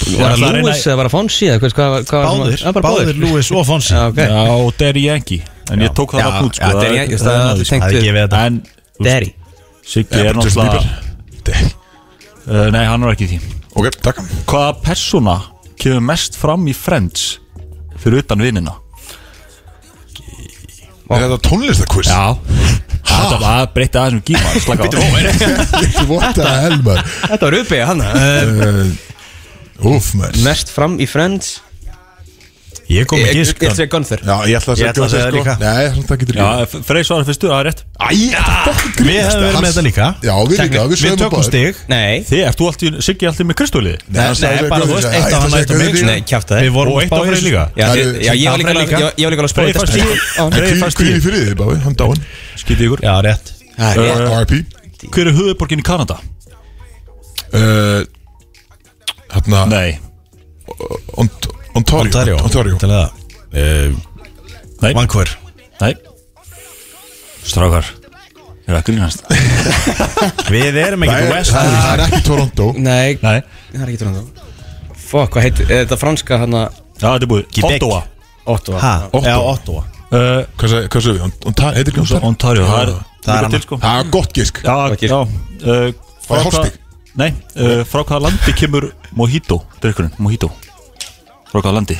[SPEAKER 3] Var
[SPEAKER 4] ætla að
[SPEAKER 3] það
[SPEAKER 4] reyna-
[SPEAKER 3] Lewis eða var það Fonsi eða hvað- hvað hvað var
[SPEAKER 5] Báðir,
[SPEAKER 3] Já, bara
[SPEAKER 5] báðir
[SPEAKER 3] Báðir
[SPEAKER 5] Lewis og Fonsi
[SPEAKER 3] Já, ok
[SPEAKER 4] Já, og Derry Yankee En ég tók það
[SPEAKER 3] Já,
[SPEAKER 4] nafn út,
[SPEAKER 3] já,
[SPEAKER 4] sko
[SPEAKER 3] Daddy Yankee, það er allir tengt
[SPEAKER 5] Það
[SPEAKER 3] við.
[SPEAKER 5] er gefið þetta
[SPEAKER 4] En
[SPEAKER 3] Derry
[SPEAKER 4] Siggi er
[SPEAKER 2] bara Justin
[SPEAKER 4] náttúrulega
[SPEAKER 2] Bieber.
[SPEAKER 4] Uh, Nei, hann var ekki í því
[SPEAKER 2] Ok, takk
[SPEAKER 4] Hvaða persóna kemur mest fram í Friends fyrir utan vinnina?
[SPEAKER 2] Er þetta tónlistakvist?
[SPEAKER 4] Já Þetta var að breyta aðeins um gíma Slaka á
[SPEAKER 2] What the hell, maður
[SPEAKER 3] Þetta var uppið hann
[SPEAKER 2] Eh, Úff, maður
[SPEAKER 3] Mest fram í Friends
[SPEAKER 5] Ég kom með
[SPEAKER 3] Ég
[SPEAKER 5] gískan
[SPEAKER 3] ætla að Gunther
[SPEAKER 2] Já, ég ætla að
[SPEAKER 5] Ég ætla að segja það
[SPEAKER 2] sko.
[SPEAKER 5] líka.
[SPEAKER 2] Nei, svona það getur
[SPEAKER 4] Já,
[SPEAKER 2] ekki
[SPEAKER 4] Frey svarar fyrstu, það er rétt
[SPEAKER 2] Æ, þetta er fokkin grínast
[SPEAKER 5] Við hefðum verið
[SPEAKER 2] Hans-
[SPEAKER 5] með þetta líka.
[SPEAKER 2] Já, við líka, við
[SPEAKER 5] Við
[SPEAKER 2] sögum
[SPEAKER 5] tökum stig
[SPEAKER 3] Nei
[SPEAKER 4] Þið, ert þú allt í, Siggi allt í með Kristólið?
[SPEAKER 2] Nei, hann sagði
[SPEAKER 5] Nei,
[SPEAKER 2] við
[SPEAKER 5] bara
[SPEAKER 2] Guðni,
[SPEAKER 5] þú veist,
[SPEAKER 2] sagði, "Æ,
[SPEAKER 5] eitt á hann,
[SPEAKER 2] þetta
[SPEAKER 5] eitt á
[SPEAKER 2] segir
[SPEAKER 5] mig."
[SPEAKER 2] Guðni.
[SPEAKER 3] Nei, kjátt það
[SPEAKER 5] Við vorum
[SPEAKER 4] Og
[SPEAKER 5] að
[SPEAKER 4] eitt
[SPEAKER 5] spá
[SPEAKER 4] á
[SPEAKER 5] í
[SPEAKER 4] Freyr
[SPEAKER 5] þessu.
[SPEAKER 4] líka
[SPEAKER 3] Já,
[SPEAKER 2] Það
[SPEAKER 3] ég,
[SPEAKER 2] eru-
[SPEAKER 3] já, ég var líka alveg-
[SPEAKER 5] líka.
[SPEAKER 3] ég- ég var líka alveg að spóið
[SPEAKER 4] Freyr fannst
[SPEAKER 3] þetta
[SPEAKER 4] ég-
[SPEAKER 3] Já.
[SPEAKER 4] Freyr
[SPEAKER 2] Hvíl-
[SPEAKER 4] fannst
[SPEAKER 2] Hvíl í
[SPEAKER 4] ég
[SPEAKER 2] fyrir þið, Báði, hann dáinn Eh,
[SPEAKER 4] Skítið ykkur
[SPEAKER 5] Já, rétt
[SPEAKER 3] Það
[SPEAKER 4] Uh,
[SPEAKER 2] RIP
[SPEAKER 4] Hver er höfuborgin í Kanada?
[SPEAKER 2] Eh, Þarna,
[SPEAKER 4] Nei
[SPEAKER 2] Ont- Ontario Ontario
[SPEAKER 5] Til það
[SPEAKER 4] Nei.
[SPEAKER 5] Vancouver
[SPEAKER 4] Nei Strákar er að grínast
[SPEAKER 5] Við erum
[SPEAKER 2] Það
[SPEAKER 5] ekkert
[SPEAKER 2] er-
[SPEAKER 5] West
[SPEAKER 2] það
[SPEAKER 5] Ham
[SPEAKER 2] er ekki Toronto
[SPEAKER 3] Nei,
[SPEAKER 4] Nei,
[SPEAKER 3] það er ekki trúin þá Fuck, hvað heitir, er þetta franska hann að
[SPEAKER 4] já, þetta er búið
[SPEAKER 5] Quebec.
[SPEAKER 4] Ottawa
[SPEAKER 3] Ottawa
[SPEAKER 5] Ha,
[SPEAKER 2] Ottawa.
[SPEAKER 5] já, Ottawa
[SPEAKER 4] uh,
[SPEAKER 2] Hvað sagði- hvað sagði við? Ontario- Heitir ekki Ontario?
[SPEAKER 4] Ontario, það er
[SPEAKER 5] Það
[SPEAKER 4] líka
[SPEAKER 5] er
[SPEAKER 4] til
[SPEAKER 5] annað.
[SPEAKER 4] sko
[SPEAKER 2] Það er gott gisk
[SPEAKER 4] Já,
[SPEAKER 3] Ok.
[SPEAKER 4] já uh, frá
[SPEAKER 2] Það er
[SPEAKER 4] hvaða-
[SPEAKER 2] Holstík.
[SPEAKER 4] Nei, uh, frá hvaða landi kemur Mojito, drikkurinn, Mojito Frá hvaða landi?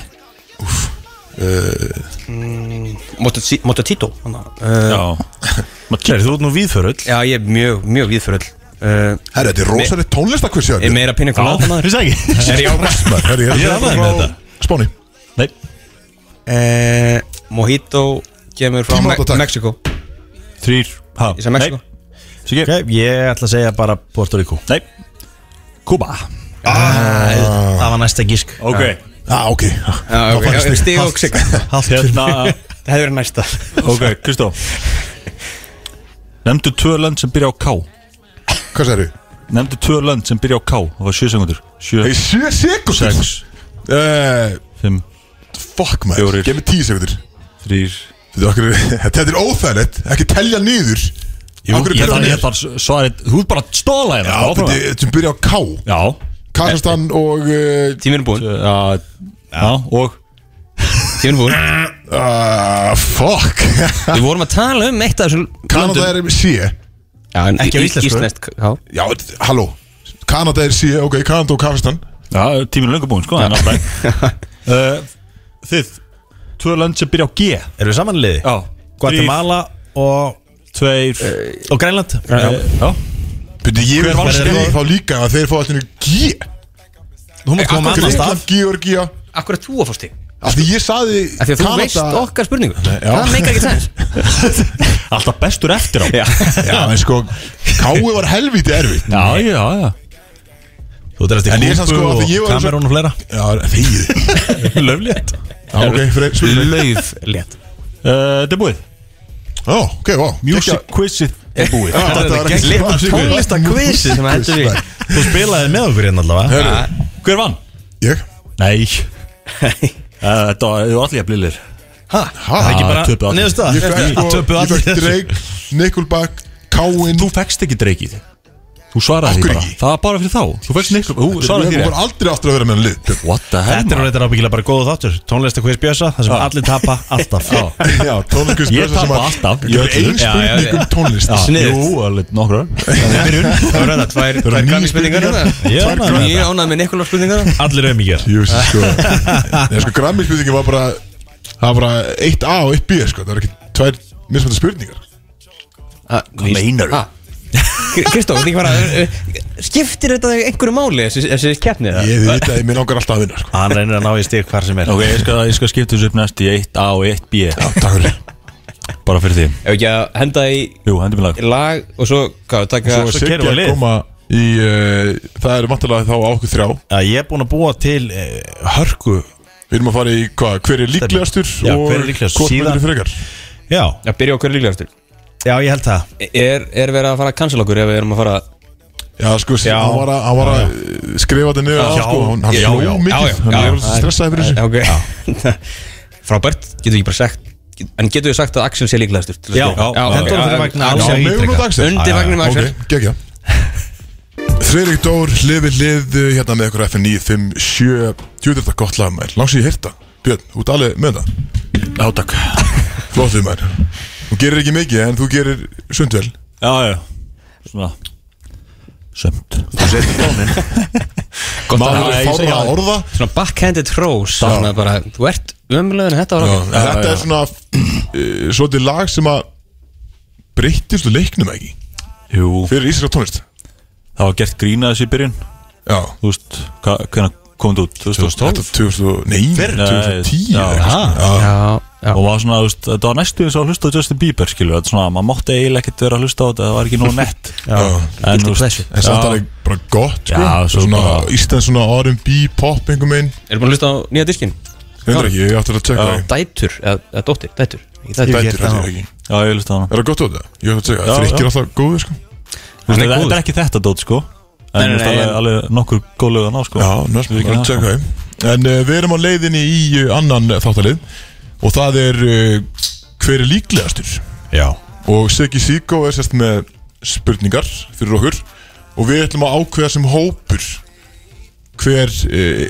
[SPEAKER 3] Mototito Mototito, hann að
[SPEAKER 4] Uh,
[SPEAKER 3] uh,
[SPEAKER 4] já
[SPEAKER 5] Sér, Eh. þú ert nú viðförull
[SPEAKER 3] Já, ég er mjög, mjög viðförull uh,
[SPEAKER 2] Herra, þetta er rosalega tónlistakviss
[SPEAKER 3] Ég er meira pínu
[SPEAKER 4] Já,
[SPEAKER 3] kolata maður
[SPEAKER 4] finnst það ekki?
[SPEAKER 3] Er ég ákvæmst?
[SPEAKER 2] Herra, ég er
[SPEAKER 4] Ég er
[SPEAKER 2] að
[SPEAKER 4] ánægður
[SPEAKER 2] segja
[SPEAKER 4] með
[SPEAKER 2] frá Spáni
[SPEAKER 4] Nei,
[SPEAKER 3] Uh, Mojito kemur frá
[SPEAKER 2] Tíma
[SPEAKER 3] Me
[SPEAKER 2] átta, takk.
[SPEAKER 3] Mexiko
[SPEAKER 4] þrýr ha,
[SPEAKER 3] Ég sagði Mexiko
[SPEAKER 4] Nei, Siggi,
[SPEAKER 5] Ok, ég ætla að segja bara Puerto Rico
[SPEAKER 4] nei Kuba
[SPEAKER 5] Það var næsta gísk
[SPEAKER 4] Ok,
[SPEAKER 2] Já, ok
[SPEAKER 3] Já, ok, já, Stig og Sig Það
[SPEAKER 4] hérna
[SPEAKER 3] hefur verið næsta
[SPEAKER 4] Ok, Kristó Nemndu tvö lönd sem byrja á K
[SPEAKER 2] Hvað sagði við?
[SPEAKER 4] Nemndu tvö lönd sem byrja á K Það var sjö sekundur Sjö,
[SPEAKER 2] Hey, 7 sekundur
[SPEAKER 4] sex,
[SPEAKER 2] Eh,
[SPEAKER 4] fimm,
[SPEAKER 2] Fuck maður
[SPEAKER 4] Fjórir.
[SPEAKER 2] Gef mér 10 sekundur
[SPEAKER 4] þrýr
[SPEAKER 2] Þetta er óþægilegt Ekki telja niður
[SPEAKER 4] Jú,
[SPEAKER 2] Af hverju
[SPEAKER 4] ég
[SPEAKER 2] byrjar
[SPEAKER 4] þarf
[SPEAKER 2] hún
[SPEAKER 4] ég þarf svarið Þú ert bara að stóla
[SPEAKER 2] Já,
[SPEAKER 4] hérna
[SPEAKER 2] þetta
[SPEAKER 4] áfram.
[SPEAKER 2] er- þetta er byrja á K
[SPEAKER 4] Já
[SPEAKER 2] Kazakstan og eh,
[SPEAKER 3] Tíminn er búinn
[SPEAKER 4] Já, já og
[SPEAKER 3] Tíminn er búinn
[SPEAKER 4] Eh.
[SPEAKER 2] ah, Fuck
[SPEAKER 3] Við vorum að tala um eitt af þessu
[SPEAKER 2] Kanada er C
[SPEAKER 3] Já, en
[SPEAKER 5] Ekki á
[SPEAKER 3] í-
[SPEAKER 5] íslensku.
[SPEAKER 3] Íslenskt, já
[SPEAKER 2] Já, þetta- halló Kanada er C, ok, Kanada og Kazakstan
[SPEAKER 4] Já, tíminu löngu búinn, sko en allt í lagi. Uh, Þið Tvö lönd sem byrja á G Já
[SPEAKER 5] Erum við samanliði? Guatemala og,
[SPEAKER 4] Tveir
[SPEAKER 5] og Grænland
[SPEAKER 4] eh, Já
[SPEAKER 2] Byrju, ég vil
[SPEAKER 4] Hver
[SPEAKER 2] fá
[SPEAKER 4] vann
[SPEAKER 2] stig
[SPEAKER 4] þetta?
[SPEAKER 2] þá líka að þeir fá allir einu G
[SPEAKER 5] Þú mátt koma annan stað
[SPEAKER 2] Gríkland, Georgía
[SPEAKER 3] Akkur að þú að fórst í
[SPEAKER 2] Af því ég saði
[SPEAKER 3] Af því að þú veist
[SPEAKER 2] Kanada
[SPEAKER 3] okkar spurningu
[SPEAKER 2] já.
[SPEAKER 3] Það meikar ekki sens
[SPEAKER 4] Alltaf bestur eftir á Já,
[SPEAKER 2] Já, en sko Káu var helviti erfitt
[SPEAKER 4] já, já
[SPEAKER 5] Þú ert
[SPEAKER 2] En
[SPEAKER 5] eftir
[SPEAKER 2] ég er samt sko, af því ég
[SPEAKER 5] Kúbu og
[SPEAKER 2] var eins og-
[SPEAKER 5] Kamerún og fleira
[SPEAKER 2] Já, þegið
[SPEAKER 4] Löflétt Eh,
[SPEAKER 2] Já, ok, fyrir spurning
[SPEAKER 3] Lauf létt
[SPEAKER 4] Uh, Þetta er búið
[SPEAKER 2] Já, ok, vá
[SPEAKER 4] Music quizið er búið
[SPEAKER 2] Já, þetta var ekki
[SPEAKER 5] Litla tónlistakvisið sem hendur við. Þú spilaði með okkur hérna allavega
[SPEAKER 2] Hörru,
[SPEAKER 4] Hver vann?
[SPEAKER 2] ég
[SPEAKER 4] Nei Uh, Þetta var- þau var allir jafnilir
[SPEAKER 2] Ha,
[SPEAKER 5] Ekki bara
[SPEAKER 4] töpuðu allir.
[SPEAKER 5] niðurstaða?
[SPEAKER 2] Ég fekk sko,
[SPEAKER 5] Töpuðu
[SPEAKER 2] ég
[SPEAKER 5] allir
[SPEAKER 2] fekk
[SPEAKER 5] þessu.
[SPEAKER 2] Drake, Nickelback, Káin
[SPEAKER 4] Þú fekst ekki dreikið Þú svaraði
[SPEAKER 2] Af
[SPEAKER 4] því
[SPEAKER 2] hverju
[SPEAKER 4] bara
[SPEAKER 2] ekki?
[SPEAKER 4] Það var bara fyrir þá Þú fekst neitt Þú svaraði því
[SPEAKER 2] Við vorum
[SPEAKER 4] rétt.
[SPEAKER 2] aldrei aftur að vera með hann lið
[SPEAKER 4] What the hell
[SPEAKER 5] Þetta er
[SPEAKER 4] maður?
[SPEAKER 5] reyndar ábyggilega bara góð þáttur Tónlista quiz bjösa Það sem
[SPEAKER 4] Já.
[SPEAKER 5] allir tapa alltaf
[SPEAKER 4] Já.
[SPEAKER 2] Já, tónlist
[SPEAKER 4] Ég tapa alltaf, í
[SPEAKER 2] Ég er
[SPEAKER 4] öllu.
[SPEAKER 2] ein
[SPEAKER 4] Já, já,
[SPEAKER 2] spurning um tónlist
[SPEAKER 4] Jú, alveg nokkra
[SPEAKER 3] Það voru þetta tvær
[SPEAKER 2] eru
[SPEAKER 3] Tvær
[SPEAKER 2] níu
[SPEAKER 3] grann spurningar
[SPEAKER 2] spurningar.
[SPEAKER 3] hérna.
[SPEAKER 5] Ég er ánægður með
[SPEAKER 3] Ég ánað með Nikola spurningar
[SPEAKER 5] Allir auðmíkjar
[SPEAKER 2] Jú, þessi sko Nei, sko, Grammy spurningin var bara Það var bara eitt A og eitt B, sko Það var ekki tvær mismönda spurningar
[SPEAKER 3] Hvað
[SPEAKER 4] meinarðu?
[SPEAKER 3] Ah, Kristó, þetta ekki bara uh, uh, Skiptir þetta þig einhverju máli þessi- Þessi keppni það?
[SPEAKER 2] Ég veit að ég minn langar alltaf að vinna, sko
[SPEAKER 5] Hann reynir að ná í stig hvar sem er
[SPEAKER 4] Ok, ég skal, ég skal skipta þessu upp næst í 1A og 1B
[SPEAKER 2] Já, takk fyrir
[SPEAKER 4] Bara fyrir því
[SPEAKER 3] Ef ekki að henda í
[SPEAKER 4] Jú, hendur mér lag
[SPEAKER 3] í lag Og svo, hvað, taka
[SPEAKER 2] Svo
[SPEAKER 5] svo
[SPEAKER 2] Siggi
[SPEAKER 5] keyrum við
[SPEAKER 2] að
[SPEAKER 5] lið.
[SPEAKER 2] koma í uh, Það er vantilega þá á okkur þrjá
[SPEAKER 5] Já, Ég er búinn að búa til eh, hörku
[SPEAKER 2] Við erum að fara í hvað, hver er líklegastur
[SPEAKER 5] Já,
[SPEAKER 2] og
[SPEAKER 5] hver er líklegastur?
[SPEAKER 2] Hvort
[SPEAKER 5] Síðan-
[SPEAKER 2] myndir þú frekar
[SPEAKER 5] Já,
[SPEAKER 3] Að byrja okkur líklegastur
[SPEAKER 5] já ég held það
[SPEAKER 3] Er, er verið að fara að cancel okkur ef við erum að fara
[SPEAKER 2] Já, sko, já, hann var að, hann var að uh, skrifa þetta niður
[SPEAKER 4] Já,
[SPEAKER 2] sko, hann, hann
[SPEAKER 3] já,
[SPEAKER 2] hló
[SPEAKER 3] já,
[SPEAKER 2] mikið,
[SPEAKER 3] já, já,
[SPEAKER 2] hann
[SPEAKER 3] já.
[SPEAKER 2] var stressaði fyrir þessu
[SPEAKER 3] okay. Frábært, getur ekki bara sagt En getur við sagt að Axel sé líklegastur til að
[SPEAKER 5] Já,
[SPEAKER 3] skilja?
[SPEAKER 4] já,
[SPEAKER 3] hendur
[SPEAKER 5] já,
[SPEAKER 3] honum
[SPEAKER 5] já,
[SPEAKER 3] fyrir vagn
[SPEAKER 5] já,
[SPEAKER 3] alls
[SPEAKER 5] já,
[SPEAKER 3] ekki
[SPEAKER 5] megum
[SPEAKER 3] ítreka.
[SPEAKER 5] nú
[SPEAKER 2] dagsins.
[SPEAKER 3] Undir
[SPEAKER 5] Já, já,
[SPEAKER 3] vagnum
[SPEAKER 2] Ok,
[SPEAKER 3] Axel
[SPEAKER 2] gegja Friðrik Dór, lifið lið uh, hérna með ykkur FN 957 Djúður þetta gott lag mær, langs ég hérta Björn, þú ert alveg með það,
[SPEAKER 4] Já, takk
[SPEAKER 2] flottuð mær Þú gerir ekki mikið, en þú gerir sundvel
[SPEAKER 4] Já, já Svona Sömt
[SPEAKER 3] Gott að
[SPEAKER 2] Maður
[SPEAKER 3] hafa
[SPEAKER 2] er fárra orða
[SPEAKER 3] Svona backhanded throws Svona bara, þú ert ömulegðin þetta var
[SPEAKER 2] Já,
[SPEAKER 3] okkur
[SPEAKER 2] en Þetta er svona uh, Svolítið lag sem að Breyttist úr leiknum ekki
[SPEAKER 4] Jú
[SPEAKER 2] Fyrir íslenska tónlist
[SPEAKER 4] Það var gert grína þessu í byrjun
[SPEAKER 2] Já
[SPEAKER 4] Þú veist, hva- hvenær kom þetta út? 2012
[SPEAKER 2] Þetta 2000, nei,
[SPEAKER 4] Fyrr?
[SPEAKER 2] 2010
[SPEAKER 4] Já.
[SPEAKER 2] eða eitthvað svona. Já.
[SPEAKER 3] Já, já
[SPEAKER 4] og maður svona, þú veist, þetta var næstu eins og að hlusta á Justin Bieber, skilur, þetta er svona, maður mátti eiginlega ekkert vera að hlusta á þetta, það var ekki nóg nett
[SPEAKER 2] Já.
[SPEAKER 4] en, þú veist,
[SPEAKER 2] En samt alveg bara gott sko.
[SPEAKER 4] Já, svo
[SPEAKER 2] svona,
[SPEAKER 4] bara-
[SPEAKER 2] Ísland svona R&B pop einhver meginn
[SPEAKER 3] Erum búin að hlusta á nýja diskin?
[SPEAKER 2] Reyndar ekki, ég átti að tjekka það
[SPEAKER 3] Dætur, eða eða dóttir, dætur Ekki
[SPEAKER 2] Dætur,
[SPEAKER 3] Dætur,
[SPEAKER 2] þetta er ekki
[SPEAKER 4] já, ég hlusta á hana
[SPEAKER 2] Er það gott út það? Ég átti að tjekka
[SPEAKER 4] Já,
[SPEAKER 2] það Frikki
[SPEAKER 4] já.
[SPEAKER 2] er alltaf góður sko
[SPEAKER 4] Þú
[SPEAKER 3] er
[SPEAKER 4] veist, þetta
[SPEAKER 3] góður.
[SPEAKER 4] þetta er ekki þetta dót, sko en,
[SPEAKER 3] Nei, nei,
[SPEAKER 4] þú veist,
[SPEAKER 3] nei,
[SPEAKER 4] alveg,
[SPEAKER 3] en-
[SPEAKER 4] alveg nokkur góðlega ná, sko
[SPEAKER 2] Já, næstum við að tjekka það En uh, við erum á leiðinni í eh, uh, annan þáttalið Og það er uh, Hver er eh, líklegastur?
[SPEAKER 5] Já
[SPEAKER 2] Og Siggi Sigó er sérst með spurningar fyrir okkur Og við ætlum að ákveða sem hópur Hver eh,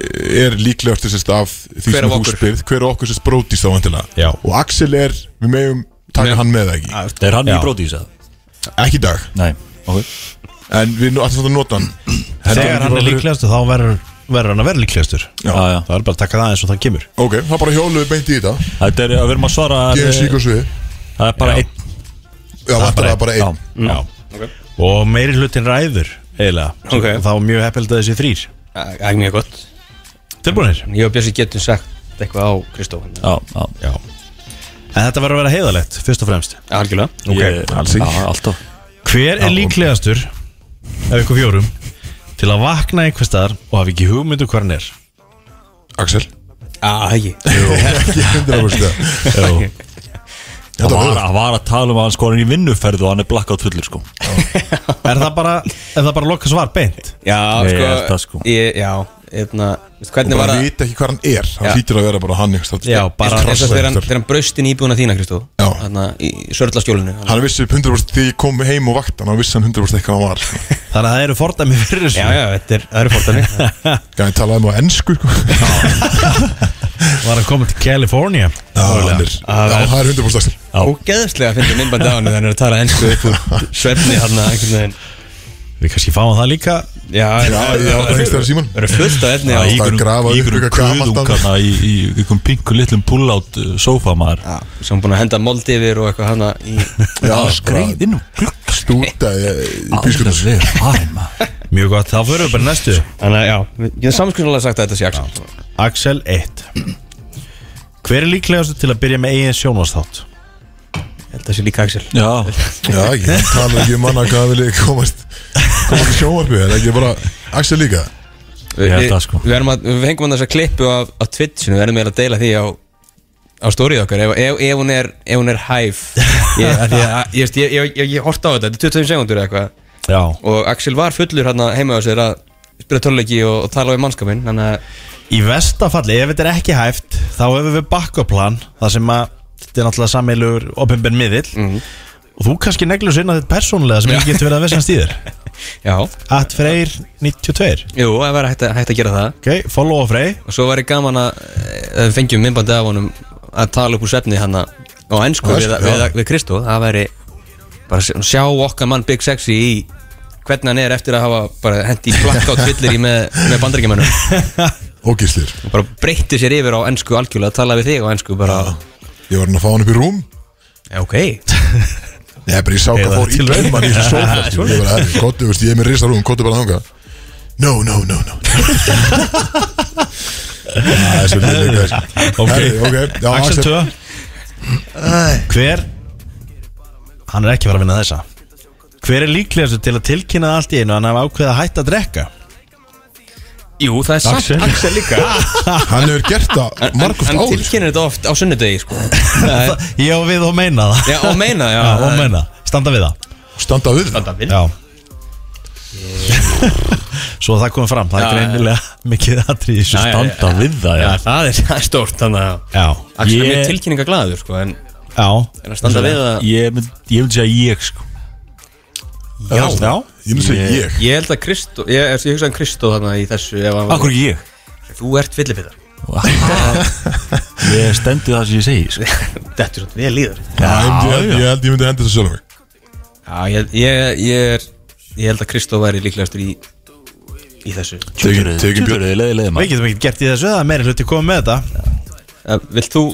[SPEAKER 2] er líklegast sérst af því
[SPEAKER 3] Hver
[SPEAKER 2] sem
[SPEAKER 3] af
[SPEAKER 2] þú
[SPEAKER 3] okkur?
[SPEAKER 2] spyrð Hver af okkur sérst brótist þá vantilega
[SPEAKER 5] Já.
[SPEAKER 2] Og Axel er, við megum taka hann með það ekki
[SPEAKER 4] Er hann
[SPEAKER 5] Já.
[SPEAKER 4] í brótís eða?
[SPEAKER 2] Ekki í dag
[SPEAKER 4] Nei, ok
[SPEAKER 2] En við nú- ætlum samt að nota hann
[SPEAKER 5] Þegar hann er líklegastur þá verður verður hann að vera líklegastur
[SPEAKER 2] Já.
[SPEAKER 4] Já, já.
[SPEAKER 5] Það er bara að taka það eins og það kemur
[SPEAKER 2] Ok, þá bara hjólum við beint í þetta
[SPEAKER 4] Þetta er, við erum að svara að-
[SPEAKER 2] Geðum sík og svið
[SPEAKER 4] Það er bara einn
[SPEAKER 2] Já, vantar það bara einn
[SPEAKER 5] Já. Og meiri hlutin ræður eiginlega
[SPEAKER 3] Ok.
[SPEAKER 5] Og Þá er mjög heppilegt að þessi þrýr
[SPEAKER 3] Það er mjög gott
[SPEAKER 5] Tilbúinir
[SPEAKER 3] Ég og Björsi getum sagt eitthvað á Kristóf hérna.
[SPEAKER 4] Já, já,
[SPEAKER 5] Já En þetta verður að vera heiðalegt, fyrst og fremst
[SPEAKER 3] Algjörlega
[SPEAKER 4] ok,
[SPEAKER 2] alls ekki.
[SPEAKER 4] Já, alltaf
[SPEAKER 5] Hver er líklegastur af ykkur fjórum til að vakna einhver staðar og hafa ekki hugmyndu hvað hann er
[SPEAKER 2] Axel
[SPEAKER 3] Já, ekki
[SPEAKER 2] Ekki 100% það.
[SPEAKER 4] Já.
[SPEAKER 2] Þetta
[SPEAKER 4] Það var,
[SPEAKER 2] var
[SPEAKER 4] það var að tala um að hann sko er í vinnuferð og hann er blakkátt fullur sko
[SPEAKER 5] Er það bara, er það bara loka svar beint?
[SPEAKER 3] Já,
[SPEAKER 4] Ég
[SPEAKER 3] sko,
[SPEAKER 4] held það, sko.
[SPEAKER 3] Ég, já, hérna veistu
[SPEAKER 2] Og
[SPEAKER 3] Hvernig var
[SPEAKER 2] bara
[SPEAKER 3] það
[SPEAKER 2] vita ekki hvað hann er
[SPEAKER 3] Já.
[SPEAKER 2] Hann hlýtur að vera bara hann einhvers staðar.
[SPEAKER 5] Já, bara-
[SPEAKER 2] Krossa
[SPEAKER 3] Þess að þegar hann,
[SPEAKER 2] einhvers staðar.
[SPEAKER 3] þegar hann braust inn í íbúðuna þína, Kristó
[SPEAKER 2] Já.
[SPEAKER 3] Þarna í sörlaskjólinu
[SPEAKER 2] Hann vissi 100% þegar ég kom heim og vakti hann Hann vissi hann 100% eitthvað hann var sko.
[SPEAKER 5] Þannig að það eru fordæmi fyrir þessu
[SPEAKER 3] Já, já, þetta er, það eru fórtæmi
[SPEAKER 2] Gæði talaði um á ennsku sko. Já,
[SPEAKER 5] Var að koma til California
[SPEAKER 2] hann er- Já, það er 100% Axel.
[SPEAKER 3] Og geðslega finnst ég minnbandi á hann Þannig að tala ennsku upp úr svefni hann einhvern veginn
[SPEAKER 5] Við kannski fáum það líka
[SPEAKER 3] Já,
[SPEAKER 2] Já, já, það er einstæðan Símon
[SPEAKER 3] Það eru fullt af efni á
[SPEAKER 2] Já. að grafa upp
[SPEAKER 4] ykkur
[SPEAKER 2] eitthvað gamalt þarna.
[SPEAKER 4] kuðungarna í, í ykkur pingu litlum pull-out uh, sófa maður
[SPEAKER 3] Já, sem er búin að henda mold yfir og eitthvað hana í
[SPEAKER 2] Já,
[SPEAKER 4] Greið inn og glukk
[SPEAKER 2] stúta í bískunum
[SPEAKER 4] Alveg farin maður
[SPEAKER 5] Mjög gott, þá fyrir við bara í næstu
[SPEAKER 3] Þannig að já, við getum samskunnarlega sagt að þetta sé Axel
[SPEAKER 5] Axel 1 Hver er líklegastur til að byrja með eigin sjónvarsþátt?
[SPEAKER 3] Þetta sé líka Axel
[SPEAKER 4] Já,
[SPEAKER 2] Já, ég tala ekki um manna hvað hann vilja komast Komast í sjónvarpi En ekki bara Axel líka
[SPEAKER 3] Við,
[SPEAKER 4] held það, sko.
[SPEAKER 3] við, erum að, við fengum hann þessa klippu af, af Twitchinu, við erum meira að deila því á, á stórið okkar ef, ef, ef, hún er, ef hún er hæf ég, af því að- ég, veist, ég, ég, ég, ég horta á þetta, þetta er 25 sekundur eitthvað
[SPEAKER 5] Já
[SPEAKER 3] og Axel var fullur hann heima á sér að spila töluleiki og, og tala við mannskapin þannig að
[SPEAKER 5] Í vestafalli, ef þetta er ekki hæft þá hefur við bakkaplan þar sem að þetta er náttúrulega sammeilur opinbenn miðill og þú kannski neglur sér inn að þetta persónulega sem ekki getur verið að vesnast í þér
[SPEAKER 3] já,
[SPEAKER 5] At Freyr 92
[SPEAKER 3] jú, það var hægt, að- hægt að gera það
[SPEAKER 5] Ok, follow á Freyr
[SPEAKER 3] og svo væri gaman að eh, við fengjum minnbandi af honum að tala upp úr svefni hann á
[SPEAKER 2] Á
[SPEAKER 3] ennsku við,
[SPEAKER 2] ensku,
[SPEAKER 3] við,
[SPEAKER 2] já.
[SPEAKER 3] við Kristó það væri bara sjá- sjá okkar mann Big Sexy í hvernig hann er eftir að hafa bara hendi blackout fyllir í með, með bandaríkjamennum
[SPEAKER 2] Og gíslir
[SPEAKER 3] og bara breytti sér yfir á ennsku algjörlega að tala við þig á ennsku bara
[SPEAKER 2] Ég var hann að fá hann upp í rúm
[SPEAKER 3] já, ok
[SPEAKER 2] Ég bara ég sá hvað
[SPEAKER 5] Eða
[SPEAKER 2] fór í
[SPEAKER 5] til-
[SPEAKER 2] drauman í þessu sófa sko. Ég bara, herri, kottu, veist, ég er með risa rúm, kottu bara þanga No, no, no, no Það er svo líka sko.
[SPEAKER 5] Ok.
[SPEAKER 2] Herri, ok, já,
[SPEAKER 5] Axel 2 Hver Hann er ekki að fara að vinna þessa Hver er líklegastur til að tilkynna allt í einu að hann hafa ákveðið að hætta að drekka?
[SPEAKER 3] jú, það er samt
[SPEAKER 5] Axel.
[SPEAKER 3] Axel líka
[SPEAKER 2] Hann hefur gert það
[SPEAKER 3] hann,
[SPEAKER 2] margóft
[SPEAKER 3] hann
[SPEAKER 2] áður sko.
[SPEAKER 3] tilkynir þetta oft á sunnudegi sko. Það er-
[SPEAKER 5] Ég og við og meina það
[SPEAKER 3] já, og meina, já,
[SPEAKER 5] Já, og meina, standa við það
[SPEAKER 2] Standa við það
[SPEAKER 5] Já Svo það komið fram, það er
[SPEAKER 3] Já,
[SPEAKER 5] greinilega mikið atrið í þessu
[SPEAKER 3] Já, já,
[SPEAKER 5] standa
[SPEAKER 4] standa við það já
[SPEAKER 3] Já, það er, það er stórt þannig að
[SPEAKER 5] Já,
[SPEAKER 3] Axel er mjög
[SPEAKER 4] Ég-
[SPEAKER 3] tilkynningaglæður sko, en,
[SPEAKER 5] já
[SPEAKER 3] en að standa við að
[SPEAKER 4] Ég mynd, ég myndi segja ég sko
[SPEAKER 2] Já, já Ég myndi segja
[SPEAKER 4] Ég-
[SPEAKER 2] ég
[SPEAKER 3] Ég held að Kristó, ég, ég hugsa um Kristó þarna í þessu ef hann
[SPEAKER 4] Akkur ég
[SPEAKER 3] Þú ert fyllipittar
[SPEAKER 4] Ég stendi það sem ég segi sko.
[SPEAKER 3] Dettur svona, ég líður
[SPEAKER 2] Já, ég myndi- Ég held ég myndi henda þessu sjálf mig
[SPEAKER 3] Já, ég, ég, ég er, ég held að Kristó væri líklegastur í, í þessu
[SPEAKER 2] Tekin- Tekin björn
[SPEAKER 4] Tjöldurðu, leiði leiði
[SPEAKER 5] Við
[SPEAKER 4] maður
[SPEAKER 5] getum ekkert gert í þessu, það er meiri hluti komið með þetta
[SPEAKER 3] uh, Vilt þú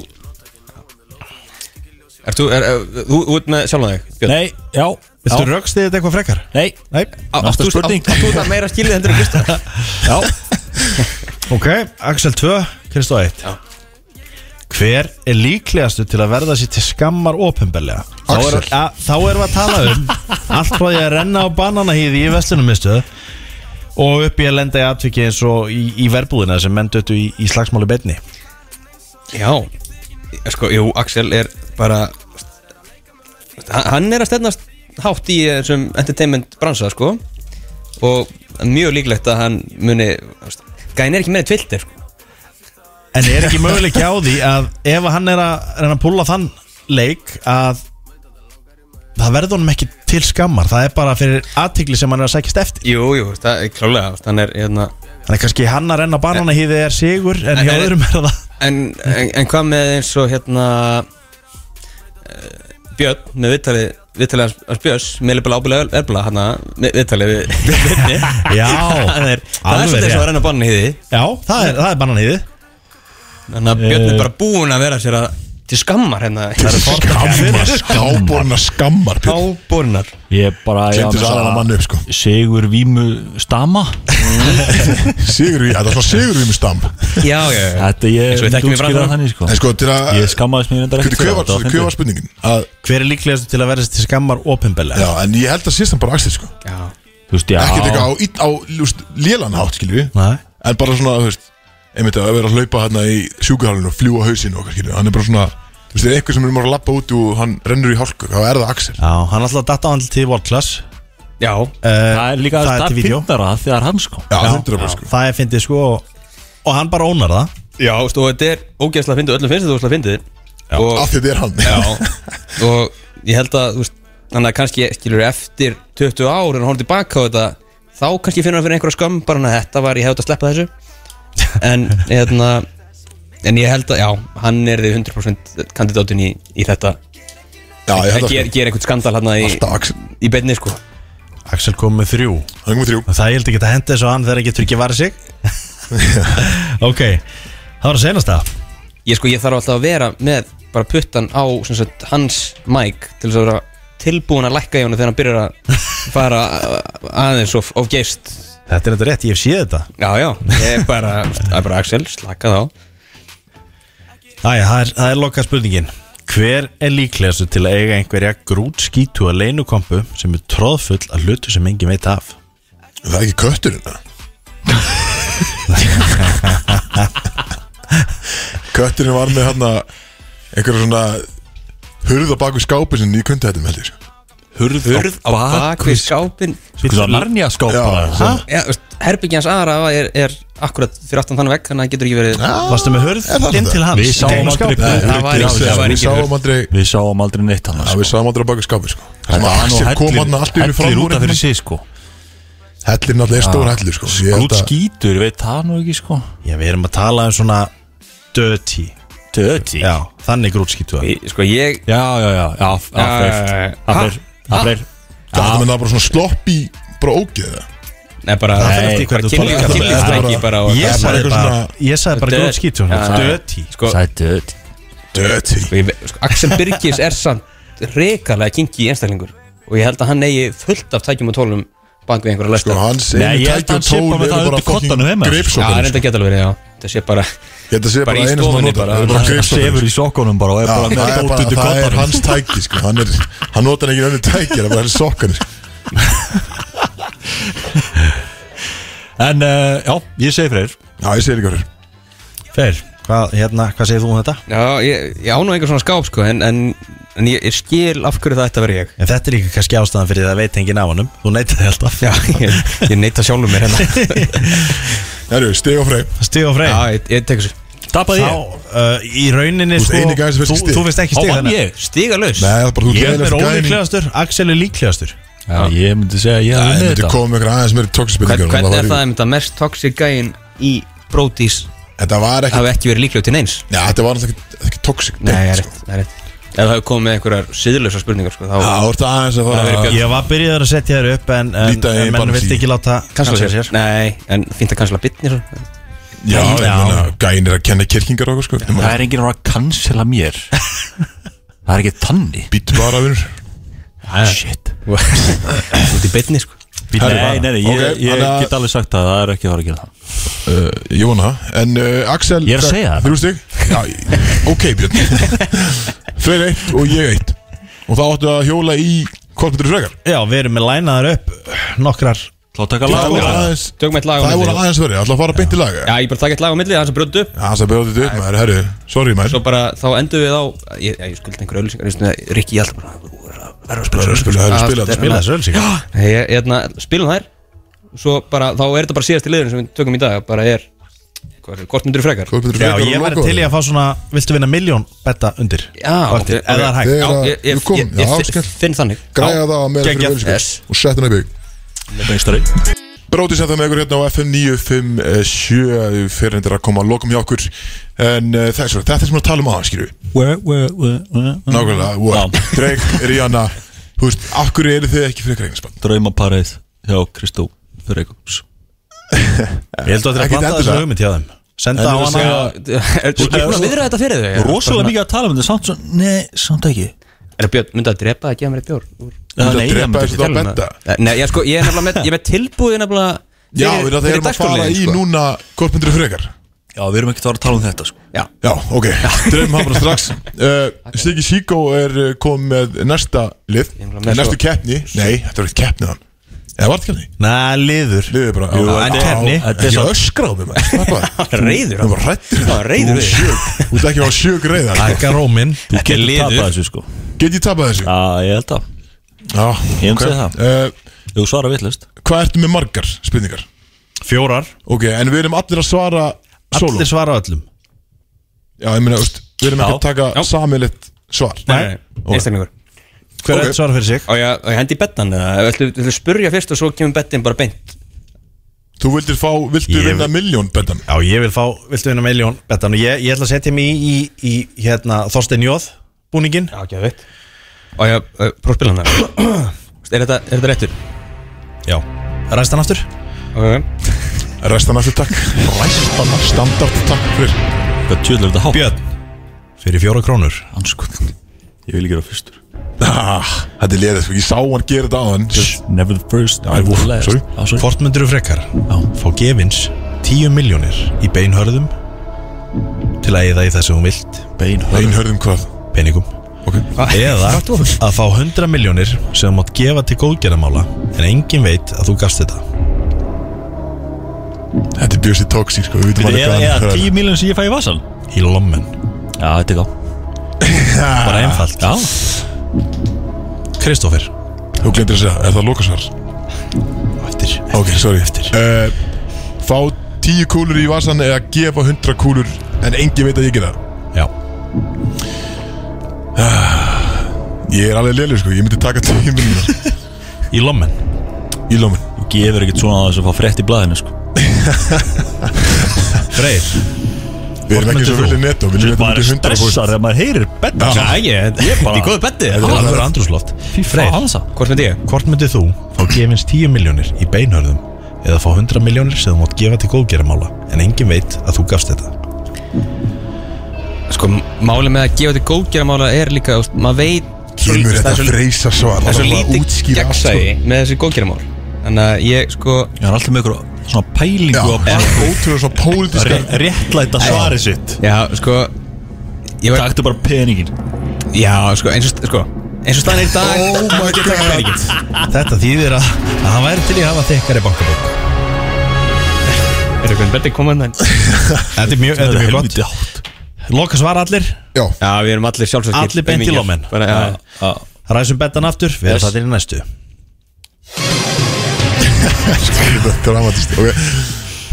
[SPEAKER 3] Er þú, er, er, þú þú ert með sjálfan þig Björn?
[SPEAKER 4] Nei, já,
[SPEAKER 5] Viltu
[SPEAKER 4] já,
[SPEAKER 5] rögstið þetta eitthvað frekar?
[SPEAKER 4] nei
[SPEAKER 5] Nei,
[SPEAKER 3] Á- átt
[SPEAKER 4] Næsta
[SPEAKER 3] Ah, þú-
[SPEAKER 4] spurning.
[SPEAKER 3] átt- átt Þú ert meira skilið hendur en Kristó
[SPEAKER 4] Já,
[SPEAKER 5] ok, Axel 2, Kristó 1
[SPEAKER 3] Já.
[SPEAKER 5] Hver er líklegastu til að verða sér til skammar ofinbellega? Þá
[SPEAKER 2] Axel.
[SPEAKER 5] erum ja, þá erum við að tala um allt frá því að renna á bananahýði í vestlunumistu og upp í að lenda í atviki eins og í, í verbúðina sem menn döttu í, í slagsmáli betni
[SPEAKER 3] Já, Ég- sko, jú, Axel er bara hann- Hann er að stefnast hátt í þessum entertainment bransa, sko Og mjög líklegt að hann muni Gæn er ekki meira tviltir, sko
[SPEAKER 5] En er ekki möguleik á því að ef hann er að reyna að púla þann leik að það verður honum ekki til skammar það er bara fyrir aðtikli sem hann er að sækjast eftir
[SPEAKER 3] Jú, jú, það er klálega þú veist, hann er, hérna,
[SPEAKER 5] þannig kannski hann að renna banana hýði er sigur en
[SPEAKER 3] En-
[SPEAKER 5] hjá
[SPEAKER 3] en-
[SPEAKER 5] öðrum er það
[SPEAKER 3] en, en, en hvað með eins og hérna uh, Björn með viðtalið viðtalið hans- hans Björns, með leifbala ábúlega erbla hann hérna, með viðtalið við viðni
[SPEAKER 5] Já,
[SPEAKER 3] það er það er
[SPEAKER 5] alveg
[SPEAKER 3] svolítið eins og
[SPEAKER 5] rétt.
[SPEAKER 3] að renna banni hýði
[SPEAKER 5] já, það er, það er banana hýði
[SPEAKER 3] þannig að Björn
[SPEAKER 2] Eh.
[SPEAKER 3] er bara búinn að vera sér að til skammar hérna
[SPEAKER 2] Skammar, skáborna skammar Pétur.
[SPEAKER 3] ábornar
[SPEAKER 4] Ég bara ég
[SPEAKER 2] Gleymdi
[SPEAKER 4] var
[SPEAKER 2] þessu
[SPEAKER 4] með
[SPEAKER 2] aðra
[SPEAKER 4] þessa
[SPEAKER 2] manni upp, sko.
[SPEAKER 4] Sigur Vímu Stama
[SPEAKER 2] Sigurví, þetta er svona Sigurvími stamm
[SPEAKER 3] já, já, já Eins
[SPEAKER 4] Þetta ég
[SPEAKER 3] og við þekkjum í
[SPEAKER 4] útskýra
[SPEAKER 3] Framsókn.
[SPEAKER 4] það þannig sko
[SPEAKER 2] En sko, til að
[SPEAKER 4] Ég skammaðist mér reyndar
[SPEAKER 2] Hvernig
[SPEAKER 4] ekkert fyrir
[SPEAKER 2] hver var-
[SPEAKER 4] þetta,
[SPEAKER 2] hver
[SPEAKER 4] það var
[SPEAKER 2] var
[SPEAKER 4] fyndið.
[SPEAKER 2] spurningin? Að,
[SPEAKER 5] hver er líklegast til að verðast til skammar
[SPEAKER 2] já,
[SPEAKER 5] opinbelega
[SPEAKER 2] en ég held að síðst hann bara axlið sko
[SPEAKER 3] já,
[SPEAKER 4] Þú veist, já
[SPEAKER 2] Ekkert eitthvað á, ill- á lúst, lélanhátt, skilju
[SPEAKER 5] Nei.
[SPEAKER 2] En bara svona, þú veist Einmitt að vera að hlaupa hérna í sjúkuhálinu og fljúa hausinu okkar, skilju Hann er bara svona Þú veist, er eitthvað sem er bara að lappa út og hann rennur í hálku Hvað er það Axel?
[SPEAKER 5] já, hann alltaf datt á hann til World Class Eh,
[SPEAKER 3] já,
[SPEAKER 4] Það er líka
[SPEAKER 5] það er til
[SPEAKER 4] það
[SPEAKER 5] vídeo.
[SPEAKER 4] finnara þegar hann sko
[SPEAKER 2] Já, hundur bara, sko
[SPEAKER 5] það er fyndið sko og, og hann bara ónar það
[SPEAKER 3] já veist, og þetta er ógeðslega fyndið öllum finnst þetta ógeðslega fyndið og
[SPEAKER 2] Af því þetta er hann
[SPEAKER 3] Já Og ég held að þú veist Þannig að kannski skilur eftir 20 ár En hún horfði tilbaka á þetta Þá kannski finnur hann fyrir einhverja skömm Bara hann að þetta var, ég hefði átt að sleppa þessu En hérna En ég held að, já, hann er því 100% kandidátin í, í þetta
[SPEAKER 2] Já, ég
[SPEAKER 3] Það
[SPEAKER 2] held að
[SPEAKER 3] ger,
[SPEAKER 2] sko
[SPEAKER 3] ger einhvern skandal hann í,
[SPEAKER 2] Alltaf Axel
[SPEAKER 3] í beinni sko
[SPEAKER 5] Axel kom með þrjú
[SPEAKER 2] Hann er komið þrjú
[SPEAKER 5] það ég held ekki að henda þessu á hann þegar hann getur ekki varðið sig ok, það var að senast það
[SPEAKER 3] Ég sko, ég þarf alltaf að vera með Bara puttan á sem sagt, hans mic Til þess að vera tilbúin að lækka í honum Þegar hann byrjar að fara aðeins of, of geist
[SPEAKER 5] þetta er þetta rétt, ég hef séð þetta
[SPEAKER 3] Já, já, ég er bara, það er bara Axel, slaka þá
[SPEAKER 5] Æja, það er, það er lokað spurningin Hver er líklegastu til að eiga einhverja grút skítu að leinukompu sem er tróðfull að hlutu sem engin veit af?
[SPEAKER 2] Það er ekki hérna. kötturinn eða? Kötturinn var með hann einhverja svona hurð á baku skápi sem ég sko. kundi þetta með heldur
[SPEAKER 4] Hurð, Hurð á
[SPEAKER 3] Bak við skápin
[SPEAKER 4] Sko það narnja skáp
[SPEAKER 2] Já,
[SPEAKER 4] bara
[SPEAKER 2] ha?
[SPEAKER 3] Já, þú veist, herbyggja hans aðra er, er akkurat fyrir aftan þannig vekk Þannig að það getur ekki verið
[SPEAKER 5] Varstu með hörð
[SPEAKER 2] Er það
[SPEAKER 5] inn
[SPEAKER 2] þetta?
[SPEAKER 5] til hans?
[SPEAKER 4] Við sáum
[SPEAKER 5] Nei,
[SPEAKER 4] aldrei
[SPEAKER 5] skáp.
[SPEAKER 4] búið
[SPEAKER 3] það var
[SPEAKER 4] til
[SPEAKER 3] ekki-
[SPEAKER 4] þessu,
[SPEAKER 3] það
[SPEAKER 2] Við
[SPEAKER 3] var
[SPEAKER 4] sko.
[SPEAKER 3] ekki
[SPEAKER 2] sáum
[SPEAKER 3] hurð.
[SPEAKER 2] aldrei
[SPEAKER 4] Við sáum aldrei neitt hann
[SPEAKER 2] Já, við sáum aldrei á baku skápi sko Þannig að Axel kom hann allt yfir
[SPEAKER 4] Hellir
[SPEAKER 2] fram
[SPEAKER 4] út af fyrir sig sko
[SPEAKER 2] Hellir náttúrulega er stór hellir sko Ég held
[SPEAKER 4] Grút
[SPEAKER 2] að-
[SPEAKER 4] skítur, veit það nú ekki sko
[SPEAKER 5] Já, við erum að tala um svona dirty
[SPEAKER 4] Döti Já,
[SPEAKER 5] Já, þannig grút skítu að
[SPEAKER 3] Í- Sko, ég
[SPEAKER 4] já, já, já,
[SPEAKER 3] Já, já,
[SPEAKER 4] já,
[SPEAKER 3] já, já.
[SPEAKER 4] afreif Afreif,
[SPEAKER 3] Ha?
[SPEAKER 4] afreif
[SPEAKER 2] Þetta menn það bara svona slopp í bara ógeð eða?
[SPEAKER 3] Nei, bara,
[SPEAKER 5] Það fer eftir
[SPEAKER 3] bara
[SPEAKER 5] hvernig þú
[SPEAKER 3] kynlíf-
[SPEAKER 5] talar.
[SPEAKER 3] kynlífstrengi bara og-
[SPEAKER 2] Það er
[SPEAKER 5] Ég
[SPEAKER 2] bara
[SPEAKER 5] sagði
[SPEAKER 2] eitthvað
[SPEAKER 5] bara,
[SPEAKER 2] svona-
[SPEAKER 5] ég sagði bara
[SPEAKER 3] Dirt.
[SPEAKER 5] grút skítu
[SPEAKER 3] Já, já.
[SPEAKER 5] Dirty
[SPEAKER 3] Sko,
[SPEAKER 4] Það er döti
[SPEAKER 2] Dirty
[SPEAKER 3] sko, ég ve- sko, Axel Birgis er samt rekalega kinki einstaklingur Og ég held að hann eigi fullt af tækjum og tólum Bak við einhverja
[SPEAKER 2] Sko
[SPEAKER 3] læsta
[SPEAKER 2] hans
[SPEAKER 4] Nei,
[SPEAKER 2] einu
[SPEAKER 4] ég held
[SPEAKER 2] tæki og
[SPEAKER 4] hann sé bara
[SPEAKER 2] tól
[SPEAKER 4] með það
[SPEAKER 2] eru bara
[SPEAKER 4] undir koddanum heima.
[SPEAKER 2] fucking
[SPEAKER 3] Já, það er
[SPEAKER 2] greipsóknir
[SPEAKER 3] enda geta alveg verið, já Þetta sé bara
[SPEAKER 2] Þetta sé bara
[SPEAKER 3] í
[SPEAKER 2] eina sem hann
[SPEAKER 3] stofunni
[SPEAKER 2] notar
[SPEAKER 3] bara.
[SPEAKER 2] Það er bara
[SPEAKER 4] Hann
[SPEAKER 2] greipsóknir
[SPEAKER 4] sefur í sokkunum bara og er
[SPEAKER 2] Já,
[SPEAKER 4] bara
[SPEAKER 2] það er
[SPEAKER 4] með dót
[SPEAKER 2] bara,
[SPEAKER 4] undir
[SPEAKER 2] það er
[SPEAKER 4] kottanum
[SPEAKER 2] hans tæki sko. hann, er, hann notar ekki önnu tæki það er bara hans sko. sokkanir
[SPEAKER 4] En uh, já, ég segi fyrir
[SPEAKER 2] Já, ég segir ykkur
[SPEAKER 5] Fer, hvað, hérna, hvað segir þú um þetta?
[SPEAKER 3] Já, ég, ég án og einhver svona skáp, sko En, en, en ég, ég skil af hverju það ætti að vera ég
[SPEAKER 5] En þetta er líka kannski ástæðan fyrir það veit enginn af honum Þú neytaði alltaf
[SPEAKER 3] Já, ég, ég neita sjálfum mér hérna
[SPEAKER 2] Herru, stig og frey
[SPEAKER 5] Stig og frey
[SPEAKER 3] Já, ég, ég tek þessu
[SPEAKER 4] Tappaði
[SPEAKER 5] Þá,
[SPEAKER 4] ég
[SPEAKER 5] uh, í
[SPEAKER 2] Þú
[SPEAKER 5] rauninni
[SPEAKER 2] ert
[SPEAKER 5] sko
[SPEAKER 2] eini gæði sem fékk stig.
[SPEAKER 5] Þú veist ekki
[SPEAKER 4] Þá
[SPEAKER 3] hérna.
[SPEAKER 5] stig
[SPEAKER 4] vann
[SPEAKER 5] þannig að-
[SPEAKER 4] ég
[SPEAKER 3] Stígalaus
[SPEAKER 2] Nei, það er bara þú
[SPEAKER 5] Ég er
[SPEAKER 2] gæðilegasti gæinn í-
[SPEAKER 5] ólíklegastur, Axel er líklegastur
[SPEAKER 4] Já, ég myndi segja að
[SPEAKER 2] Nei,
[SPEAKER 4] ég
[SPEAKER 2] Ég
[SPEAKER 4] hef unnið
[SPEAKER 2] myndi
[SPEAKER 4] þetta
[SPEAKER 2] koma með ykkur aðeins meiri
[SPEAKER 3] Hvern,
[SPEAKER 2] tóksspillingar
[SPEAKER 3] hvernig er það einmitt að mest toxic gæinn í Brodís
[SPEAKER 2] Þetta var ekki
[SPEAKER 3] hafi ekki verið líklegur til neins
[SPEAKER 2] Já, þetta var náttúrulega ekki- ekki tóksik
[SPEAKER 3] Nei, það er rétt, það er rétt Ef það hefur komið með einhverjar síðlösa spurningar sko, þá
[SPEAKER 2] Já, þú ert aðeins að
[SPEAKER 3] verið
[SPEAKER 2] fara
[SPEAKER 3] björn.
[SPEAKER 5] Ég var byrjaður að setja þér upp en, en,
[SPEAKER 2] Líta í
[SPEAKER 5] en menn
[SPEAKER 2] bara
[SPEAKER 5] vilt
[SPEAKER 2] því.
[SPEAKER 5] ekki láta
[SPEAKER 3] Kansla Nei, en fínt að sko. kansla bitni svo.
[SPEAKER 2] Já, ég meina, gæðin er að kenna kirkingar okkur sko
[SPEAKER 4] Það er enginn að vera að cancela mér Það er ekki tanni
[SPEAKER 2] Býtu bara, vinnur
[SPEAKER 4] Shit
[SPEAKER 3] Út í bitni sko.
[SPEAKER 4] Nei, nei, nei, ég,
[SPEAKER 2] Ok,
[SPEAKER 4] ég
[SPEAKER 2] þannig að-
[SPEAKER 4] get alveg sagt að það er ekki að fara að gera það
[SPEAKER 2] Ég vona það En uh, Axel
[SPEAKER 4] Ég er að segja það.
[SPEAKER 2] Þrjú stig Já, ok Björn Freyr eitt og ég eitt Og það áttu að hjóla í Kortmyndur frekar
[SPEAKER 5] Já, við erum með lænaður upp nokkrar
[SPEAKER 4] Kláttakar
[SPEAKER 2] Það voru
[SPEAKER 4] laga
[SPEAKER 2] aðeins
[SPEAKER 3] Tökum eitt lag á
[SPEAKER 2] Það voru
[SPEAKER 3] milli.
[SPEAKER 2] aðeins verið Alltaf að fara beint í lag
[SPEAKER 3] Já, ég bara taka eitt lag á milli, það sem bröndu upp
[SPEAKER 2] Það sem bjóði þetta upp maður Herru, sorry maður
[SPEAKER 3] Svo bara, þá endum við á Ég, ég skuldi einhverju öllusingar Rikki, ég alltaf bara Verður að
[SPEAKER 2] Herru,
[SPEAKER 3] spila
[SPEAKER 2] spila, herru, spila þetta.
[SPEAKER 5] Spila þessu öll síðan
[SPEAKER 3] Ég, ég, hérna, spilum þær Svo bara, þá er þetta bara síðast í liðinu sem við tökum í dag Bara er Hvað er, hvort myndir þú frekar?
[SPEAKER 2] Hvað myndirðu
[SPEAKER 5] Já,
[SPEAKER 2] frekar að
[SPEAKER 5] ég
[SPEAKER 2] loka
[SPEAKER 5] væri til í
[SPEAKER 2] orðum?
[SPEAKER 5] að fá svona Viltu vinna miljón betta undir
[SPEAKER 3] Já,
[SPEAKER 5] Vaktir,
[SPEAKER 3] ok,
[SPEAKER 5] Ef
[SPEAKER 3] ok.
[SPEAKER 5] það er hægt
[SPEAKER 2] Þegar að-
[SPEAKER 3] ég, ég,
[SPEAKER 2] við komum,
[SPEAKER 3] ég, ég,
[SPEAKER 2] já,
[SPEAKER 3] ég
[SPEAKER 2] skemmt.
[SPEAKER 3] finn þannig
[SPEAKER 2] Græja það að meira fyrir
[SPEAKER 5] geggjað.
[SPEAKER 2] velsíkur
[SPEAKER 3] Yes.
[SPEAKER 2] Og setja hann í bygg
[SPEAKER 4] meistari
[SPEAKER 2] Bróti sem það með ykkur hérna á FM 957 Fyrir hendur að koma að lokum hjá okkur En uh, það er svo, þetta er sem við erum að tala um aðan, skilju
[SPEAKER 3] Mm.
[SPEAKER 2] Nákvæmlega, wow. Drake, Rihanna Þú veist, af hverju eru þið ekki frekar eignarspann?
[SPEAKER 4] draumapareið hjá Kristó Freikums
[SPEAKER 5] Ég held að þetta er að
[SPEAKER 2] Ekkert
[SPEAKER 5] planta
[SPEAKER 2] endilega.
[SPEAKER 5] þessu hugmynd hjá þeim Senda á
[SPEAKER 4] En þú
[SPEAKER 5] hana
[SPEAKER 4] segja-
[SPEAKER 3] Þú er búin að viðra þetta fyrir þig
[SPEAKER 4] rosalega mikið að tala um þetta samt svo nei, samt ekki
[SPEAKER 3] Er Björn, myndi að drepa að gefa mér eitt bjór? Úr-
[SPEAKER 4] Já,
[SPEAKER 2] Þú
[SPEAKER 4] nei,
[SPEAKER 2] drepa
[SPEAKER 4] ég myndi
[SPEAKER 2] þessu
[SPEAKER 4] ekki
[SPEAKER 2] þá
[SPEAKER 4] tala um
[SPEAKER 2] benda.
[SPEAKER 3] Eh, Nei, ég sko, ég er nefnilega með, ég er með tilbúið nefnilega
[SPEAKER 2] Já, við erum að það erum að fara
[SPEAKER 3] sko.
[SPEAKER 2] í núna Hvort myndir þið frekar?
[SPEAKER 4] já, við erum ekki að fara að tala um þetta sko.
[SPEAKER 3] Já,
[SPEAKER 2] Já, ok, dreifum hann bara strax uh, Stiggi Sýkó er uh, komið með næsta lið
[SPEAKER 3] Ég er með
[SPEAKER 2] Næstu
[SPEAKER 3] svo-
[SPEAKER 2] keppni Nei, þetta er ekki keppni þann Eða var þetta keppni?
[SPEAKER 5] Næ, liður
[SPEAKER 2] Liðið bara
[SPEAKER 5] Jú, en keppni.
[SPEAKER 2] Þetta er svo öskráð með maður Slappa það.
[SPEAKER 3] Reiður
[SPEAKER 2] Þú var rættur
[SPEAKER 3] Já, reiður við.
[SPEAKER 2] Þú ert ekki á sjög reiðar
[SPEAKER 5] Akka rómin
[SPEAKER 4] þú getur
[SPEAKER 3] liður.
[SPEAKER 4] tapað þessu sko
[SPEAKER 2] Get ég tapað þessu?
[SPEAKER 4] já, ég held að
[SPEAKER 2] Já,
[SPEAKER 4] Ég
[SPEAKER 2] ok.
[SPEAKER 4] myndi segja það.
[SPEAKER 2] Eh,
[SPEAKER 4] ef þú svarar vittlust
[SPEAKER 2] Hvað ertu með margar spurningar?
[SPEAKER 5] Fjórar
[SPEAKER 2] Ok, en við erum allir að svara Solo
[SPEAKER 5] Allir svara öllum
[SPEAKER 2] Já, ég meina, þú veist, við erum ekki að
[SPEAKER 4] Já.
[SPEAKER 2] taka samilegt svar
[SPEAKER 3] nei, nei, nei, einstaklingur
[SPEAKER 5] Hver
[SPEAKER 2] Ok.
[SPEAKER 5] er svara fyrir sig
[SPEAKER 3] Og ég, og ég hendi í bettan eða Þú ætlum spurja fyrst og svo kemur bettin bara beint
[SPEAKER 2] Þú vildir fá, vildir
[SPEAKER 5] Ég-
[SPEAKER 2] vinna miljón, Bendan
[SPEAKER 5] Já, ég vil fá Viltu vinna miljón betta Og ég, ég ætla að setja mig í, í, í hérna, Þorstein Jóð Búningin
[SPEAKER 3] Já, ekki að veit Og ég, uh, prófspil hann það Er þetta, er þetta réttur?
[SPEAKER 5] Já Ræst hann aftur
[SPEAKER 3] Ok
[SPEAKER 2] Restan aftur takk Restan aftur Standard takk fyrir
[SPEAKER 4] hvað tjóðlega þetta hátt sko.
[SPEAKER 5] Björn Fyrir fjóra krónur
[SPEAKER 4] anskotin ég vil ekki vera fyrstur
[SPEAKER 2] Ah, þetta er liðið, sko, ég sá hann gera þetta á hann
[SPEAKER 4] never the first, never
[SPEAKER 2] úff,
[SPEAKER 4] the last
[SPEAKER 2] sorry.
[SPEAKER 4] Já, sorry.
[SPEAKER 5] Hvort myndir þú frekar Já Fá gefins 10 miljónir í beinhörðum Til að eða í þessu hún vilt
[SPEAKER 4] bein
[SPEAKER 2] Einhörðum hvað
[SPEAKER 5] peningum
[SPEAKER 2] Ok.
[SPEAKER 5] eða að fá 100 miljónir sem þú mátt gefa til góðgerðamála en engin veit að þú gafst þetta
[SPEAKER 2] Þetta er Bjössi Tóksi, sko, við vitum alveg
[SPEAKER 4] eða
[SPEAKER 2] hvað hann
[SPEAKER 4] eða
[SPEAKER 2] hörður.
[SPEAKER 4] 10 miljón sem ég fæ í vasan
[SPEAKER 5] um í lommen,
[SPEAKER 4] já, þetta er gá
[SPEAKER 5] bara einfalt
[SPEAKER 4] já,
[SPEAKER 5] Kristófer,
[SPEAKER 2] Þú glindir að segja, er það lokasvar?
[SPEAKER 5] eftir
[SPEAKER 2] Ok, sorry uh, Fá 10 kúlur í vasan eða gefa 100 kúlur En engin veit að ég gera það
[SPEAKER 5] já,
[SPEAKER 2] Ég er alveg liðið, sko, ég myndi taka 10 miljonar
[SPEAKER 5] í lommen
[SPEAKER 2] Í lómin
[SPEAKER 4] þú gefur ekkert svona að þess að fá frétt í blæðinu sko.
[SPEAKER 5] Freyr,
[SPEAKER 2] Við erum ekki svo vel
[SPEAKER 4] myndir
[SPEAKER 2] í netto, við
[SPEAKER 4] Þú
[SPEAKER 2] erum
[SPEAKER 4] bara
[SPEAKER 2] ekki 100
[SPEAKER 4] stressar þegar maður heyrir betta
[SPEAKER 2] Já.
[SPEAKER 3] Æ, ég, ég bara Í góðu betti
[SPEAKER 2] Þetta er
[SPEAKER 5] alveg
[SPEAKER 2] alveg-
[SPEAKER 5] andrúsloft
[SPEAKER 4] Freyr Hansa
[SPEAKER 3] Hvort myndi ég?
[SPEAKER 5] hvort myndir þú fá gefins 10 miljónir í beinhörðum eða fá 100 miljónir sem þú mátt gefa til góðgerðamála en engin veit að þú gafst þetta
[SPEAKER 3] Sko, máli með að gefa til góðgerðamála er líka þú veist, Maður veit
[SPEAKER 2] Kemur
[SPEAKER 3] það er
[SPEAKER 2] þetta
[SPEAKER 3] svo-
[SPEAKER 2] freysa svar
[SPEAKER 3] Það er svo
[SPEAKER 2] þarf að
[SPEAKER 3] lítið
[SPEAKER 2] útskýra allt, sko.
[SPEAKER 3] gegnsæði með þessi góðgerðamál Þannig að ég, sko
[SPEAKER 4] Ég er alltaf með ykkur svona
[SPEAKER 2] Já,
[SPEAKER 4] pælingu
[SPEAKER 2] það er ótrúlega svo pólitíska
[SPEAKER 4] að réttlæta svari sitt
[SPEAKER 3] Já, sko Ég var
[SPEAKER 4] Taktu bara peningin
[SPEAKER 3] Já, sko, eins og, sko, eins og staðan er í dag
[SPEAKER 2] Oh my god
[SPEAKER 5] þetta þýðir að, að hann væri til í að hafa þekkari bankabók
[SPEAKER 3] Er eitthvað betri komað en
[SPEAKER 5] þetta er mjög, þetta er mjög gott
[SPEAKER 4] hátt
[SPEAKER 5] loka svar allir,
[SPEAKER 2] Já,
[SPEAKER 3] Já, við erum allir sjálfsögskil
[SPEAKER 5] Allir beint í lómen.
[SPEAKER 3] Bara, já
[SPEAKER 4] Já.
[SPEAKER 5] ræsum bettan aftur við
[SPEAKER 4] Yes.
[SPEAKER 5] erum það til í næstu
[SPEAKER 2] þetta er dramatist Ok,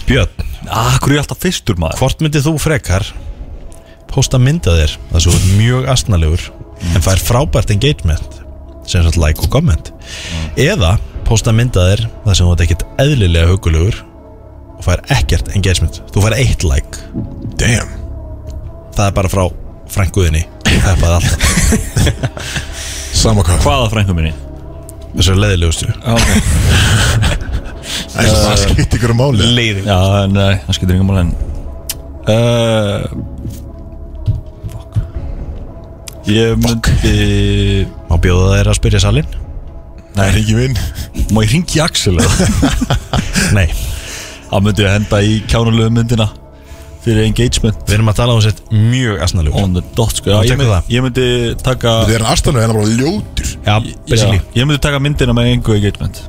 [SPEAKER 5] Björn,
[SPEAKER 4] Akkur Ah, er ég alltaf fyrstur maður
[SPEAKER 5] Hvort myndir þú frekar posta myndað þér það svo er mjög astnalegur en fær frábært engagement sem sagt like og comment eða posta myndað þér það sem þú ert ekkert eðlilega hugulegur og fær ekkert engagement þú fær eitt like
[SPEAKER 2] damn
[SPEAKER 5] það er bara frá frænguðinni það er bara alltaf
[SPEAKER 2] Sama hvað
[SPEAKER 4] Hvaða frængu minni?
[SPEAKER 5] þessu er leðilegustu
[SPEAKER 2] Æ, Það skiptir ykkur máli
[SPEAKER 5] leiðing
[SPEAKER 4] Já, nei, það skiptir yngum alveg en uh, Fuck Ég myndi
[SPEAKER 5] má bjóða þér að spyrja salin
[SPEAKER 2] Það er ekki minn
[SPEAKER 4] Má ég ringi í Axel eða?
[SPEAKER 5] nei
[SPEAKER 4] Það myndi ég henda í kjánulegu myndina Fyrir engagement
[SPEAKER 5] við erum að tala um sett mjög astnalegur
[SPEAKER 4] On the dot sko Já,
[SPEAKER 5] Þú
[SPEAKER 4] ég,
[SPEAKER 5] tekur
[SPEAKER 4] myndi,
[SPEAKER 5] það.
[SPEAKER 4] ég myndi taka
[SPEAKER 2] Það er aðstæðan við hennar hérna bara ljótur
[SPEAKER 5] já basically
[SPEAKER 4] Já, Ég myndi taka myndina með engu engagement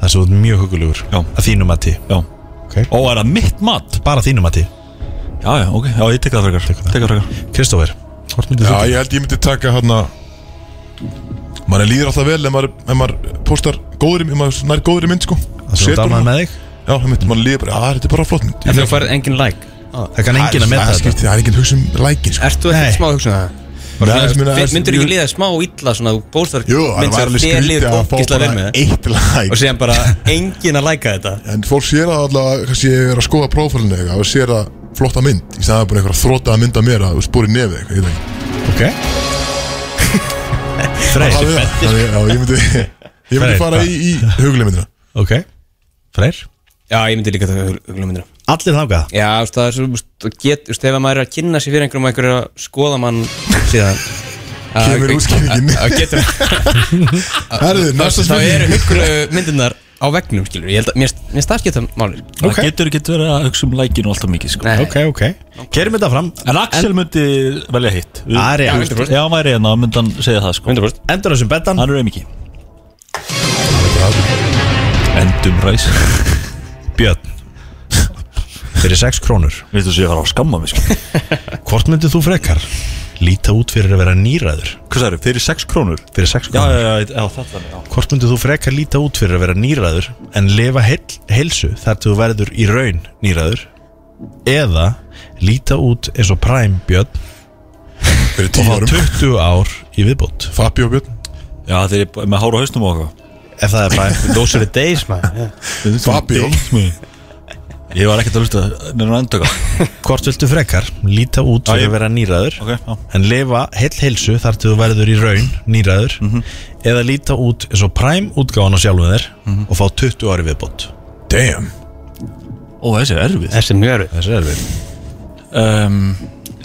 [SPEAKER 5] það sem þú ert mjög hugulegur
[SPEAKER 4] Já.
[SPEAKER 5] að þínu mati
[SPEAKER 4] Já
[SPEAKER 5] Ok.
[SPEAKER 4] Ó, er það mitt mat?
[SPEAKER 5] bara að þínu mati
[SPEAKER 4] Já, já, ok, já, ég tek það frekar Tek það frekar
[SPEAKER 5] Kristófer hvort myndir
[SPEAKER 2] Já,
[SPEAKER 5] þú
[SPEAKER 2] ég held ég myndi taka hann að Man líður alltaf vel ef maður, ef maður postar góðri, ef maður nær góðri mynd sko
[SPEAKER 5] Það sem þú
[SPEAKER 2] Setur
[SPEAKER 5] dálnaði
[SPEAKER 2] hún-
[SPEAKER 5] með þig
[SPEAKER 2] Já, það myndi maður líka bara, að þetta er bara flott mynd
[SPEAKER 3] En þú færð engin like
[SPEAKER 5] Ah, Það kann enginn að meta
[SPEAKER 2] Það
[SPEAKER 5] þetta
[SPEAKER 2] skipti, það er enginn hugsa um lækin sko.
[SPEAKER 3] Ertu
[SPEAKER 5] Nei.
[SPEAKER 3] ekki smá að hugsa um það?
[SPEAKER 2] Bara, þú veist, meina,
[SPEAKER 3] Fin-
[SPEAKER 2] þú-
[SPEAKER 3] Myndur ekki líða smá illa svona þú bólst þar
[SPEAKER 2] Jú, það var alveg skrítið að fá
[SPEAKER 3] ógislega vel
[SPEAKER 2] bara
[SPEAKER 3] með það
[SPEAKER 2] eitt læk
[SPEAKER 3] og síðan bara engin að læka þetta
[SPEAKER 2] En fólk sér að allavega, kannski ég er að skoða prófælinu eitthvað og sér að flotta mynd í staðan bara einhverja þróta að mynda mér að þú spóri nefið eitthvað, ég veit ekki.
[SPEAKER 5] Ok Freyr
[SPEAKER 2] Alveg það, þannig að ég myndi, ég myndi
[SPEAKER 5] Freyr,
[SPEAKER 2] fara í, í hugleimindina.
[SPEAKER 5] Ok Freyr
[SPEAKER 3] Já, ég myndi líka það huglumindur
[SPEAKER 5] Allir þangað
[SPEAKER 3] Já, þú veist, það er svo, þú veist, þú get, þú veist, ef maður er að kynna sér fyrir einhverjum og einhverjum er að skoða mann síðan að-
[SPEAKER 2] Kemur
[SPEAKER 3] að-
[SPEAKER 2] útskýringin.
[SPEAKER 3] að- að getur
[SPEAKER 2] Herðu, næsta
[SPEAKER 3] Þá eru
[SPEAKER 2] spurning.
[SPEAKER 3] huglu myndirnar á veggnum, skilur Ég held að, mér finnst- mér finnst það skipta máli
[SPEAKER 4] Það getur ekki verið að hugsa um lækinu alltaf mikið sko.
[SPEAKER 3] Nei.
[SPEAKER 5] Ok, ok Kerum þetta fram
[SPEAKER 4] En Axel myndi velja hitt Við-
[SPEAKER 5] Ari,
[SPEAKER 4] Já,
[SPEAKER 5] já,
[SPEAKER 3] 100%.
[SPEAKER 4] Já, hann væri hérna, myndi hann segja það sko
[SPEAKER 3] 100%
[SPEAKER 5] Endur þessum betan
[SPEAKER 4] Hann er auðvitað Endum ræs
[SPEAKER 5] Björn Fyrir 6 krónur
[SPEAKER 4] Viltu sé að fara að skamma mig sko
[SPEAKER 5] Hvort myndið þú frekar? Líta út fyrir að vera nýræður
[SPEAKER 4] Hvað það eru, fyrir 6 krónur?
[SPEAKER 5] Fyrir 6
[SPEAKER 4] Já,
[SPEAKER 5] krónur
[SPEAKER 4] já, já, já þetta já.
[SPEAKER 5] Hvort myndið þú frekar líta út fyrir að vera nýræður En lifa heil, heilsu þar til þú verður í raun nýræður Eða líta út eins og Prime Björn
[SPEAKER 2] Fyrir
[SPEAKER 5] Og
[SPEAKER 2] tíu
[SPEAKER 5] fá
[SPEAKER 2] árum.
[SPEAKER 5] 20 ár í viðbót
[SPEAKER 2] Fabi og Björn.
[SPEAKER 4] já þeir eru með hára á hausnum og okkar
[SPEAKER 5] Ef það er Prime Those are the days man
[SPEAKER 2] Fabi og
[SPEAKER 4] Ég var ekkert að hlusta nefnum endöka
[SPEAKER 5] Hvort viltu frekar líta út
[SPEAKER 4] Já,
[SPEAKER 5] fyrir
[SPEAKER 4] ég-
[SPEAKER 5] að vera nýræður
[SPEAKER 4] Ok, já.
[SPEAKER 5] En lifa heil heilsu þar til þú verður í raun nýræður Eða líta út eins og Prime útgáðan á sjálfum þér Og fá 20 ári viðbót
[SPEAKER 2] Damn.
[SPEAKER 4] Ó, þessi er erfið
[SPEAKER 3] Þessi er mjög erfið
[SPEAKER 5] Þessi er við
[SPEAKER 4] um,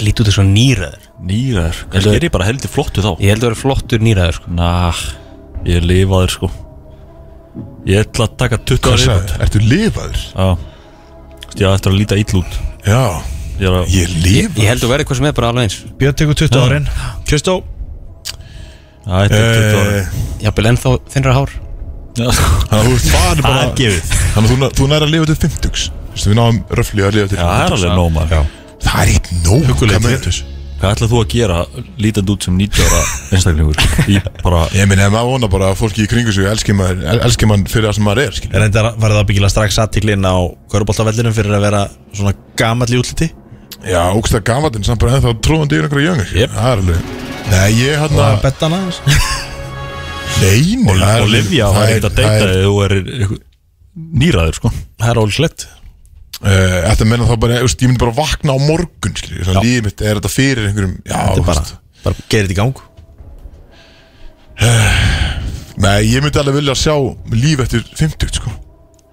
[SPEAKER 3] Lít út þessu nýræður
[SPEAKER 4] Nýrar Kannski er ég bara heldur flottu þá
[SPEAKER 3] Ég held að vera flottur nýræður, sko
[SPEAKER 4] Nah, ég er lifaður sko Ég ætla að taka 20
[SPEAKER 2] Hvað
[SPEAKER 4] ára
[SPEAKER 2] sagði?
[SPEAKER 4] viðbót.
[SPEAKER 2] Ertu lifaður?
[SPEAKER 4] Já Ég ætla að líta ill út
[SPEAKER 2] Já.
[SPEAKER 4] Ég er að
[SPEAKER 2] Ég er lifaður.
[SPEAKER 3] Ég held að verði hvað sem er bara alveg eins
[SPEAKER 5] Björn tekur 20 árin Kristó
[SPEAKER 4] Já, Þetta er 20 ára
[SPEAKER 2] Eh,
[SPEAKER 3] Jafnvel ennþá þinnra hár
[SPEAKER 2] Þannig að þú ert farin
[SPEAKER 4] Það
[SPEAKER 2] bara
[SPEAKER 4] er gefið
[SPEAKER 2] Þannig að þú, þú næri að lifa til 50 Vistu, við náum röfli að lifa til
[SPEAKER 4] Já, það er
[SPEAKER 2] 50
[SPEAKER 4] alveg nóg maður
[SPEAKER 2] Það er eitt nóg
[SPEAKER 5] Huggulega
[SPEAKER 2] hvað með-
[SPEAKER 4] Hvað ætlað þú að gera lítandi út sem 90 ára einstaklingur í bara
[SPEAKER 2] Ég minn, ef maður vonar bara að fólki í kringu sig elski maður, el- elski mann fyrir það sem maður er skilur.
[SPEAKER 5] Er þetta var það byggilega strax aðtiklinn á Köruboltavellinum fyrir að vera svona gamall í útliti
[SPEAKER 2] Já, ógst að gaman en samt bara ennþá tróðandi yfir einhverja jöngur
[SPEAKER 5] Jep.
[SPEAKER 2] Það er alveg Nei, ég hann
[SPEAKER 5] Það
[SPEAKER 2] að
[SPEAKER 5] er betan aðeins
[SPEAKER 2] Nei, nei, það er
[SPEAKER 4] og
[SPEAKER 2] alveg-
[SPEAKER 4] livja
[SPEAKER 2] það
[SPEAKER 4] og
[SPEAKER 2] er-
[SPEAKER 4] það er ekkert að
[SPEAKER 2] það
[SPEAKER 4] deyta
[SPEAKER 2] er-
[SPEAKER 4] ef þú er einhver- nýraður sko
[SPEAKER 5] Það er ólíklegt
[SPEAKER 2] Eh, Þetta menna þá bara, úst, ég myndi bara vakna á morgun skilur, Þannig lífið mitt, er þetta fyrir einhverjum Já,
[SPEAKER 5] Þetta er
[SPEAKER 2] þú
[SPEAKER 5] bara,
[SPEAKER 2] veist.
[SPEAKER 5] bara gerir þetta í gang
[SPEAKER 2] Nei, ég myndi alveg vilja að sjá líf eftir 50 sko.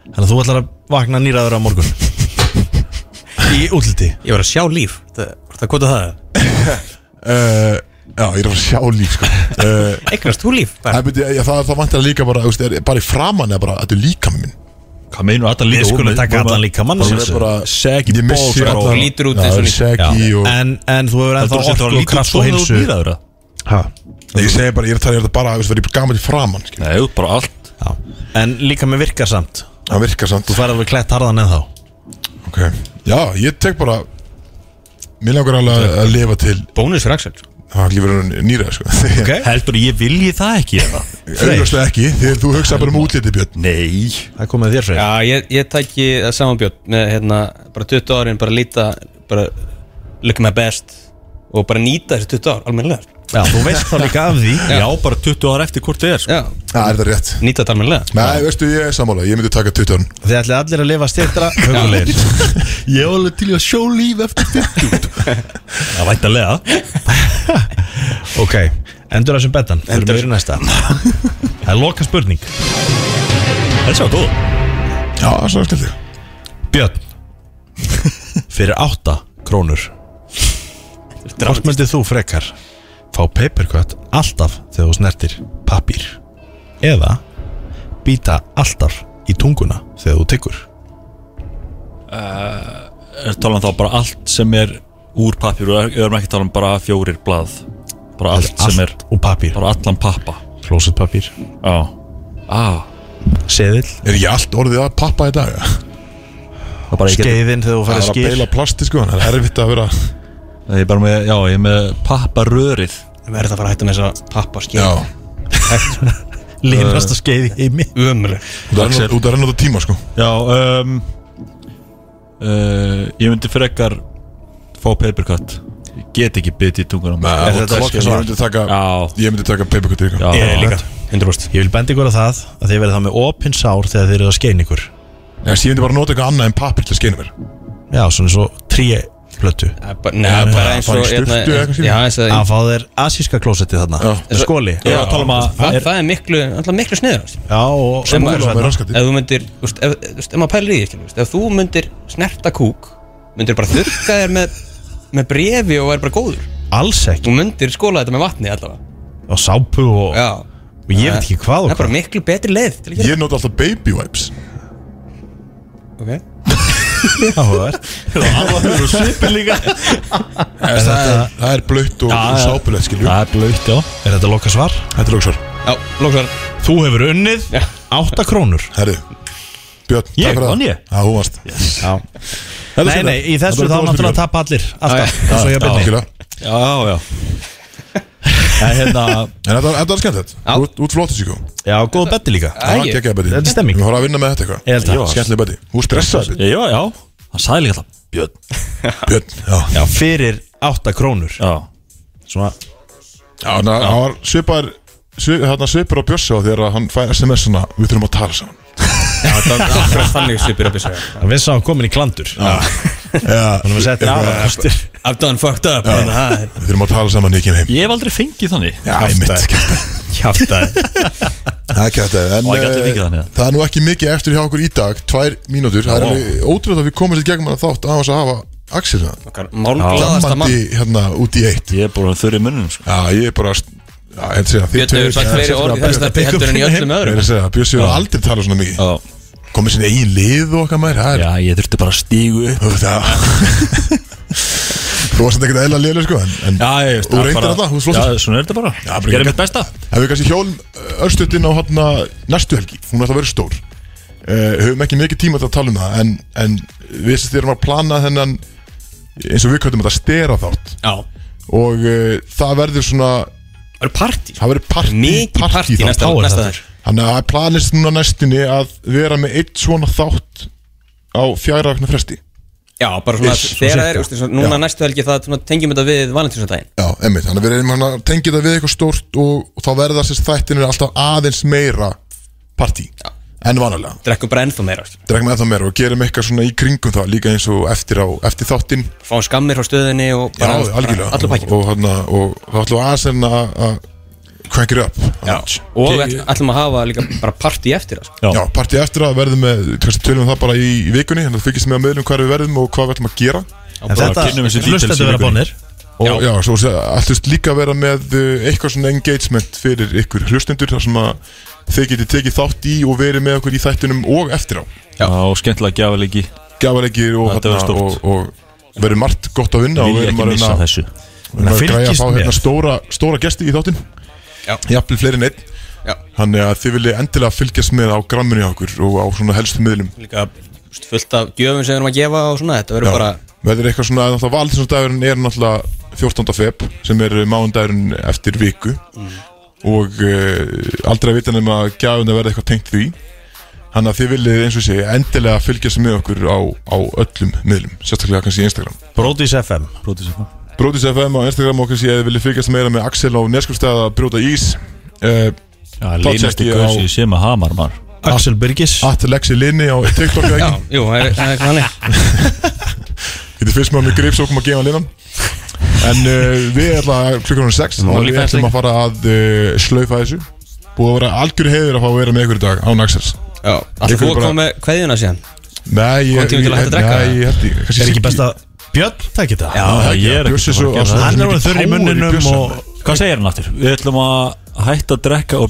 [SPEAKER 5] Þannig að þú ætlar að vakna nýræður á morgun Í útliti
[SPEAKER 3] Ég var að sjá líf Það, það kvota það
[SPEAKER 2] uh, Já, ég er að fara að sjá líf sko. uh,
[SPEAKER 3] Eignast þú líf?
[SPEAKER 2] Það, byrja, ég, það, það vantar líka bara, þú veist, er, bara í framann eða bara, þetta er líka minn
[SPEAKER 4] Hvað meinu að
[SPEAKER 5] Við skulum taka allan líka mann
[SPEAKER 2] Ég er bara,
[SPEAKER 4] Segi
[SPEAKER 2] ég
[SPEAKER 4] balls
[SPEAKER 2] missi
[SPEAKER 4] bara
[SPEAKER 2] allan-
[SPEAKER 4] og
[SPEAKER 3] lítur út
[SPEAKER 2] Já,
[SPEAKER 3] eins og nýtt.
[SPEAKER 2] segi og
[SPEAKER 5] en, en þú hefur ennþá
[SPEAKER 4] Heldur þú að
[SPEAKER 5] orku
[SPEAKER 4] það
[SPEAKER 5] og
[SPEAKER 4] lítur
[SPEAKER 5] kraft og
[SPEAKER 4] svona út
[SPEAKER 5] heilsu
[SPEAKER 4] nýraður eða?
[SPEAKER 5] Ha.
[SPEAKER 2] Nei, ég segi bara, ég er að tala, ég er þetta bara, þú veist, verið gaman til framann skilur.
[SPEAKER 4] Nei, þú bara allt
[SPEAKER 5] Já. En líka með virkar samt
[SPEAKER 2] Það virkar samt
[SPEAKER 5] Þú færði alveg klætt harðan en þá
[SPEAKER 2] okay. Já, ég tek bara Mér langar alveg að- að lifa til
[SPEAKER 3] Bónus fyrir Axel
[SPEAKER 2] Það lífur hann nýra, sko
[SPEAKER 5] Ok.
[SPEAKER 4] Heldur ég vilji það ekki eða?
[SPEAKER 2] Auðvitað ekki, þegar þú hugsa bara um útliti, Björn
[SPEAKER 4] Nei
[SPEAKER 5] Það komið þér fyrir
[SPEAKER 3] Já, ég, ég tæki það saman björn með hérna, bara 20 árin, bara líta bara look my best og bara nýta þessi 20 ár, almennilega
[SPEAKER 5] Já, þú veist þá líka af því
[SPEAKER 4] Já, bara 20 ára eftir hvort þið er sko.
[SPEAKER 3] Já,
[SPEAKER 2] Það er þetta rétt
[SPEAKER 3] nýta þetta almennilega
[SPEAKER 2] Nei, veistu, ég er sammála, ég myndi taka 20 árin
[SPEAKER 5] Þið ætli allir að lifa styrtra hugulegir
[SPEAKER 4] Ég var alveg til í að sjó líf eftir 50 Það væntalega
[SPEAKER 5] Ok, endur þessum betan Endur þessum næsta Það er loka spurning
[SPEAKER 4] Þetta svo góð
[SPEAKER 2] Já, svona skildi
[SPEAKER 5] Björn Fyrir 8 krónur Hvort myndið þú frekar Fá papercut alltaf þegar þú snertir pappír Eða Býta alltaf í tunguna þegar þú tekur
[SPEAKER 4] Er talan þá bara allt sem er úr pappir og er- erum ekki talan bara fjórir blað Bara allt sem er
[SPEAKER 5] og pappír
[SPEAKER 4] Bara allan pappa
[SPEAKER 5] Klósetpappír
[SPEAKER 4] Já ah.
[SPEAKER 5] Seðil
[SPEAKER 2] Er ekki allt orðið að pappa í dag? ja?
[SPEAKER 4] Það er bara ég get
[SPEAKER 5] Skeiðin þegar þú
[SPEAKER 2] Það
[SPEAKER 5] farið
[SPEAKER 2] er að
[SPEAKER 5] skil
[SPEAKER 2] beila plasti, sko, þannig að það er erfitt að vera
[SPEAKER 4] Ég er bara með, já, ég er með papparörið
[SPEAKER 3] Við verðum það að fara að hætta með þessa pappa skil
[SPEAKER 2] Já,
[SPEAKER 5] Linast að skeiði heimi
[SPEAKER 3] Ömuleg
[SPEAKER 2] Þú ert að renna- þú ert að renna út á tíma sko
[SPEAKER 4] Já um, uh, Ég myndi frekar Fá papercut Ég get ekki bitið í tungan á mig
[SPEAKER 2] Er
[SPEAKER 5] þetta
[SPEAKER 2] þetta
[SPEAKER 5] loka
[SPEAKER 2] Ég
[SPEAKER 5] svar?
[SPEAKER 2] myndi taka
[SPEAKER 4] Já.
[SPEAKER 2] Ég myndi taka papercut ykkar
[SPEAKER 4] Já,
[SPEAKER 3] Ég líka 100%
[SPEAKER 5] Ég vil benda ykkur að það að þið verið þá með opin sár þegar þið eru að skeina ykkur
[SPEAKER 2] Ég myndi bara nota eitthvað annað en pappir til að skeina mér
[SPEAKER 5] Já, svona svo trí plötu
[SPEAKER 3] Nei, bara eins og
[SPEAKER 2] bara í sturtu eða eitthvað
[SPEAKER 3] hérna-
[SPEAKER 2] skilur.
[SPEAKER 3] Já, eins og
[SPEAKER 5] Að fá þér asíska klósetti þarna
[SPEAKER 2] Já.
[SPEAKER 5] Með Skóli
[SPEAKER 4] Ég var að tala um að
[SPEAKER 3] Það
[SPEAKER 4] er,
[SPEAKER 3] það er miklu, alltaf miklu sniður
[SPEAKER 5] Já, og hérna.
[SPEAKER 3] Sem að-
[SPEAKER 2] Sem er raskandi
[SPEAKER 3] Ef þú myndir, þú veist, ef, þú veist, ef maður pælir í því skilur, þú veist, Ef þú myndir snerta kúk Myndir bara þurrka þér með, með brefi og væri bara góður
[SPEAKER 5] Alls ekki
[SPEAKER 3] Þú myndir skóla þetta með vatni allavega
[SPEAKER 5] Og sápu
[SPEAKER 3] Mm.
[SPEAKER 5] og,
[SPEAKER 3] Já
[SPEAKER 5] og ég veit ekki
[SPEAKER 3] Það
[SPEAKER 5] hvað og
[SPEAKER 3] er bara
[SPEAKER 5] hvað
[SPEAKER 3] miklu betri leið til að gera
[SPEAKER 2] Ég nota alltaf baby wipes
[SPEAKER 3] þetta. Ok
[SPEAKER 5] Áhugavert.
[SPEAKER 3] hérna
[SPEAKER 2] En Það er- það er blöytt og
[SPEAKER 4] Já, já.
[SPEAKER 2] sápulegt skilju
[SPEAKER 4] Það er blöytt, já
[SPEAKER 5] Er þetta loka svar?
[SPEAKER 2] Þetta er lóksvar
[SPEAKER 3] Já, lóksvar
[SPEAKER 5] Þú hefur unnið 8 krónur
[SPEAKER 2] Herri Björn,
[SPEAKER 4] Ég,
[SPEAKER 2] takk fyrir
[SPEAKER 4] vann
[SPEAKER 2] það
[SPEAKER 4] ég?
[SPEAKER 2] Já, þú varst
[SPEAKER 5] Nei, nei, í þessu þá náttúrulega tapa allir Alltaf, eins og ég byrni
[SPEAKER 2] Algjörlega.
[SPEAKER 4] Já, já Það er hérna
[SPEAKER 2] En þetta var- þetta var skemmt þetta Þú ert- þú ert flottis í kom
[SPEAKER 5] Já, góð betti líka
[SPEAKER 3] Æ,
[SPEAKER 2] Það
[SPEAKER 3] ég-
[SPEAKER 2] gekkja betti
[SPEAKER 5] Þetta er stemming.
[SPEAKER 2] Við fórum að vinna með þetta
[SPEAKER 5] Ég held
[SPEAKER 2] eitthvað
[SPEAKER 5] það.
[SPEAKER 2] Skemmtileg betti Þú stressaði betti
[SPEAKER 4] Já, já, já Hann sagði líka það Björn
[SPEAKER 2] Björn, já
[SPEAKER 5] Já, fyrir 8 krónur
[SPEAKER 4] Já
[SPEAKER 5] Svona,
[SPEAKER 2] Já, en það það var svipar svip, Þarna svipur á Björsa á þegar hann fær SMS-una Við þurfum að tala saman
[SPEAKER 3] Það er þannig svipir upp í sig
[SPEAKER 5] við sá komin í klandur
[SPEAKER 2] Já,
[SPEAKER 5] Þannig að setja
[SPEAKER 2] eitthvað-
[SPEAKER 5] aftur
[SPEAKER 3] I've done fucked up
[SPEAKER 2] Við þurfum að tala saman, ég kem heim
[SPEAKER 4] Ég hef aldrei fengið þannig
[SPEAKER 2] Já, einmitt
[SPEAKER 5] Kjáftæði
[SPEAKER 2] Það er kæft en
[SPEAKER 4] Og ekki allir fengið þannig,
[SPEAKER 2] eh,
[SPEAKER 4] eða?
[SPEAKER 2] það er nú ekki mikið eftir hjá okkur í dag Tvær mínútur, það er alveg ótrúlega að við komum sér gegnum hann þátt á þess að hafa Axel hérna.
[SPEAKER 3] Málglaðasta mann
[SPEAKER 2] Lammandi hérna út í eitt
[SPEAKER 4] Ég er búin að þurri munnum sko.
[SPEAKER 2] Já, ég er bara Já, ég sé það
[SPEAKER 3] Björn hefur sagt fleiri orð í þessu þetta heldur en í öllum
[SPEAKER 2] Ég er
[SPEAKER 3] öðrum
[SPEAKER 2] að segja, Björn sér aldrei tala svona mikið
[SPEAKER 4] Já.
[SPEAKER 2] Komið sinni eigin lið og okkar maður Það er
[SPEAKER 4] Já, ég þurfti bara að stígu upp
[SPEAKER 2] Þú veist það Þú varst ekkert eðla liður sko En, en
[SPEAKER 4] Já, ég veist
[SPEAKER 2] Þú
[SPEAKER 4] það
[SPEAKER 2] reyndir
[SPEAKER 4] bara-
[SPEAKER 2] þetta, þú slóst
[SPEAKER 4] Já, svona er þetta bara
[SPEAKER 2] Já, bara
[SPEAKER 4] Ég
[SPEAKER 2] ekki-
[SPEAKER 4] er mitt besta
[SPEAKER 2] En við kannski hjólum örstutin á hana, næstu helgi Hún ætla að vera stór uh, Höfum ekki mikið tíma til að tala um það En, en við sérst erum að plana þennan Eins og við köttum þetta stera þátt
[SPEAKER 3] Já
[SPEAKER 2] Og uh, það verður svona
[SPEAKER 3] Það eru partí
[SPEAKER 2] Það verður partí
[SPEAKER 3] Mikið partí næsta
[SPEAKER 5] þá er
[SPEAKER 3] næsta
[SPEAKER 5] það.
[SPEAKER 3] þar
[SPEAKER 2] Þannig að það er planist núna næstinni Að vera með eitt svona þátt Á fjara vegna fresti
[SPEAKER 3] Já, bara svona
[SPEAKER 2] Ish,
[SPEAKER 3] þegar
[SPEAKER 2] svona
[SPEAKER 3] það er,
[SPEAKER 2] cirka.
[SPEAKER 3] úst, núna næstu helgi það svona, tengjum þetta við valentínsdaginn
[SPEAKER 2] Já, emmitt, þannig að við reynum að tengja það við eitthvað stórt og, og þá verða sérst þættinir alltaf aðeins meira partí en vanalega,
[SPEAKER 3] Drekkum bara ennþá meira úst.
[SPEAKER 2] dregum ennþá meira og gerum eitthvað svona í kringum það líka eins og eftir, á, eftir þáttinn
[SPEAKER 3] Fáum skammir frá stöðinni og
[SPEAKER 2] Já,
[SPEAKER 3] bara,
[SPEAKER 2] algjörlega
[SPEAKER 3] Allur pakkin
[SPEAKER 2] og, og, þarna- og þá ætlum við aðeins en að að crank it up
[SPEAKER 3] Já, og við ætl- ætlum að hafa líka bara partí eftir það sko.
[SPEAKER 4] Já.
[SPEAKER 2] Já, partí eftir að verðum með, kannski tölum við um það bara í, í vikunni þannig að fylgjast með að miðlum hvað við verðum og hvað við ætlum að gera
[SPEAKER 5] En þetta,
[SPEAKER 4] kynnum þessu details
[SPEAKER 5] hlust
[SPEAKER 4] í
[SPEAKER 5] að vera
[SPEAKER 4] vikunni.
[SPEAKER 5] bónir
[SPEAKER 2] og já, svo sé- ætlumst líka að vera með uh, eitthvað svona engagement fyrir ykkur hlustendur þar sem að þeir geti tekið þátt í og verið með okkur í þættinum og eftir á
[SPEAKER 4] Já, og skemmtilega gjafalegi
[SPEAKER 2] gafalegir og,
[SPEAKER 4] Þetta verður
[SPEAKER 2] þarna
[SPEAKER 4] stórt.
[SPEAKER 2] og, og verið margt gott að vinna og
[SPEAKER 4] Vil ég
[SPEAKER 2] verðum
[SPEAKER 4] ekki
[SPEAKER 2] að
[SPEAKER 4] missa
[SPEAKER 2] reyna-
[SPEAKER 4] þessu
[SPEAKER 2] verðum að
[SPEAKER 5] Fylgist
[SPEAKER 2] græja að fá
[SPEAKER 5] með.
[SPEAKER 2] hérna stóra, stóra gesti í þáttin
[SPEAKER 3] Já.
[SPEAKER 2] jafnvel fleiri en einn
[SPEAKER 3] Já.
[SPEAKER 2] þannig að þið viljið endilega fylgjast með á gramminu hjá okkur og á svona helstu miðlum
[SPEAKER 3] Líka úst, fullt af gjöfum sem við erum að gefa og svona Þetta verður bara
[SPEAKER 2] verður eitthvað svona náttúrulega valdísundagurinn er náttúrulega 14. feb sem er eh, mánudagurinn eftir viku og uh, aldrei að vita nema að gjafun að verða eitthvað tengt því þannig að þið viljið eins og sé endilega fylgjast með okkur á, á öllum miðlum, sérstaklega kannski í Instagram
[SPEAKER 5] Brodís FM
[SPEAKER 4] Pródúsum
[SPEAKER 2] Brótis FM á Instagram og kannski ef þið viljið fylgjast meira með Axel á Neskjöfstæð að brjóta ís uh,
[SPEAKER 4] Já, línast
[SPEAKER 2] checki
[SPEAKER 4] í
[SPEAKER 2] ég á-
[SPEAKER 4] gauðs ég sé með hamar maður
[SPEAKER 5] Axel Byrgis
[SPEAKER 2] at Lexi Linni á TikTok eða
[SPEAKER 3] Já,
[SPEAKER 2] ekki?
[SPEAKER 3] jú, það er- það er þannig
[SPEAKER 2] Getið fyrst með mig gripsókum að gefa linan En uh, við ætla klukkanum 6
[SPEAKER 3] Mm,
[SPEAKER 2] og við
[SPEAKER 3] OnlyFans
[SPEAKER 2] ætlum að fara að uh, slaufa þessu Búið að vera algjöru heiður að fá að vera með ykkur í dag án Axels
[SPEAKER 3] Já, alltaf þú að koma með kveðjuna síðan
[SPEAKER 2] Nei, ég,
[SPEAKER 3] Komum tími til að hætta að drekka?
[SPEAKER 2] nei, ég held ég kannski
[SPEAKER 5] Er ekki
[SPEAKER 2] ég-
[SPEAKER 5] best að Björn takk þetta
[SPEAKER 4] Já, ég er
[SPEAKER 2] Bjössi
[SPEAKER 4] ekki
[SPEAKER 2] svo-
[SPEAKER 4] að
[SPEAKER 2] svo-
[SPEAKER 4] fara að gera það.
[SPEAKER 5] Hann
[SPEAKER 2] svo
[SPEAKER 5] er orðið
[SPEAKER 2] mikið
[SPEAKER 5] þurr
[SPEAKER 2] power
[SPEAKER 5] í
[SPEAKER 2] í
[SPEAKER 5] munninum
[SPEAKER 2] Bjössa.
[SPEAKER 5] og
[SPEAKER 4] Hvað segir hann aftur? Við ætlum að hætta að drekka og